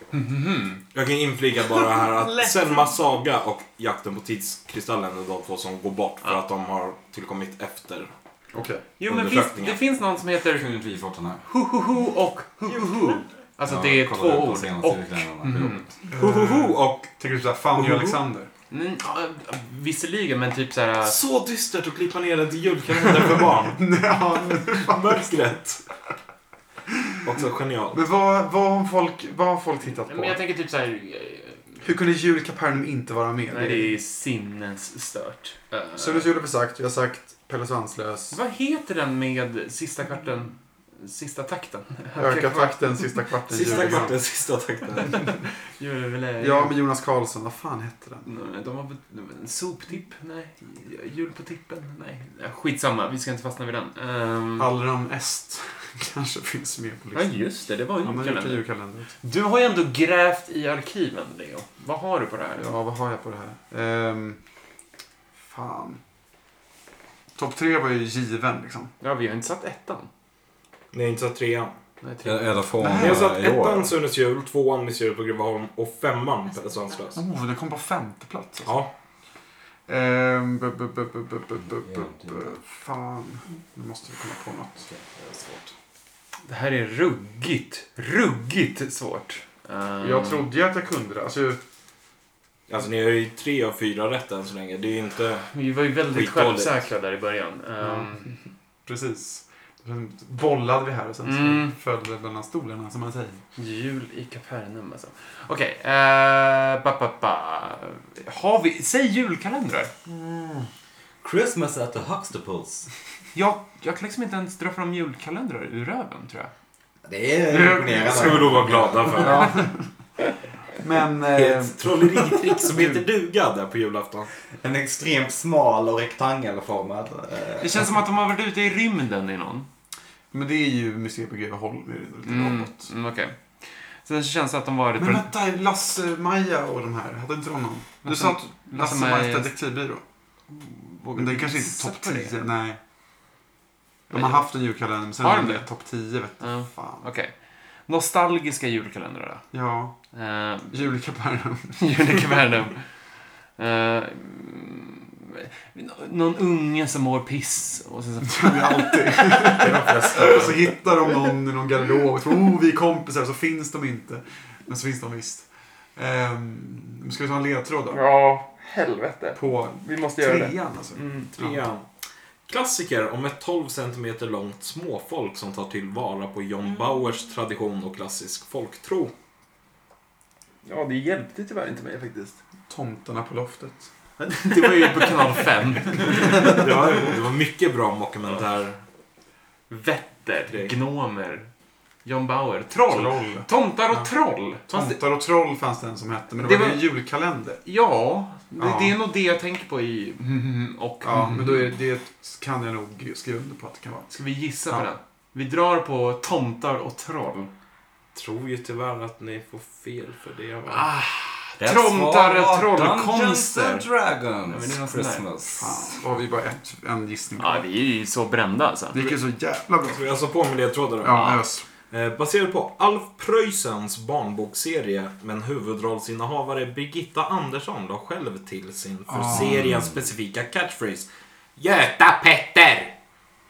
[SPEAKER 1] Jag kan inflika bara här att
[SPEAKER 3] [LAUGHS] Lätt.
[SPEAKER 1] Selma Saga och Jakten på tidskristallen är de två som går bort för att de har tillkommit efter.
[SPEAKER 6] Okej.
[SPEAKER 7] Jo, men finns,
[SPEAKER 1] Undersökningar.
[SPEAKER 7] det finns någon som
[SPEAKER 5] Hur
[SPEAKER 7] heter
[SPEAKER 5] kunde inte vi fått den här?
[SPEAKER 7] Huhuhu och Huhuhu. Alltså
[SPEAKER 5] Ja,
[SPEAKER 7] det är
[SPEAKER 5] kolla
[SPEAKER 7] två
[SPEAKER 5] det på
[SPEAKER 7] ord.
[SPEAKER 5] senaste
[SPEAKER 7] Och...
[SPEAKER 5] julkalendern.
[SPEAKER 7] Mhm.
[SPEAKER 1] Hohoho och
[SPEAKER 6] Tänker Eh, du såhär Fanny och
[SPEAKER 1] Ohoho.
[SPEAKER 6] Alexander?
[SPEAKER 7] Mm, ja, visserligen, men typ så här...
[SPEAKER 1] så dystert att klippa ner den till julkalender för [LAUGHS] barn.
[SPEAKER 6] Ja, men-
[SPEAKER 1] Mörkret. Också genialt.
[SPEAKER 6] men vad, vad, har folk, vad har folk tittat
[SPEAKER 7] Men jag
[SPEAKER 6] på?
[SPEAKER 7] tänker typ så här...
[SPEAKER 6] Hur kunde Julie Capernaum inte vara med?
[SPEAKER 7] Nej, det är sinnesstört. Eh,
[SPEAKER 6] Sunes jul har vi sagt, jag har sagt Pelle Svanslös.
[SPEAKER 7] Vad heter den med sista kvarten? Sista takten?
[SPEAKER 6] Öka takten sista kvarten.
[SPEAKER 1] Sista
[SPEAKER 6] Julegran.
[SPEAKER 1] kvarten, sista takten.
[SPEAKER 7] Jule-
[SPEAKER 6] Ja, med Jonas Karlsson. Vad fan hette den?
[SPEAKER 7] Nej, De har soptipp? Nej. Jul på tippen? Nej. Ja, Skitsamma, vi ska inte fastna vid den. Ehm,
[SPEAKER 6] Allram Est [LAUGHS] kanske finns med på
[SPEAKER 7] ja,
[SPEAKER 6] listan.
[SPEAKER 7] just det. Det var ju
[SPEAKER 6] Ja, men vilken
[SPEAKER 7] julkalender.
[SPEAKER 6] julkalender också.
[SPEAKER 7] Du har ju ändå grävt i arkiven, Leo. Vad har du på det här?
[SPEAKER 6] Ja, vad har jag på det här? Ehm, fan. Topp tre var ju given liksom.
[SPEAKER 7] Ja, vi har inte satt ettan.
[SPEAKER 1] Ni har inte satt trean.
[SPEAKER 7] Nej, tre.
[SPEAKER 5] Jag är där från
[SPEAKER 1] Ni har
[SPEAKER 5] eh,
[SPEAKER 1] satt
[SPEAKER 5] i år.
[SPEAKER 1] ettan Sunes jul, tvåan Museer på Greveholm och femman Pelle Svanslös.
[SPEAKER 6] Oh, den kom på femte plats. alltså.
[SPEAKER 1] Ja,
[SPEAKER 6] Ehm, bu- bu- bu- bu- bu- bu- bu- bu- bu- Fan, nu måste vi komma på något.
[SPEAKER 5] Det är svårt.
[SPEAKER 7] Det här är ruggigt, ruggigt svårt. Ehm,
[SPEAKER 6] Jag trodde ju att jag kunde det. Alltså, ju-
[SPEAKER 1] alltså ni har ju tre av fyra rätt än så länge. Det är ju inte...
[SPEAKER 7] Vi var ju väldigt
[SPEAKER 1] Skitdåligt.
[SPEAKER 7] självsäkra där i början. Ehm,
[SPEAKER 6] precis. Sen bollade vi här och sen så
[SPEAKER 7] Mm.
[SPEAKER 6] föll det mellan stolarna som man säger.
[SPEAKER 7] Jul i Kapernaum alltså. Okej, eh, ba, ba, ba. Har vi... Säg julkalendrar.
[SPEAKER 8] Christmas at the Huxtables.
[SPEAKER 7] Jag, jag kan liksom inte ens dra fram julkalendrar ur röven, tror jag.
[SPEAKER 8] Det är
[SPEAKER 5] [LAUGHS]
[SPEAKER 8] imponerande.
[SPEAKER 1] ska vi nog vara glada för.
[SPEAKER 6] [LAUGHS] Men...
[SPEAKER 5] Ehm.
[SPEAKER 6] Eh,
[SPEAKER 1] Ett trolleritrick som
[SPEAKER 5] [LAUGHS]
[SPEAKER 1] heter duga där på julafton.
[SPEAKER 8] [LAUGHS] En extremt smal och rektangelformad. eh,
[SPEAKER 7] Det känns som att de har varit ute i rymden i någon.
[SPEAKER 6] men det är ju museet på Greveholm. Det är ju lite
[SPEAKER 7] Mm,
[SPEAKER 6] robot.
[SPEAKER 7] mm okej. Sen så känns det att de varit...
[SPEAKER 6] Men vänta, Lasse, Maja och de här. Hade inte de någon? Du
[SPEAKER 7] Lasse-
[SPEAKER 6] sa att Lasse
[SPEAKER 7] Maja-
[SPEAKER 6] Majas detektivbyrå.
[SPEAKER 7] Vågar
[SPEAKER 6] Men den
[SPEAKER 7] du
[SPEAKER 6] kanske inte
[SPEAKER 7] gissa
[SPEAKER 6] är topp
[SPEAKER 7] på det?
[SPEAKER 6] 10. Nej. De
[SPEAKER 7] Nej,
[SPEAKER 6] har
[SPEAKER 7] jag-
[SPEAKER 6] haft en julkalender, men sen
[SPEAKER 7] Har
[SPEAKER 6] är
[SPEAKER 7] de
[SPEAKER 6] det
[SPEAKER 7] det?
[SPEAKER 6] topp 10. Vet du.
[SPEAKER 7] Ja,
[SPEAKER 6] Fan.
[SPEAKER 7] Okej. Nostalgiska julkalendrar
[SPEAKER 6] Ja,
[SPEAKER 7] då? Eh, [LAUGHS]
[SPEAKER 6] julkapären.
[SPEAKER 7] Unica Värnum. Eh, mm, någon unge som mår piss. Och sen så,
[SPEAKER 6] tror vi [LAUGHS] alltid. Och så hittar de någon i någon garderob och tror oh, vi är kompisar så finns de inte. Men så finns de visst. Um, ska vi ta en ledtråd då?
[SPEAKER 7] ja, helvete.
[SPEAKER 6] På
[SPEAKER 7] Vi måste Mm,
[SPEAKER 6] trean alltså.
[SPEAKER 1] Trean. Klassiker om ett 12 cm långt småfolk som tar tillvara på John Bauers tradition och klassisk folktro.
[SPEAKER 7] Ja, det hjälpte tyvärr inte mig faktiskt.
[SPEAKER 6] Tomtarna på loftet.
[SPEAKER 7] Det var ju på kanal 5.
[SPEAKER 1] Det var, det var mycket bra mockumentär.
[SPEAKER 7] Vetter,
[SPEAKER 1] Tre.
[SPEAKER 7] gnomer, John Bauer, troll.
[SPEAKER 6] Troll.
[SPEAKER 7] Tomtar och
[SPEAKER 6] Ja.
[SPEAKER 7] troll. Fast det,
[SPEAKER 6] Tomtar och troll fanns det en som hette, men det,
[SPEAKER 7] Det
[SPEAKER 6] var
[SPEAKER 7] var-
[SPEAKER 6] ju en julkalender.
[SPEAKER 7] ja, det,
[SPEAKER 6] Ja.
[SPEAKER 7] det är nog det jag tänker på i [LAUGHS] mhm och
[SPEAKER 6] Ja,
[SPEAKER 7] mhm.
[SPEAKER 6] men då är det kan jag nog skriva under på att det kan vara.
[SPEAKER 7] Ska vi gissa
[SPEAKER 6] Ja.
[SPEAKER 7] på den? Vi drar på tomtar och troll.
[SPEAKER 1] Tror ju tyvärr att ni får fel för det. va?
[SPEAKER 7] Ah,
[SPEAKER 5] Rätt
[SPEAKER 7] Tromtar,
[SPEAKER 5] svar var
[SPEAKER 7] trollkonster.
[SPEAKER 5] Dungeons and Dragons
[SPEAKER 7] Nej, men det är något sånt där.
[SPEAKER 5] Christmas.
[SPEAKER 6] Fan, då har vi bara ett, en gissning
[SPEAKER 7] ja,
[SPEAKER 6] på.
[SPEAKER 7] vi är ju så brända alltså.
[SPEAKER 6] Det gick ju så jävla bra.
[SPEAKER 1] Ska vi alltså på med ledtrådar då?
[SPEAKER 6] Ja, ös.
[SPEAKER 1] Eh, baserad på Alf Preussens barnbokserie men huvudrollsinnehavare Birgitta Andersson la själv till sin för
[SPEAKER 6] Ah.
[SPEAKER 1] serien specifika catchphrase Göta Petter!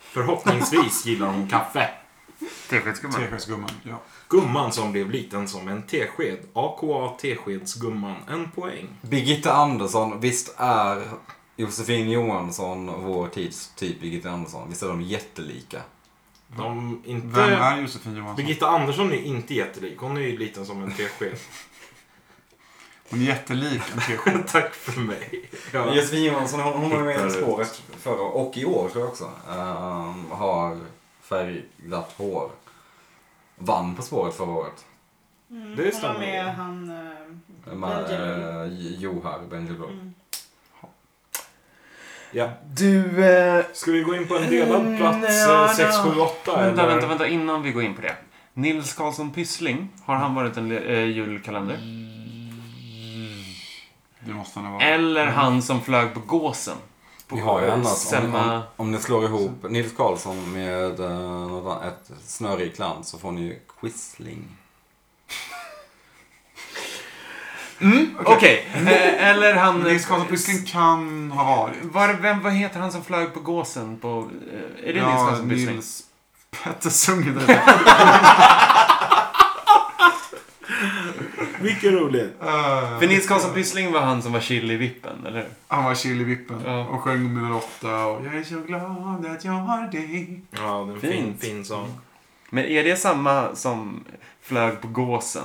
[SPEAKER 1] Förhoppningsvis gillar hon kaffe.
[SPEAKER 7] Teskedsgumman.
[SPEAKER 6] Teskedsgumman. Ja.
[SPEAKER 1] Gumman som blev liten som en tesked. AKA Teskedsgumman. En poäng.
[SPEAKER 5] Birgitta Andersson, visst är Josefin Johansson vår tids typ Birgitta Andersson? Visst är de jättelika?
[SPEAKER 1] De inte...
[SPEAKER 6] Vem är Josefin Johansson?
[SPEAKER 1] Birgitta Andersson är inte jättelik. Hon är ju liten som en tesked.
[SPEAKER 6] Hon är jättelik en
[SPEAKER 1] [LAUGHS]
[SPEAKER 6] tesked.
[SPEAKER 1] Tack för mig. Ja.
[SPEAKER 5] Josefin Johansson, hon, hon var med
[SPEAKER 1] Hittar
[SPEAKER 5] På
[SPEAKER 1] ut.
[SPEAKER 5] spåret förra och i år tror jag också. Ehm, har färgglatt hår. Vann På spåret förra året.
[SPEAKER 3] Mm,
[SPEAKER 1] Det
[SPEAKER 3] hon
[SPEAKER 1] stämmer.
[SPEAKER 3] var med han... eh,
[SPEAKER 5] Med
[SPEAKER 3] Benjamin.
[SPEAKER 5] eh, Johar Benjelloul.
[SPEAKER 3] Mm.
[SPEAKER 1] ja.
[SPEAKER 7] Du... Eh...
[SPEAKER 1] Ska vi gå in på en delad plats?
[SPEAKER 7] Nja,
[SPEAKER 1] eh, sex,
[SPEAKER 7] nja.
[SPEAKER 1] sju, åtta?
[SPEAKER 7] Vänta,
[SPEAKER 1] eller?
[SPEAKER 7] vänta, vänta, innan vi går in på det. Nils Karlsson Pyssling, har han varit en eh, julkalender?
[SPEAKER 6] Det måste han ha varit.
[SPEAKER 7] Eller han som flög på gåsen? På
[SPEAKER 5] Vi har ju annars, om, om,
[SPEAKER 7] Selma...
[SPEAKER 5] om ni slår ihop Nils Karlsson med eh, något annat- ett snörikt land så får ni ju Quisling.
[SPEAKER 7] Mm, Okej, eh, eller han...
[SPEAKER 6] Men Nils Karlsson Pyssling kan ha varit.
[SPEAKER 7] Var, vem, vad heter han som flög på gåsen på... eh, Är det Nils
[SPEAKER 6] Ja,
[SPEAKER 7] Karlsson Pyssling?
[SPEAKER 6] Nils Pettersson.
[SPEAKER 7] [LAUGHS]
[SPEAKER 6] Uh,
[SPEAKER 1] Mycket roligt.
[SPEAKER 7] För Nils Karlsson Pyssling var han som var chill i vippen, eller hur?
[SPEAKER 6] Eh, Han var chill i vippen
[SPEAKER 7] Ja.
[SPEAKER 6] och sjöng nummer åtta och jag är så glad att jag har dig.
[SPEAKER 1] Ja, det är en fin,
[SPEAKER 7] Fint.
[SPEAKER 1] fin sång.
[SPEAKER 7] Men är det samma som flög på gåsen?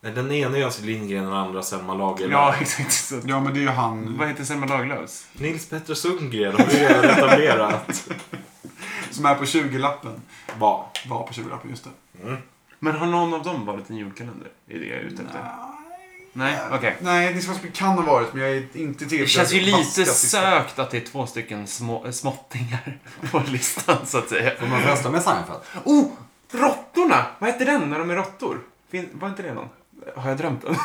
[SPEAKER 1] Nej, Den ena är Astrid Lindgren och den andra Selma Lagerlöf.
[SPEAKER 7] Ja, [LAUGHS] exakt. Så.
[SPEAKER 6] Ja, men det är ju han
[SPEAKER 7] Vad heter Selma Lagerlöfs?
[SPEAKER 1] Nils Petter Sundgren har vi redan etablerat.
[SPEAKER 6] som är på 20-lappen.
[SPEAKER 1] [LAUGHS] Va?
[SPEAKER 6] Var på 20-lappen, just det.
[SPEAKER 1] Mm.
[SPEAKER 7] Men har någon av dem varit en julkalender? Är det jag är ute efter? Nej, okej.
[SPEAKER 6] Nej, Nils Karlsson Pyssling kan ha varit, men jag är inte till.
[SPEAKER 7] Det känns ju lite
[SPEAKER 6] söt.
[SPEAKER 7] sökt att det är två stycken små, eh, småttingar [LAUGHS] på listan, så att säga.
[SPEAKER 5] Får man rösta med Seinfeld?
[SPEAKER 7] Oh! Råttorna! Vad heter den när de är råttor? Fin- Var inte det någon? Har jag drömt den?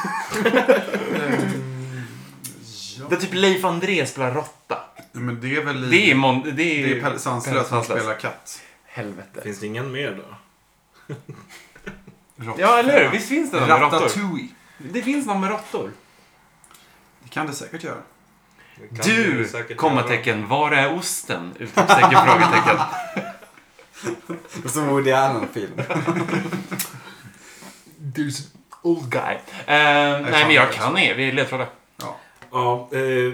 [SPEAKER 7] Mm. Där typ Leif André spelar råtta.
[SPEAKER 6] Men det är väl i...
[SPEAKER 7] Det är, mon- det är,
[SPEAKER 6] det är Pelle Sandslös som
[SPEAKER 7] Sandslös.
[SPEAKER 6] spelar katt.
[SPEAKER 7] Helvete.
[SPEAKER 1] Finns det ingen mer då?
[SPEAKER 6] Rått.
[SPEAKER 7] Ja, eller hur? Visst finns det någon med råttor?
[SPEAKER 6] Ratatouille.
[SPEAKER 7] Det finns någon med råttor.
[SPEAKER 6] Det kan det säkert göra.
[SPEAKER 1] Det kan vi
[SPEAKER 7] Du!
[SPEAKER 1] säkert göra.
[SPEAKER 7] Kommatecken. Var är osten? Utropstecken. Frågetecken.
[SPEAKER 5] Som Woody Allen-film.
[SPEAKER 7] There's an old guy. Eh, nej, men jag kan er. Vi är ledtrådar.
[SPEAKER 1] Ja, eh,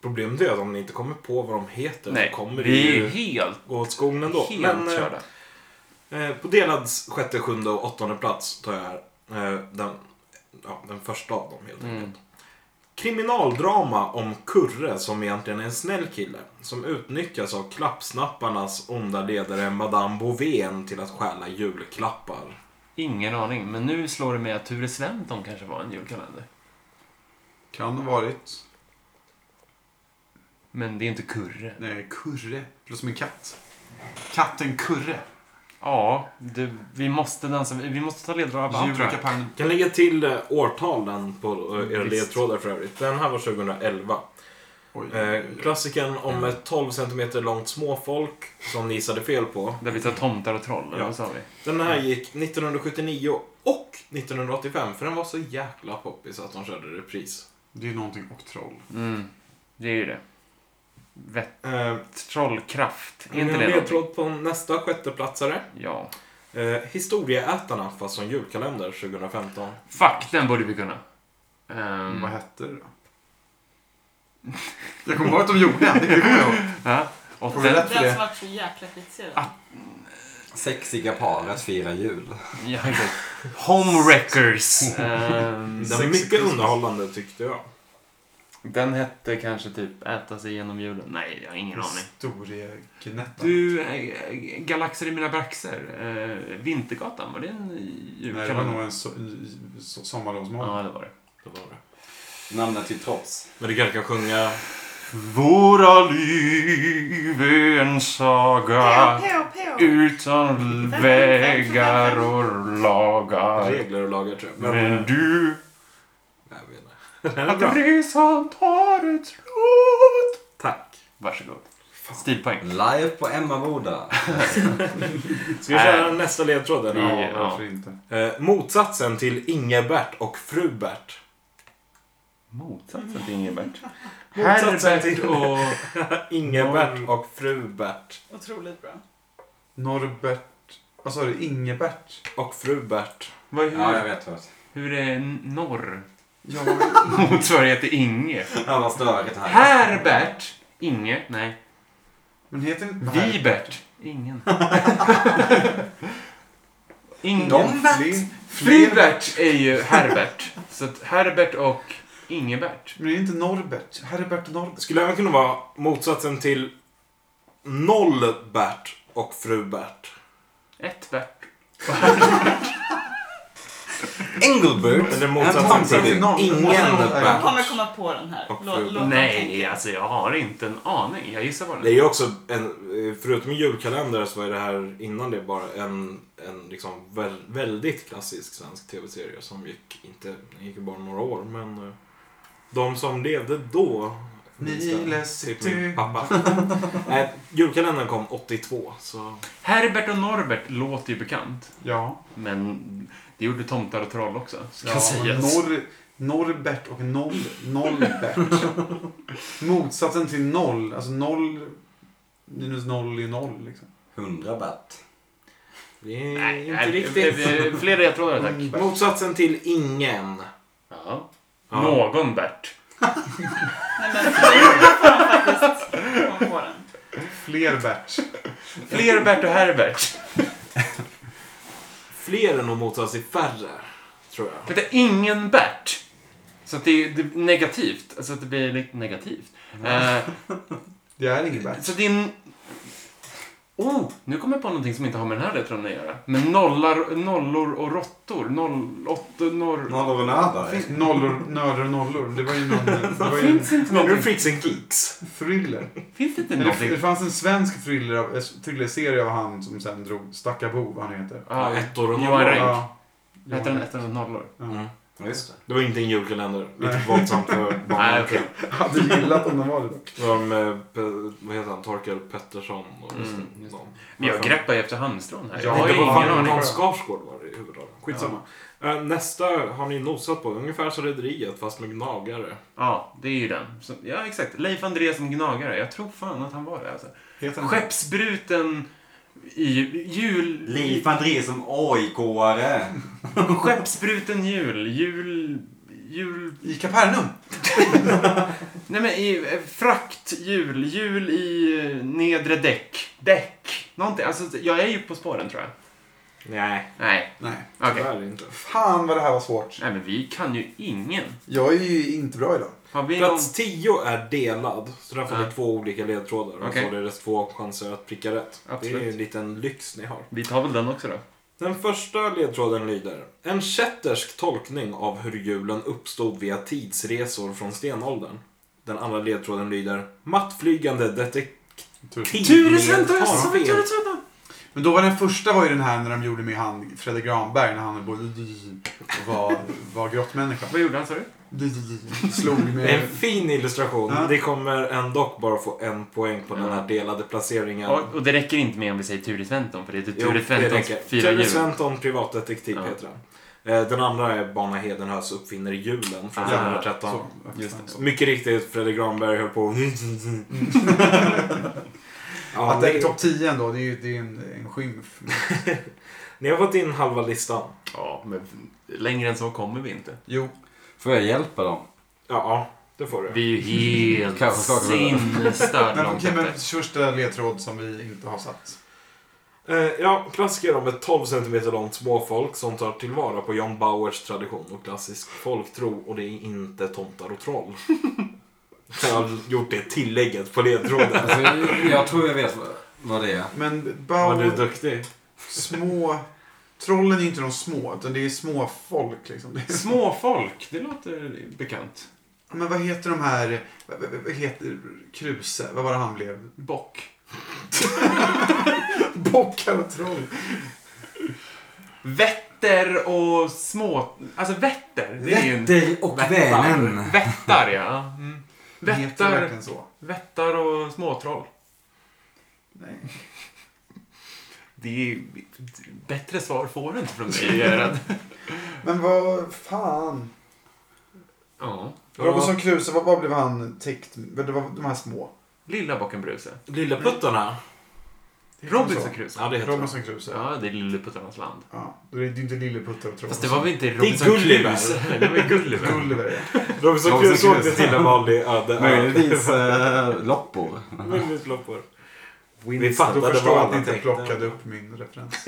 [SPEAKER 1] problemet är att om ni inte kommer på vad de heter så kommer det
[SPEAKER 7] vi är
[SPEAKER 1] ju
[SPEAKER 7] helt,
[SPEAKER 1] gå åt skogen ändå.
[SPEAKER 7] helt
[SPEAKER 1] Men eh,
[SPEAKER 7] körda.
[SPEAKER 1] eh, på delad sjätte, sjunde och åttonde plats tar jag eh, den, ja, den första av dem helt
[SPEAKER 7] Mm.
[SPEAKER 1] enkelt. Kriminaldrama om Kurre som egentligen är en snäll kille. Som utnyttjas av klappsnapparnas onda ledare Madame Bovén till att stjäla julklappar.
[SPEAKER 7] Ingen aning, men nu slår det mig att Ture Sventon kanske var en julkalender.
[SPEAKER 6] Kan ha varit.
[SPEAKER 7] Men det är inte Kurre.
[SPEAKER 6] Nej, kurre. Låter som en katt. Katten Kurre.
[SPEAKER 7] Ja, det, vi måste dansa. Vi måste ta ledtrådar på allt, tror jag.
[SPEAKER 6] Julkapanjen.
[SPEAKER 1] Jag kan lägga till eh, årtalen på eh, era
[SPEAKER 7] Mm, Visst.
[SPEAKER 1] ledtrådar för övrigt. Den här var 2011.
[SPEAKER 6] Oj.
[SPEAKER 1] Eh, klassikern om ett 12 cm långt småfolk som ni gissade fel på.
[SPEAKER 7] Där vi tar tomtar och troll, eller
[SPEAKER 1] Ja.
[SPEAKER 7] vad sa vi?
[SPEAKER 1] Den här gick 1979 och 1985 för den var så jäkla poppis att de körde repris.
[SPEAKER 6] Det är någonting och troll.
[SPEAKER 7] Mm, det är ju det. Vett,
[SPEAKER 1] Eh,
[SPEAKER 7] trollkraft, är
[SPEAKER 1] ni
[SPEAKER 7] inte
[SPEAKER 1] har
[SPEAKER 7] det någonting?
[SPEAKER 1] ledtråd på nästa sjätteplatsare.
[SPEAKER 7] Ja.
[SPEAKER 1] Eh, Historieätarna fast som julkalender 2015.
[SPEAKER 7] Mm. Fuck, den borde vi kunna. Ehm,
[SPEAKER 6] Vad hette det då? Jag kommer ihåg att de gjorde det. Det [LAUGHS] kommer jag ihåg.
[SPEAKER 7] ja. Och
[SPEAKER 6] Får vi
[SPEAKER 7] den,
[SPEAKER 6] rätt? för det.
[SPEAKER 3] Den som vart så jäkla kritiserad.
[SPEAKER 8] Sexiga paret firar jul.
[SPEAKER 7] ja, exakt.
[SPEAKER 6] [LAUGHS]
[SPEAKER 7] Homewreckers. Ehm,
[SPEAKER 1] Den var mycket underhållande tyckte jag.
[SPEAKER 7] den hette kanske typ Äta sig genom julen. Nej, jag har ingen aning.
[SPEAKER 6] Historiegnettan.
[SPEAKER 7] Du, eh, Galaxer i mina braxer. Eh, Vintergatan, var det en
[SPEAKER 6] Nej, det var nog
[SPEAKER 7] julkalender?
[SPEAKER 6] en so- en so- sommarlovsmorgon.
[SPEAKER 7] Ja, det var det.
[SPEAKER 1] Det var det.
[SPEAKER 8] Namnet till trots.
[SPEAKER 1] Men du kanske kan sjunga
[SPEAKER 7] Våra liv är en Ah, saga
[SPEAKER 3] Peo, peo, peo.
[SPEAKER 7] utan vägar och lagar.
[SPEAKER 1] regler och lagar tror jag.
[SPEAKER 7] Men du,
[SPEAKER 1] Nej, jag vet inte.
[SPEAKER 7] att resan tar ett slut.
[SPEAKER 1] Tack.
[SPEAKER 7] Varsågod. Stilpoäng.
[SPEAKER 8] Live på Emmaboda.
[SPEAKER 1] Ska vi köra nästa ledtråd? eller?
[SPEAKER 7] Äh. Ja,
[SPEAKER 6] Varför
[SPEAKER 7] ja.
[SPEAKER 6] inte?
[SPEAKER 1] Eh, motsatsen till Ingebert och Frubert.
[SPEAKER 7] Motsatsen till Ingebert.
[SPEAKER 1] Motsatsen
[SPEAKER 7] Herbert
[SPEAKER 1] till-
[SPEAKER 7] och...
[SPEAKER 1] Ingebert och Frubert.
[SPEAKER 3] Otroligt bra.
[SPEAKER 6] Norbert... Vad sa du? Ingebert?
[SPEAKER 1] Och Frubert.
[SPEAKER 7] Vad,
[SPEAKER 8] Ja, jag
[SPEAKER 7] hur,
[SPEAKER 8] vet vad.
[SPEAKER 7] hur är norr?
[SPEAKER 6] Ja,
[SPEAKER 7] Motsvarighet till Inge.
[SPEAKER 8] Ja, vad störigt det här.
[SPEAKER 7] Herbert. Inge. Nej.
[SPEAKER 6] men heter det inte
[SPEAKER 7] Vibert. Ingen. Ingen.
[SPEAKER 6] Dombert?
[SPEAKER 7] Flibert är ju Herbert. Så att Herbert och Ingebert.
[SPEAKER 6] Men det är inte Norbert. Herbert Norbert.
[SPEAKER 1] Skulle även kunna vara motsatsen till Nollbert och Frubert.
[SPEAKER 7] Ett Bert.
[SPEAKER 3] Mm.
[SPEAKER 8] Engelbert.
[SPEAKER 1] Eller
[SPEAKER 8] Han
[SPEAKER 1] motsatsen
[SPEAKER 8] tar
[SPEAKER 1] till
[SPEAKER 6] sig noll.
[SPEAKER 3] Jag
[SPEAKER 1] Ingenbert.
[SPEAKER 3] kommer komma på den här.
[SPEAKER 1] Och
[SPEAKER 3] Låt,
[SPEAKER 1] fru.
[SPEAKER 3] låt
[SPEAKER 7] Nej, alltså jag har inte en aning. Jag gissar bara
[SPEAKER 1] Det är
[SPEAKER 7] det.
[SPEAKER 1] ju också, en, eh, förutom julkalender så är det här innan det bara en, en liksom väl, väldigt klassisk svensk tv-serie som gick, inte, den gick ju bara några år, men eh, de som levde då minns den.
[SPEAKER 6] Niles
[SPEAKER 1] Typ
[SPEAKER 6] du.
[SPEAKER 1] min pappa. [LAUGHS] Nej, julkalendern kom 82, så...
[SPEAKER 7] Herbert och Norbert låter ju bekant.
[SPEAKER 6] Ja.
[SPEAKER 7] Men det gjorde Tomtar och Troll också. Ska
[SPEAKER 6] ja men
[SPEAKER 7] sägas.
[SPEAKER 6] Nor- Norbert och noll,
[SPEAKER 7] [LAUGHS]
[SPEAKER 6] Nollbert. Motsatsen till noll. Alltså noll... Minus noll är noll liksom.
[SPEAKER 8] 100 baht.
[SPEAKER 1] Det är
[SPEAKER 7] Nej,
[SPEAKER 1] inte
[SPEAKER 7] nej,
[SPEAKER 1] riktigt. Mm.
[SPEAKER 7] eh, Fler ledtrådar tack.
[SPEAKER 6] Norbert.
[SPEAKER 1] Motsatsen till ingen.
[SPEAKER 7] Ja.
[SPEAKER 1] Ja.
[SPEAKER 7] Någon Bert.
[SPEAKER 3] Nej, men jag får faktiskt komma på den.
[SPEAKER 6] Flerbert.
[SPEAKER 7] Fler Bert och Herbert.
[SPEAKER 1] Fler än och motsats till färre, tror jag.
[SPEAKER 7] Men det är ingen Bert. Så att det är, det är negativt. Alltså att det blir lite negativt. Eh,
[SPEAKER 6] Det är ingen Bert.
[SPEAKER 7] Så din... Oh, nu kommer jag på någonting som inte har med den här ledtråden att göra. Men nollar, nollor och råttor. Noll, åtta, norr...
[SPEAKER 8] Nollor och nördar.
[SPEAKER 6] Nollor, nördar och nollor. Det var ju någon...
[SPEAKER 7] [LAUGHS]
[SPEAKER 6] Det var ju
[SPEAKER 7] Finns inte
[SPEAKER 1] Men nu
[SPEAKER 7] någonting?
[SPEAKER 1] Freaks and Geeks.
[SPEAKER 6] thriller.
[SPEAKER 7] Finns det inte
[SPEAKER 6] Eller, det
[SPEAKER 7] någonting?
[SPEAKER 6] fanns en svensk thriller av, en thrillerserie av han som sen drog Stackabo, vad han heter.
[SPEAKER 7] Ja,
[SPEAKER 1] ettor och
[SPEAKER 7] Johan
[SPEAKER 1] nollor.
[SPEAKER 7] Renck.
[SPEAKER 6] Ja.
[SPEAKER 7] Heter den ettor och nollor?
[SPEAKER 6] Ja.
[SPEAKER 8] Just det.
[SPEAKER 1] Det var inte en julkalender. Lite
[SPEAKER 6] Nej.
[SPEAKER 1] våldsamt [LAUGHS] för
[SPEAKER 7] Nej,
[SPEAKER 1] barnen.
[SPEAKER 7] okej.
[SPEAKER 6] Jag hade gillat om den var det dock.
[SPEAKER 1] Det var med, Pe- vad heter han, Torkel Pettersson och
[SPEAKER 7] Mm,
[SPEAKER 1] just det.
[SPEAKER 7] just
[SPEAKER 1] de.
[SPEAKER 7] Men jag greppar ju efter halmstrån här. Jag
[SPEAKER 6] Ja,
[SPEAKER 7] har ju
[SPEAKER 1] inte
[SPEAKER 7] ingen
[SPEAKER 1] bara han,
[SPEAKER 7] aning.
[SPEAKER 1] Jan Skarsgård var det i huvudrollen. Skitsamma. Eh, Nästa har ni nosat på. Ungefär som Rederiet fast med gnagare.
[SPEAKER 7] Ja, det är ju den. Så, ja, exakt. Leif André som gnagare. Jag tror fan att han var det. Alltså.
[SPEAKER 6] Heter den
[SPEAKER 7] Skeppsbruten i jul...
[SPEAKER 8] Liv André som AIK-are.
[SPEAKER 7] Skeppsbruten jul. Jul... Jul...
[SPEAKER 6] I Kapernaum!
[SPEAKER 7] Nej men i eh, frakthjul, hjul i eh, nedre däck, däck, någonting. Alltså jag är ju på spåren tror jag.
[SPEAKER 1] Nej,
[SPEAKER 7] Nej,
[SPEAKER 6] Nej.
[SPEAKER 7] okej.
[SPEAKER 1] tyvärr inte.
[SPEAKER 4] Fan vad det här var svårt.
[SPEAKER 7] Nej, men vi kan ju ingen.
[SPEAKER 4] Jag är ju inte bra idag.
[SPEAKER 7] Har vi någon...
[SPEAKER 1] Plats 10 är delad, så där får ni
[SPEAKER 7] Ja.
[SPEAKER 1] två olika ledtrådar och
[SPEAKER 7] Okej.
[SPEAKER 1] således två chanser att pricka rätt. Det är
[SPEAKER 7] Absolut.
[SPEAKER 1] en liten lyx ni har.
[SPEAKER 7] Vi tar väl den också då.
[SPEAKER 1] Den första ledtråden lyder. En kättersk tolkning av hur julen uppstod via tidsresor från stenåldern. Den andra ledtråden lyder. Mattflygande detektiv. Tal-
[SPEAKER 6] Men då var den första var ju den här när de gjorde med han Fredrik Granberg när han både och var, var grottmänniska.
[SPEAKER 7] Vad gjorde han, sa du?
[SPEAKER 6] Slog
[SPEAKER 1] Det är en
[SPEAKER 6] med...
[SPEAKER 1] fin illustration.
[SPEAKER 6] Ja.
[SPEAKER 1] Det kommer ändå dock bara få en poäng på den här delade placeringen.
[SPEAKER 7] Och, och det räcker inte med om vi säger Ture Sventon, för det är
[SPEAKER 1] Jo,
[SPEAKER 7] Ture
[SPEAKER 1] det
[SPEAKER 7] Sventons
[SPEAKER 1] räcker.
[SPEAKER 7] fyra
[SPEAKER 1] Ture
[SPEAKER 7] jul.
[SPEAKER 1] Sventon, privatdetektiv
[SPEAKER 7] Ja.
[SPEAKER 1] heter den. Eh, Den andra är Barna Hedenhös uppfinner julen från
[SPEAKER 7] Ah,
[SPEAKER 1] 2013.
[SPEAKER 6] Så, Mm.
[SPEAKER 7] Just det. Mm.
[SPEAKER 1] Mycket riktigt, Fredrik Granberg höll på ja,
[SPEAKER 6] Att det är
[SPEAKER 1] ni,
[SPEAKER 6] topp 10 ändå, det är ju det är en, en skymf.
[SPEAKER 1] ni har fått in halva listan.
[SPEAKER 7] Ja, men längre än så kommer vi inte.
[SPEAKER 6] Jo.
[SPEAKER 5] Får jag hjälpa dem?
[SPEAKER 1] Ja, ja, det får du.
[SPEAKER 7] Vi är
[SPEAKER 1] [LAUGHS]
[SPEAKER 7] ju helt
[SPEAKER 5] Kanske skakar vi.
[SPEAKER 7] sinnesstört
[SPEAKER 6] Men
[SPEAKER 7] långt
[SPEAKER 6] okej, men
[SPEAKER 7] efter.
[SPEAKER 6] första ledtråd som vi inte har satt.
[SPEAKER 1] Eh, ja, klassiker om ett 12 cm långt småfolk som tar tillvara på John Bauers tradition och klassisk folktro och det är inte tomtar och
[SPEAKER 7] [LAUGHS]
[SPEAKER 1] troll. Jag har gjort det tillägget på ledtråden.
[SPEAKER 5] Alltså, jag, jag tror jag vet vad- vad det är.
[SPEAKER 6] Men
[SPEAKER 1] Var du
[SPEAKER 6] Bauer,
[SPEAKER 1] duktig?
[SPEAKER 6] små... Trollen är ju inte de små, utan det är små folk liksom. Det är-
[SPEAKER 7] Småfolk, det låter bekant.
[SPEAKER 6] Men vad heter de här... Vad, vad, vad heter Kruse? Vad var det han blev?
[SPEAKER 7] Bock.
[SPEAKER 6] Bockar och troll.
[SPEAKER 7] Vätter och små... Alltså vätter, det är ju en...
[SPEAKER 8] Vätter och Vänern.
[SPEAKER 7] Vättar, ja. Mm.
[SPEAKER 6] Heter det
[SPEAKER 7] Vättar,
[SPEAKER 6] verkligen så?
[SPEAKER 7] vättar och småtroll.
[SPEAKER 6] Nej.
[SPEAKER 7] Det är... Bättre svar får du inte från [LAUGHS] mig, Gerhard.
[SPEAKER 4] Men vad fan.
[SPEAKER 7] Ja.
[SPEAKER 4] Robinson Crusoe, vad, vad blev han täckt? med? Det var de här små.
[SPEAKER 7] Lilla bocken Bruse.
[SPEAKER 1] Lilleputtarna?
[SPEAKER 7] Robinson Crusoe.
[SPEAKER 1] Ja, det heter de.
[SPEAKER 6] Robinson Crusoe. Ja.
[SPEAKER 7] Ja, det är Lilleputtarnas land.
[SPEAKER 6] Då är det ju inte Lilleputtar och troll.
[SPEAKER 7] Fast det var väl inte
[SPEAKER 1] är
[SPEAKER 7] Robinson
[SPEAKER 1] Gulliver.
[SPEAKER 7] Crusoe? [LAUGHS] Det var ju Gulliver.
[SPEAKER 6] Gulliver. ja.
[SPEAKER 1] Robinson
[SPEAKER 5] Robinson
[SPEAKER 1] Crusoe åkte
[SPEAKER 5] Crusoe.
[SPEAKER 1] till en vanlig öde ö.
[SPEAKER 8] Möjligtvis eh, loppor.
[SPEAKER 1] Möjligtvis loppor.
[SPEAKER 8] Winston.
[SPEAKER 1] fattade
[SPEAKER 6] Då förstår
[SPEAKER 1] vad
[SPEAKER 6] jag att
[SPEAKER 1] alla
[SPEAKER 6] ni inte
[SPEAKER 1] tänkte.
[SPEAKER 6] plockade upp
[SPEAKER 7] Mm.
[SPEAKER 6] min
[SPEAKER 7] [LAUGHS]
[SPEAKER 6] referens.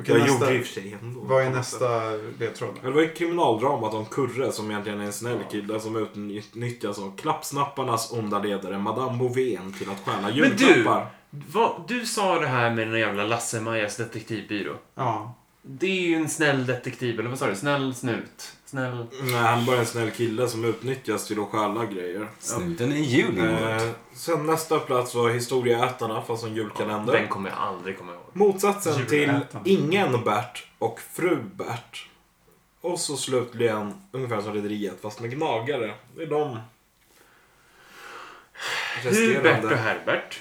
[SPEAKER 6] Okej,
[SPEAKER 1] Jag
[SPEAKER 6] nästa.
[SPEAKER 1] gjorde i och för sig ändå.
[SPEAKER 6] Vad är nästa ledtråd?
[SPEAKER 1] Ja, Det var ett kriminaldramat om Kurre som egentligen är en snäll kille som utnyttjas av klappsnapparnas onda ledare Madame Bovén till att stjäla
[SPEAKER 7] du!
[SPEAKER 1] julklappar.
[SPEAKER 7] Vad, du sa det här med den jävla Lasse-Majas detektivbyrå.
[SPEAKER 6] Ja.
[SPEAKER 7] Det är ju en snäll detektiv, eller vad sa du? Snäll snut. Snäll...
[SPEAKER 1] Nej, han bara är en snäll kille som utnyttjas till att stjäla grejer.
[SPEAKER 5] Snuten är julen.
[SPEAKER 1] Eh, sen nästa plats var Historieätarna fast som julkalender.
[SPEAKER 7] Den kommer jag aldrig komma ihåg.
[SPEAKER 1] Motsatsen till
[SPEAKER 6] Julätarna.
[SPEAKER 1] Ingen Bert och Fru Bert. Och så slutligen ungefär som Rederiet fast med gnagare. Det är de
[SPEAKER 7] Hubert och
[SPEAKER 1] resterande.
[SPEAKER 7] Herbert.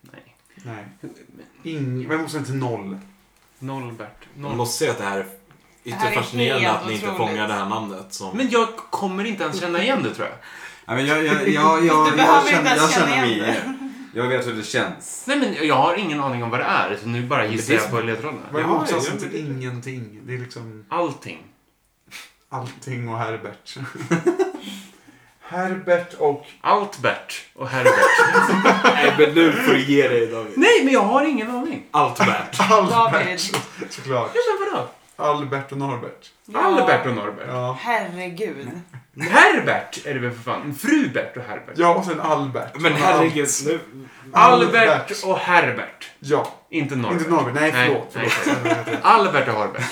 [SPEAKER 7] Nej.
[SPEAKER 6] Nej. Ing... Vem måste till noll?
[SPEAKER 7] Nollbert.
[SPEAKER 1] Man
[SPEAKER 7] Noll...
[SPEAKER 1] måste säga att det här är
[SPEAKER 3] här
[SPEAKER 1] ytterst
[SPEAKER 3] är
[SPEAKER 1] fascinerande
[SPEAKER 3] helt
[SPEAKER 1] att ni inte
[SPEAKER 3] otroligt.
[SPEAKER 1] fångar det här namnet. Som...
[SPEAKER 7] Men jag kommer inte ens känna igen det, tror jag.
[SPEAKER 8] Nej, men jag, jag, jag, jag, jag,
[SPEAKER 3] behöver inte
[SPEAKER 8] känner,
[SPEAKER 3] ens
[SPEAKER 8] jag
[SPEAKER 3] känna
[SPEAKER 8] känner mig
[SPEAKER 3] igen
[SPEAKER 8] i det. Jag vet hur det känns.
[SPEAKER 7] Nej, men jag har ingen aning om vad det är, så nu bara gissar jag på ledtrådarna.
[SPEAKER 6] Vad är
[SPEAKER 1] Ja,
[SPEAKER 6] motsatsen
[SPEAKER 1] jag-
[SPEAKER 6] till ingenting? Det är liksom
[SPEAKER 7] Allting.
[SPEAKER 6] allting och [LAUGHS] Herbert. Herbert och...
[SPEAKER 7] Altbert och Herbert.
[SPEAKER 1] Nej, men nu får du ge dig David.
[SPEAKER 7] Nej, men jag har ingen aning.
[SPEAKER 1] Allt värt.
[SPEAKER 6] Albert,
[SPEAKER 3] David.
[SPEAKER 6] såklart.
[SPEAKER 7] Jag känner vadå?
[SPEAKER 6] Albert och Norbert.
[SPEAKER 7] Albert och Norbert.
[SPEAKER 6] Ja.
[SPEAKER 3] Herregud.
[SPEAKER 7] Herbert är det väl för fan? Frubert och Herbert.
[SPEAKER 6] Ja, och sen Albert.
[SPEAKER 1] Men herregud, nu...
[SPEAKER 7] Albert och Herbert.
[SPEAKER 6] Ja.
[SPEAKER 7] Inte Norbert.
[SPEAKER 6] Inte Norbert. Nej, förlåt.
[SPEAKER 7] Nej,
[SPEAKER 6] förlåt.
[SPEAKER 7] nej. Albert och Herbert.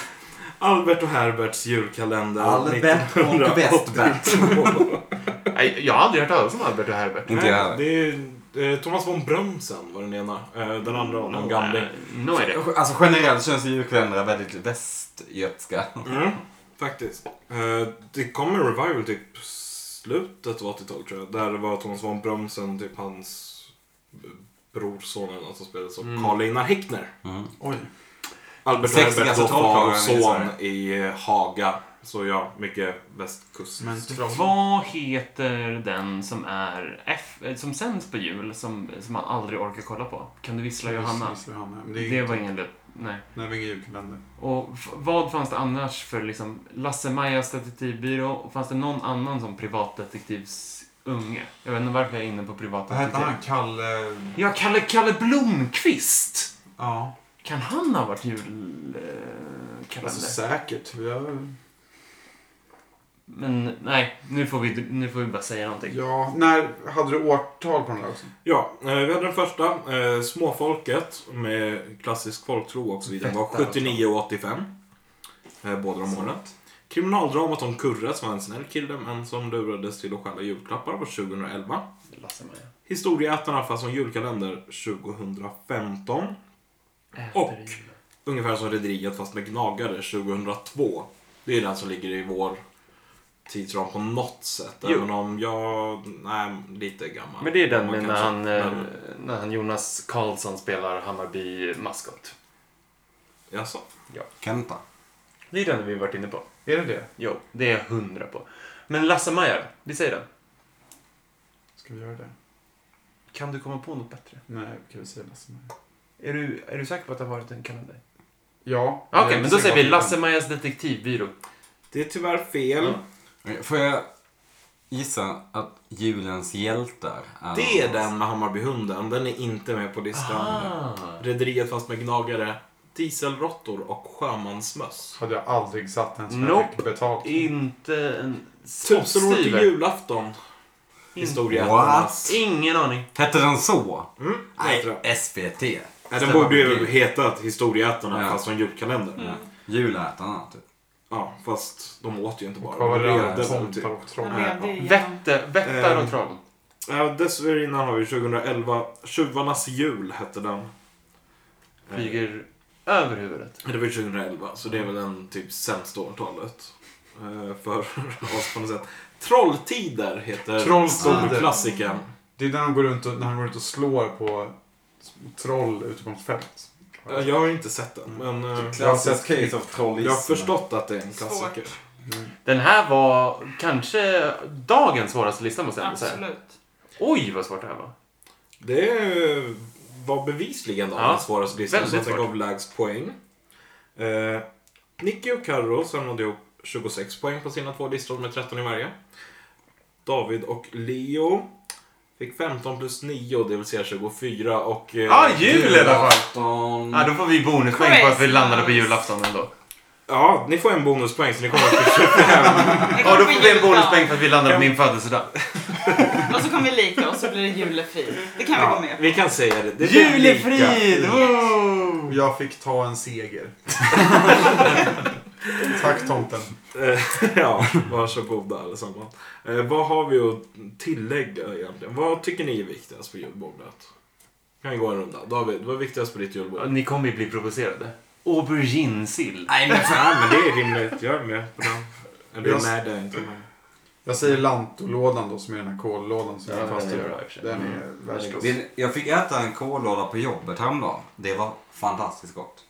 [SPEAKER 1] Albert och Herberts julkalender.
[SPEAKER 8] Albert och
[SPEAKER 1] 1982. [LAUGHS]
[SPEAKER 8] Westbert.
[SPEAKER 7] Nej, jag har aldrig hört talas om Albert och Herbert.
[SPEAKER 5] Inte jag
[SPEAKER 1] Nej,
[SPEAKER 5] heller.
[SPEAKER 1] Det är eh, Thomas von Brömsen var den ena. Eh, Den andra var någon gamling.
[SPEAKER 7] No är
[SPEAKER 8] Eh,
[SPEAKER 7] det.
[SPEAKER 5] Alltså generellt känns julkalendrar väldigt västgötska.
[SPEAKER 1] Mm, faktiskt. Eh, det kom en revival typ slutet av 80-talet tror jag. Där det var Thomas von Brömsen, typ hans brorson eller något som spelades av
[SPEAKER 7] Mm.
[SPEAKER 1] Carl Einar Häckner.
[SPEAKER 5] Mm.
[SPEAKER 6] Oj.
[SPEAKER 1] Albert och
[SPEAKER 5] Sexigaste
[SPEAKER 1] Herbert då far och
[SPEAKER 5] trollkarlen i
[SPEAKER 1] son i eh, Haga. Så ja, mycket västkust.
[SPEAKER 6] Men troll.
[SPEAKER 7] Vad heter den som är F, eh, som sänds på jul som, som man aldrig orkar kolla på? Kan du vissla Johanna?
[SPEAKER 6] Visst, Johanna. Men det, är
[SPEAKER 7] Det
[SPEAKER 6] inget-
[SPEAKER 7] var ingen löp. Nej.
[SPEAKER 6] Nej, det var ingen julkalender.
[SPEAKER 7] Och f- vad fanns det annars för liksom Lasse-Majas detektivbyrå? Och fanns det någon annan som privatdetektivsunge? Jag vet inte varför jag är inne på
[SPEAKER 6] Vad hette
[SPEAKER 7] privatdetektiv.
[SPEAKER 6] han? Kalle...
[SPEAKER 7] Ja, Kalle, Kalle Blomqvist!
[SPEAKER 6] Ja.
[SPEAKER 2] Kan han ha varit julkalender?
[SPEAKER 6] Alltså säkert. Jag,
[SPEAKER 2] Men nej, nu får, vi, nu får vi bara säga någonting.
[SPEAKER 6] ja, när hade du årtal på den där också?
[SPEAKER 1] Ja, eh, vi hade den första, eh, Småfolket, med klassisk folktro och så vidare. Den var
[SPEAKER 7] alltså.
[SPEAKER 1] 79 och 85. Eh, båda de åren. Kriminaldramat om Kurre, som var en snäll kille, men som lurades till att stjäla julklappar, var 2011.
[SPEAKER 2] Lasse-Maja.
[SPEAKER 1] Historieätarna, fast som julkalender, 2015.
[SPEAKER 2] Äter
[SPEAKER 1] Och-
[SPEAKER 2] jul.
[SPEAKER 1] Ungefär som Rederiet, fast med gnagare, 2002. Det är den som ligger i vår tidsram på något sätt.
[SPEAKER 7] Jo.
[SPEAKER 1] Även om jag... Nej, lite gammal.
[SPEAKER 7] Men det är den
[SPEAKER 1] Man
[SPEAKER 7] med när
[SPEAKER 1] kanske-
[SPEAKER 7] han, eh,
[SPEAKER 1] men-
[SPEAKER 7] när han Jonas Karlsson spelar Hammarby maskot.
[SPEAKER 1] Jaså?
[SPEAKER 5] Kenta.
[SPEAKER 7] Det är den vi varit inne på.
[SPEAKER 6] Är det det?
[SPEAKER 7] Jo, det är jag hundra på. Men Lasse-Maja då? Vi säger den.
[SPEAKER 6] Ska vi göra det?
[SPEAKER 7] Kan du komma på något bättre?
[SPEAKER 6] Nej, kan vi säga Lasse Maja?
[SPEAKER 7] Är du, är du säker på att det har varit en kalender?
[SPEAKER 6] Ja. Jag
[SPEAKER 7] Okej,
[SPEAKER 6] är
[SPEAKER 7] men
[SPEAKER 6] inte
[SPEAKER 7] då
[SPEAKER 6] säker
[SPEAKER 7] säger
[SPEAKER 6] på
[SPEAKER 7] vi
[SPEAKER 6] att-
[SPEAKER 7] Lasse-Majas detektivbyrå.
[SPEAKER 1] Det är tyvärr fel.
[SPEAKER 7] Ja.
[SPEAKER 5] Okej, Får jag gissa att julens hjältar är...
[SPEAKER 1] Det är den med Hammarbyhunden. Den är inte med på listan. Rederiet fast med gnagare, dieselråttor och sjömansmöss.
[SPEAKER 6] Hade jag aldrig satt en som
[SPEAKER 7] Nope.
[SPEAKER 6] jag fick betalt för.
[SPEAKER 7] Inte en
[SPEAKER 1] Tusen år till
[SPEAKER 7] spottstyver.
[SPEAKER 1] julafton. Historieätarnas.
[SPEAKER 5] What?
[SPEAKER 7] Ingen aning.
[SPEAKER 5] Hette den så?
[SPEAKER 1] Mm, det heter den.
[SPEAKER 5] Nej, SVT.
[SPEAKER 1] Nej, den borde ju hetat Historieätarna
[SPEAKER 5] Ja.
[SPEAKER 1] fast som julkalender.
[SPEAKER 5] Ja. Julätarna, typ.
[SPEAKER 1] Ja, fast de åt ju inte bara.
[SPEAKER 6] Vad var det
[SPEAKER 1] De
[SPEAKER 6] där?
[SPEAKER 1] levde
[SPEAKER 6] Tomtar
[SPEAKER 1] typ.
[SPEAKER 6] och troll.
[SPEAKER 3] Han levde igenom.
[SPEAKER 7] Vätte, vättar
[SPEAKER 1] Ehm.
[SPEAKER 7] och troll.
[SPEAKER 1] Ja, Dessförinnan har vi 2011. Tjuvarnas jul hette den. Eh,
[SPEAKER 7] Flyger över huvudet.
[SPEAKER 1] Det var ju 2011, så det är väl den typ sämsta årtalet. eh, För [LAUGHS] oss på något sätt. Trolltider heter
[SPEAKER 6] Trolltider.
[SPEAKER 1] storklassikern.
[SPEAKER 6] Det är när de går runt och, när han går runt och slår på små troll ute på ett fält.
[SPEAKER 1] Eh, Jag har ju inte sett den, men eh,
[SPEAKER 6] Jag har sett-
[SPEAKER 8] Klassisk case
[SPEAKER 5] typ-
[SPEAKER 8] of trollism.
[SPEAKER 1] jag har förstått att det är en klassiker.
[SPEAKER 7] Den här var kanske dagens svåraste lista måste jag ändå säga.
[SPEAKER 3] Absolut.
[SPEAKER 7] Oj vad svårt det här var.
[SPEAKER 1] Det eh, var bevisligen
[SPEAKER 7] Ja,
[SPEAKER 1] den svåraste listan, så
[SPEAKER 7] väldigt
[SPEAKER 1] att den
[SPEAKER 7] svårt.
[SPEAKER 1] gav lägst poäng. Eh, Nicky och Carro samlade ihop 26 poäng på sina två listor med 13 i varje. David och Leo fick 15 plus 9, det vill säga 24. Och, eh,
[SPEAKER 7] ah, jul i alla fall!
[SPEAKER 5] Julafton.
[SPEAKER 7] Ja, då får vi bonuspoäng på att vi
[SPEAKER 3] Christmas.
[SPEAKER 7] landade på julafton ändå.
[SPEAKER 1] Ja, ni får en bonuspoäng så ni kommer upp till 20.
[SPEAKER 7] [LAUGHS] [LAUGHS] Ja, då får vi en bonuspoäng för att vi landade på min födelsedag.
[SPEAKER 3] Och så kommer vi lika och så blir det julefrid. Det kan vi gå
[SPEAKER 1] ja,
[SPEAKER 3] med på.
[SPEAKER 1] Vi kan säga det. det blir
[SPEAKER 7] Jul är
[SPEAKER 1] lika.
[SPEAKER 7] frid! Wow!
[SPEAKER 6] Mm. Jag fick ta en
[SPEAKER 7] [LAUGHS]
[SPEAKER 6] seger. Tack tomten.
[SPEAKER 1] Eh, ja, varsågoda allesammans. Eh, vad har vi att tillägga egentligen? Vad tycker ni är viktigast på julbordet? Kan vi gå en runda? David, vad är viktigast på ditt
[SPEAKER 7] Ja,
[SPEAKER 1] julbord?
[SPEAKER 7] Ni kommer ju bli provocerade. Auberginesill.
[SPEAKER 1] Nej men fan, men det är rimligt. Jag är med på den. Eller
[SPEAKER 6] Jag-
[SPEAKER 1] nej, det är jag inte. men-
[SPEAKER 6] Jag säger lantolådan då som är den här kollådan som
[SPEAKER 7] Ja,
[SPEAKER 6] jag
[SPEAKER 7] den
[SPEAKER 6] fast
[SPEAKER 7] är
[SPEAKER 6] i.
[SPEAKER 7] bra i och för sig. Mm.
[SPEAKER 6] Den är världsklass.
[SPEAKER 5] Vill- Jag fick äta en kollåda på jobbet häromdagen. Det var fantastiskt gott.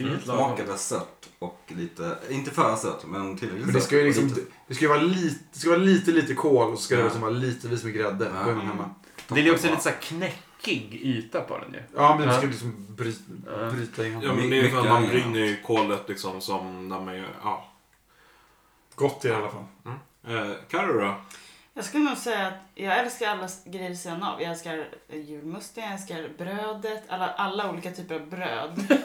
[SPEAKER 7] Mm.
[SPEAKER 5] Smakade sött och lite, inte för sött, men tillräckligt
[SPEAKER 6] Men det ska ju
[SPEAKER 5] sött och
[SPEAKER 6] liksom,
[SPEAKER 5] lite-
[SPEAKER 6] det ska ju vara lite, det ska vara lite, lite kol och så ska det
[SPEAKER 5] Ja.
[SPEAKER 6] liksom vara lite vis med grädde.
[SPEAKER 5] Ja.
[SPEAKER 6] Då är man hemma.
[SPEAKER 7] Det är ju också lite så här knäckig yta på den ju.
[SPEAKER 6] Ja, men det
[SPEAKER 7] Ja.
[SPEAKER 6] ska liksom bryta,
[SPEAKER 7] Ja.
[SPEAKER 6] bryta igenom.
[SPEAKER 1] Ja, men det är ju för att
[SPEAKER 5] Mycket
[SPEAKER 1] man
[SPEAKER 5] annat.
[SPEAKER 1] bryner ju kolet liksom som när man gör... Ja.
[SPEAKER 6] Gott i alla fall.
[SPEAKER 1] Eh, Carro då?
[SPEAKER 3] Jag skulle nog säga att jag älskar alla grejer vid sidan av. Jag älskar julmusten, jag älskar brödet, alla, alla olika typer av bröd.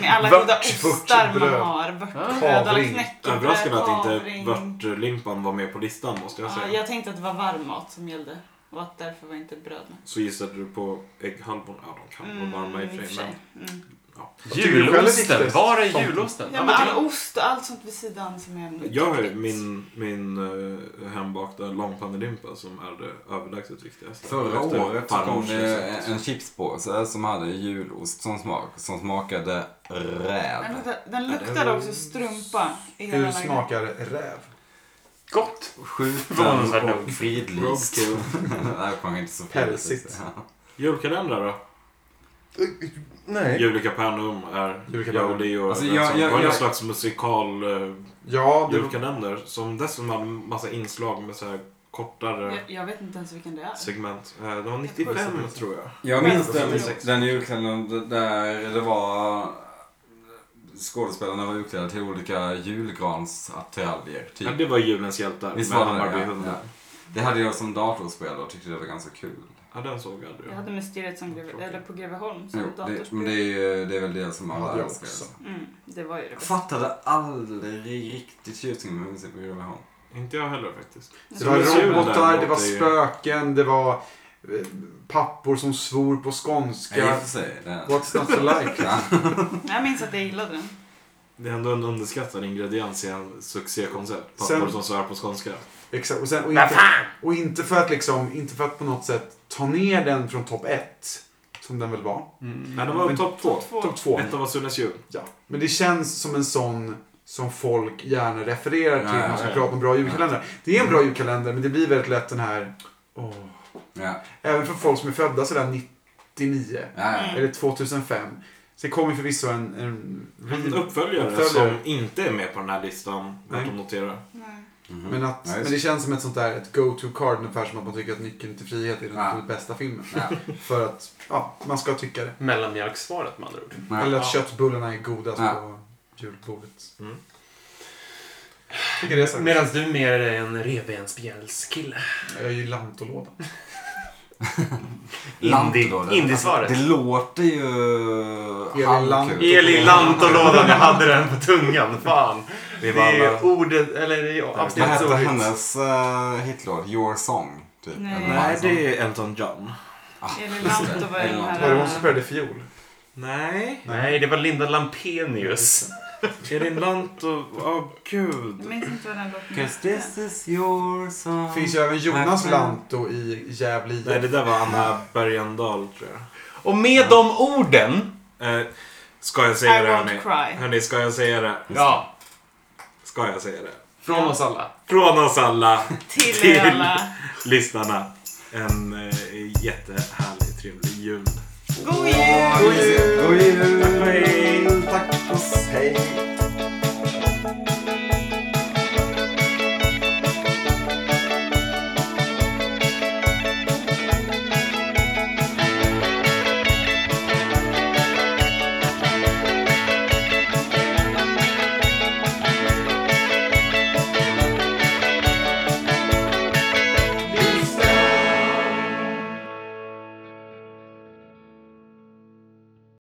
[SPEAKER 3] Med alla goda ostar man
[SPEAKER 6] vörtbröd.
[SPEAKER 3] har. Vörtbröd, alla
[SPEAKER 6] Kavring.
[SPEAKER 1] Typ
[SPEAKER 3] knäckebröd,
[SPEAKER 1] Överraskande att inte
[SPEAKER 3] kavring.
[SPEAKER 1] vörtlimpan var med på listan måste jag
[SPEAKER 3] Ja,
[SPEAKER 1] säga.
[SPEAKER 3] jag tänkte att det var varm mat som gällde och att därför var inte bröd med.
[SPEAKER 1] Så gissade du på ägghalvorna. Ja, de kan vara varma i och för sig. Men...
[SPEAKER 3] Mm.
[SPEAKER 6] tycker du själv är
[SPEAKER 7] Julosten.
[SPEAKER 6] viktigast?
[SPEAKER 7] Var är
[SPEAKER 6] Tomten.
[SPEAKER 7] julosten?
[SPEAKER 3] Ja, men all ost och allt sånt vid sidan som är nyttigt.
[SPEAKER 1] Jag har ju min, min eh, hembakta långpannelimpa som är det överlägset viktigaste.
[SPEAKER 5] Förra
[SPEAKER 1] Efter liksom.
[SPEAKER 5] året så kom
[SPEAKER 1] farmors
[SPEAKER 5] det
[SPEAKER 1] recept.
[SPEAKER 5] en chipspåse som hade julost som smak, som smakade
[SPEAKER 3] Den
[SPEAKER 5] räv.
[SPEAKER 3] luktar- Den luktade också strumpa i hela
[SPEAKER 6] Hur
[SPEAKER 3] den här grejen.
[SPEAKER 6] smakar räv?
[SPEAKER 7] Gott.
[SPEAKER 5] Skjuten
[SPEAKER 7] Förvånansvärt nog.
[SPEAKER 5] och fridlyst.
[SPEAKER 1] Roadkill.
[SPEAKER 5] Nej, [LAUGHS] jag sjöng inte så
[SPEAKER 6] Pälsigt.
[SPEAKER 1] Julkalendrar då?
[SPEAKER 7] Nej.
[SPEAKER 1] Julika Pärnum är
[SPEAKER 6] Julika
[SPEAKER 1] jag och
[SPEAKER 6] Pärnum.
[SPEAKER 1] Leo
[SPEAKER 5] Alltså,
[SPEAKER 1] överens
[SPEAKER 5] jag-
[SPEAKER 1] om.
[SPEAKER 5] jag-
[SPEAKER 1] Det var någon
[SPEAKER 5] jag-
[SPEAKER 1] slags musikal eh,
[SPEAKER 6] Ja, det,
[SPEAKER 1] julkalender som dessutom hade massa inslag med så här kortare
[SPEAKER 3] Jag, jag vet inte ens vilken det är.
[SPEAKER 1] segment. Eh, det var 95 tror jag.
[SPEAKER 5] Jag
[SPEAKER 3] Men-
[SPEAKER 5] minns den, den julkalendern där det var skådespelarna var utklädda till olika julgransattiraljer.
[SPEAKER 1] Ja,
[SPEAKER 5] Typ.
[SPEAKER 1] det var Julens hjältar
[SPEAKER 5] Visst
[SPEAKER 1] med
[SPEAKER 5] var det det, ja.
[SPEAKER 1] Hammarbyhunden.
[SPEAKER 5] Det hade jag som datorspel och tyckte det var ganska kul.
[SPEAKER 1] Ja, den såg jag aldrig.
[SPEAKER 3] Jag hade mysteriet som greve, eller på Greveholm som
[SPEAKER 5] Jo, det, men
[SPEAKER 3] datorspel.
[SPEAKER 5] det är, ju, det är väl det som alla
[SPEAKER 6] Hade jag
[SPEAKER 5] älskar.
[SPEAKER 6] också.
[SPEAKER 3] Mm, det var ju det
[SPEAKER 5] Jag
[SPEAKER 3] bästa.
[SPEAKER 5] fattade aldrig riktigt tjusningen med huset på Greveholm.
[SPEAKER 1] Inte jag heller faktiskt.
[SPEAKER 6] Det
[SPEAKER 1] Som
[SPEAKER 6] var
[SPEAKER 1] en tjur
[SPEAKER 6] robotar,
[SPEAKER 1] däremot
[SPEAKER 6] det var
[SPEAKER 1] är ju-
[SPEAKER 6] spöken, det var eh, pappor som svor på
[SPEAKER 5] Nej, i och
[SPEAKER 6] skånska.
[SPEAKER 5] för sig. Det
[SPEAKER 6] What's not to like?
[SPEAKER 5] Ja.
[SPEAKER 3] Jag minns att jag gillade den.
[SPEAKER 1] Det är ändå en underskattad ingrediens i en succékoncept. Pappor
[SPEAKER 6] Sen-
[SPEAKER 1] som svär på skånska.
[SPEAKER 6] Exakt. Och, sen, och, inte, och inte för att liksom, inte för att på något sätt ta ner den från topp ett. Som den väl var.
[SPEAKER 7] Mm.
[SPEAKER 1] Nej, det var
[SPEAKER 6] Men-
[SPEAKER 1] topp två.
[SPEAKER 6] Topp två.
[SPEAKER 1] Ett av Sunnes jul.
[SPEAKER 6] Ja. Men det känns som en sån som folk gärna refererar till
[SPEAKER 5] Ja,
[SPEAKER 6] när man ska
[SPEAKER 1] ja,
[SPEAKER 6] prata om bra julkalendrar. Det är en bra julkalender men det blir väldigt lätt den här... Åh.
[SPEAKER 5] Ja.
[SPEAKER 6] Även för folk som är födda sådär 99
[SPEAKER 5] Ja,
[SPEAKER 3] Mm.
[SPEAKER 5] ja.
[SPEAKER 6] eller 2005. Sen kommer förvisso en... en,
[SPEAKER 1] En
[SPEAKER 6] re-
[SPEAKER 1] Mm. uppföljare,
[SPEAKER 6] Uppföljare.
[SPEAKER 1] som inte är med på den här listan. Värt
[SPEAKER 6] Nej.
[SPEAKER 1] att notera.
[SPEAKER 3] Nej.
[SPEAKER 5] Mhm.
[SPEAKER 6] Men, att,
[SPEAKER 5] Ja, just
[SPEAKER 6] men det känns som ett sånt där ett go-to-card ungefär som att man tycker att Nyckeln till frihet är den
[SPEAKER 5] Ja.
[SPEAKER 6] absolut bästa filmen.
[SPEAKER 5] Ja.
[SPEAKER 6] För att ja, man ska tycka det.
[SPEAKER 7] Mellanmjölksvaret med andra ord.
[SPEAKER 5] Ja.
[SPEAKER 6] [LAUGHS] Eller att köttbullarna är godast
[SPEAKER 5] Ja.
[SPEAKER 6] på julbordet.
[SPEAKER 1] Mm.
[SPEAKER 6] Tycker det är sagt.
[SPEAKER 7] Medan du mer är en revbensspjälskille.
[SPEAKER 6] Jag är ju lantolåda.
[SPEAKER 5] Lantolådan.
[SPEAKER 7] Indiesvaret.
[SPEAKER 5] Det låter ju
[SPEAKER 6] Eli Lant-
[SPEAKER 5] halvkul.
[SPEAKER 7] Eli Lantolådan, jag hade den på tungan. Fan.
[SPEAKER 5] Det
[SPEAKER 7] Det
[SPEAKER 5] var
[SPEAKER 7] är
[SPEAKER 5] alla-
[SPEAKER 7] ordet, eller det är
[SPEAKER 5] Vad
[SPEAKER 7] avsnittets
[SPEAKER 5] hette
[SPEAKER 7] ordvits.
[SPEAKER 5] hennes uh, hitlåt? Your Song? Typ.
[SPEAKER 3] Nej.
[SPEAKER 5] Eller
[SPEAKER 3] Nej,
[SPEAKER 5] My Song.
[SPEAKER 1] är Elton John.
[SPEAKER 3] Elin
[SPEAKER 5] just det.
[SPEAKER 3] Lantto var ju
[SPEAKER 5] Elin
[SPEAKER 3] den
[SPEAKER 5] Lantto.
[SPEAKER 6] Var det hon som
[SPEAKER 3] här...
[SPEAKER 6] spelade fiol?
[SPEAKER 1] Nej.
[SPEAKER 7] Nej, det var Linda Lampenius.
[SPEAKER 1] Elin Lanto... Åh, gud.
[SPEAKER 3] Jag minns inte vad den låten
[SPEAKER 5] Cause this is your song.
[SPEAKER 6] Finns ju även Jonas Lanto i Gävle IF.
[SPEAKER 1] Nej, det där var Anna Bergendahl, tror jag.
[SPEAKER 7] Och med de orden.
[SPEAKER 1] Eh, ska jag
[SPEAKER 3] I
[SPEAKER 1] säga det,
[SPEAKER 3] won't
[SPEAKER 1] hörni?
[SPEAKER 3] cry.
[SPEAKER 1] Hörni, ska jag säga det?
[SPEAKER 7] Ja,
[SPEAKER 1] Ska jag säga det?
[SPEAKER 7] från oss alla.
[SPEAKER 1] Från oss alla [LAUGHS]
[SPEAKER 3] Till
[SPEAKER 1] Till-
[SPEAKER 3] er alla.
[SPEAKER 1] lyssnarna. En eh, jättehärlig, trevlig jul.
[SPEAKER 3] God jul!
[SPEAKER 8] God jul! Tack och hej!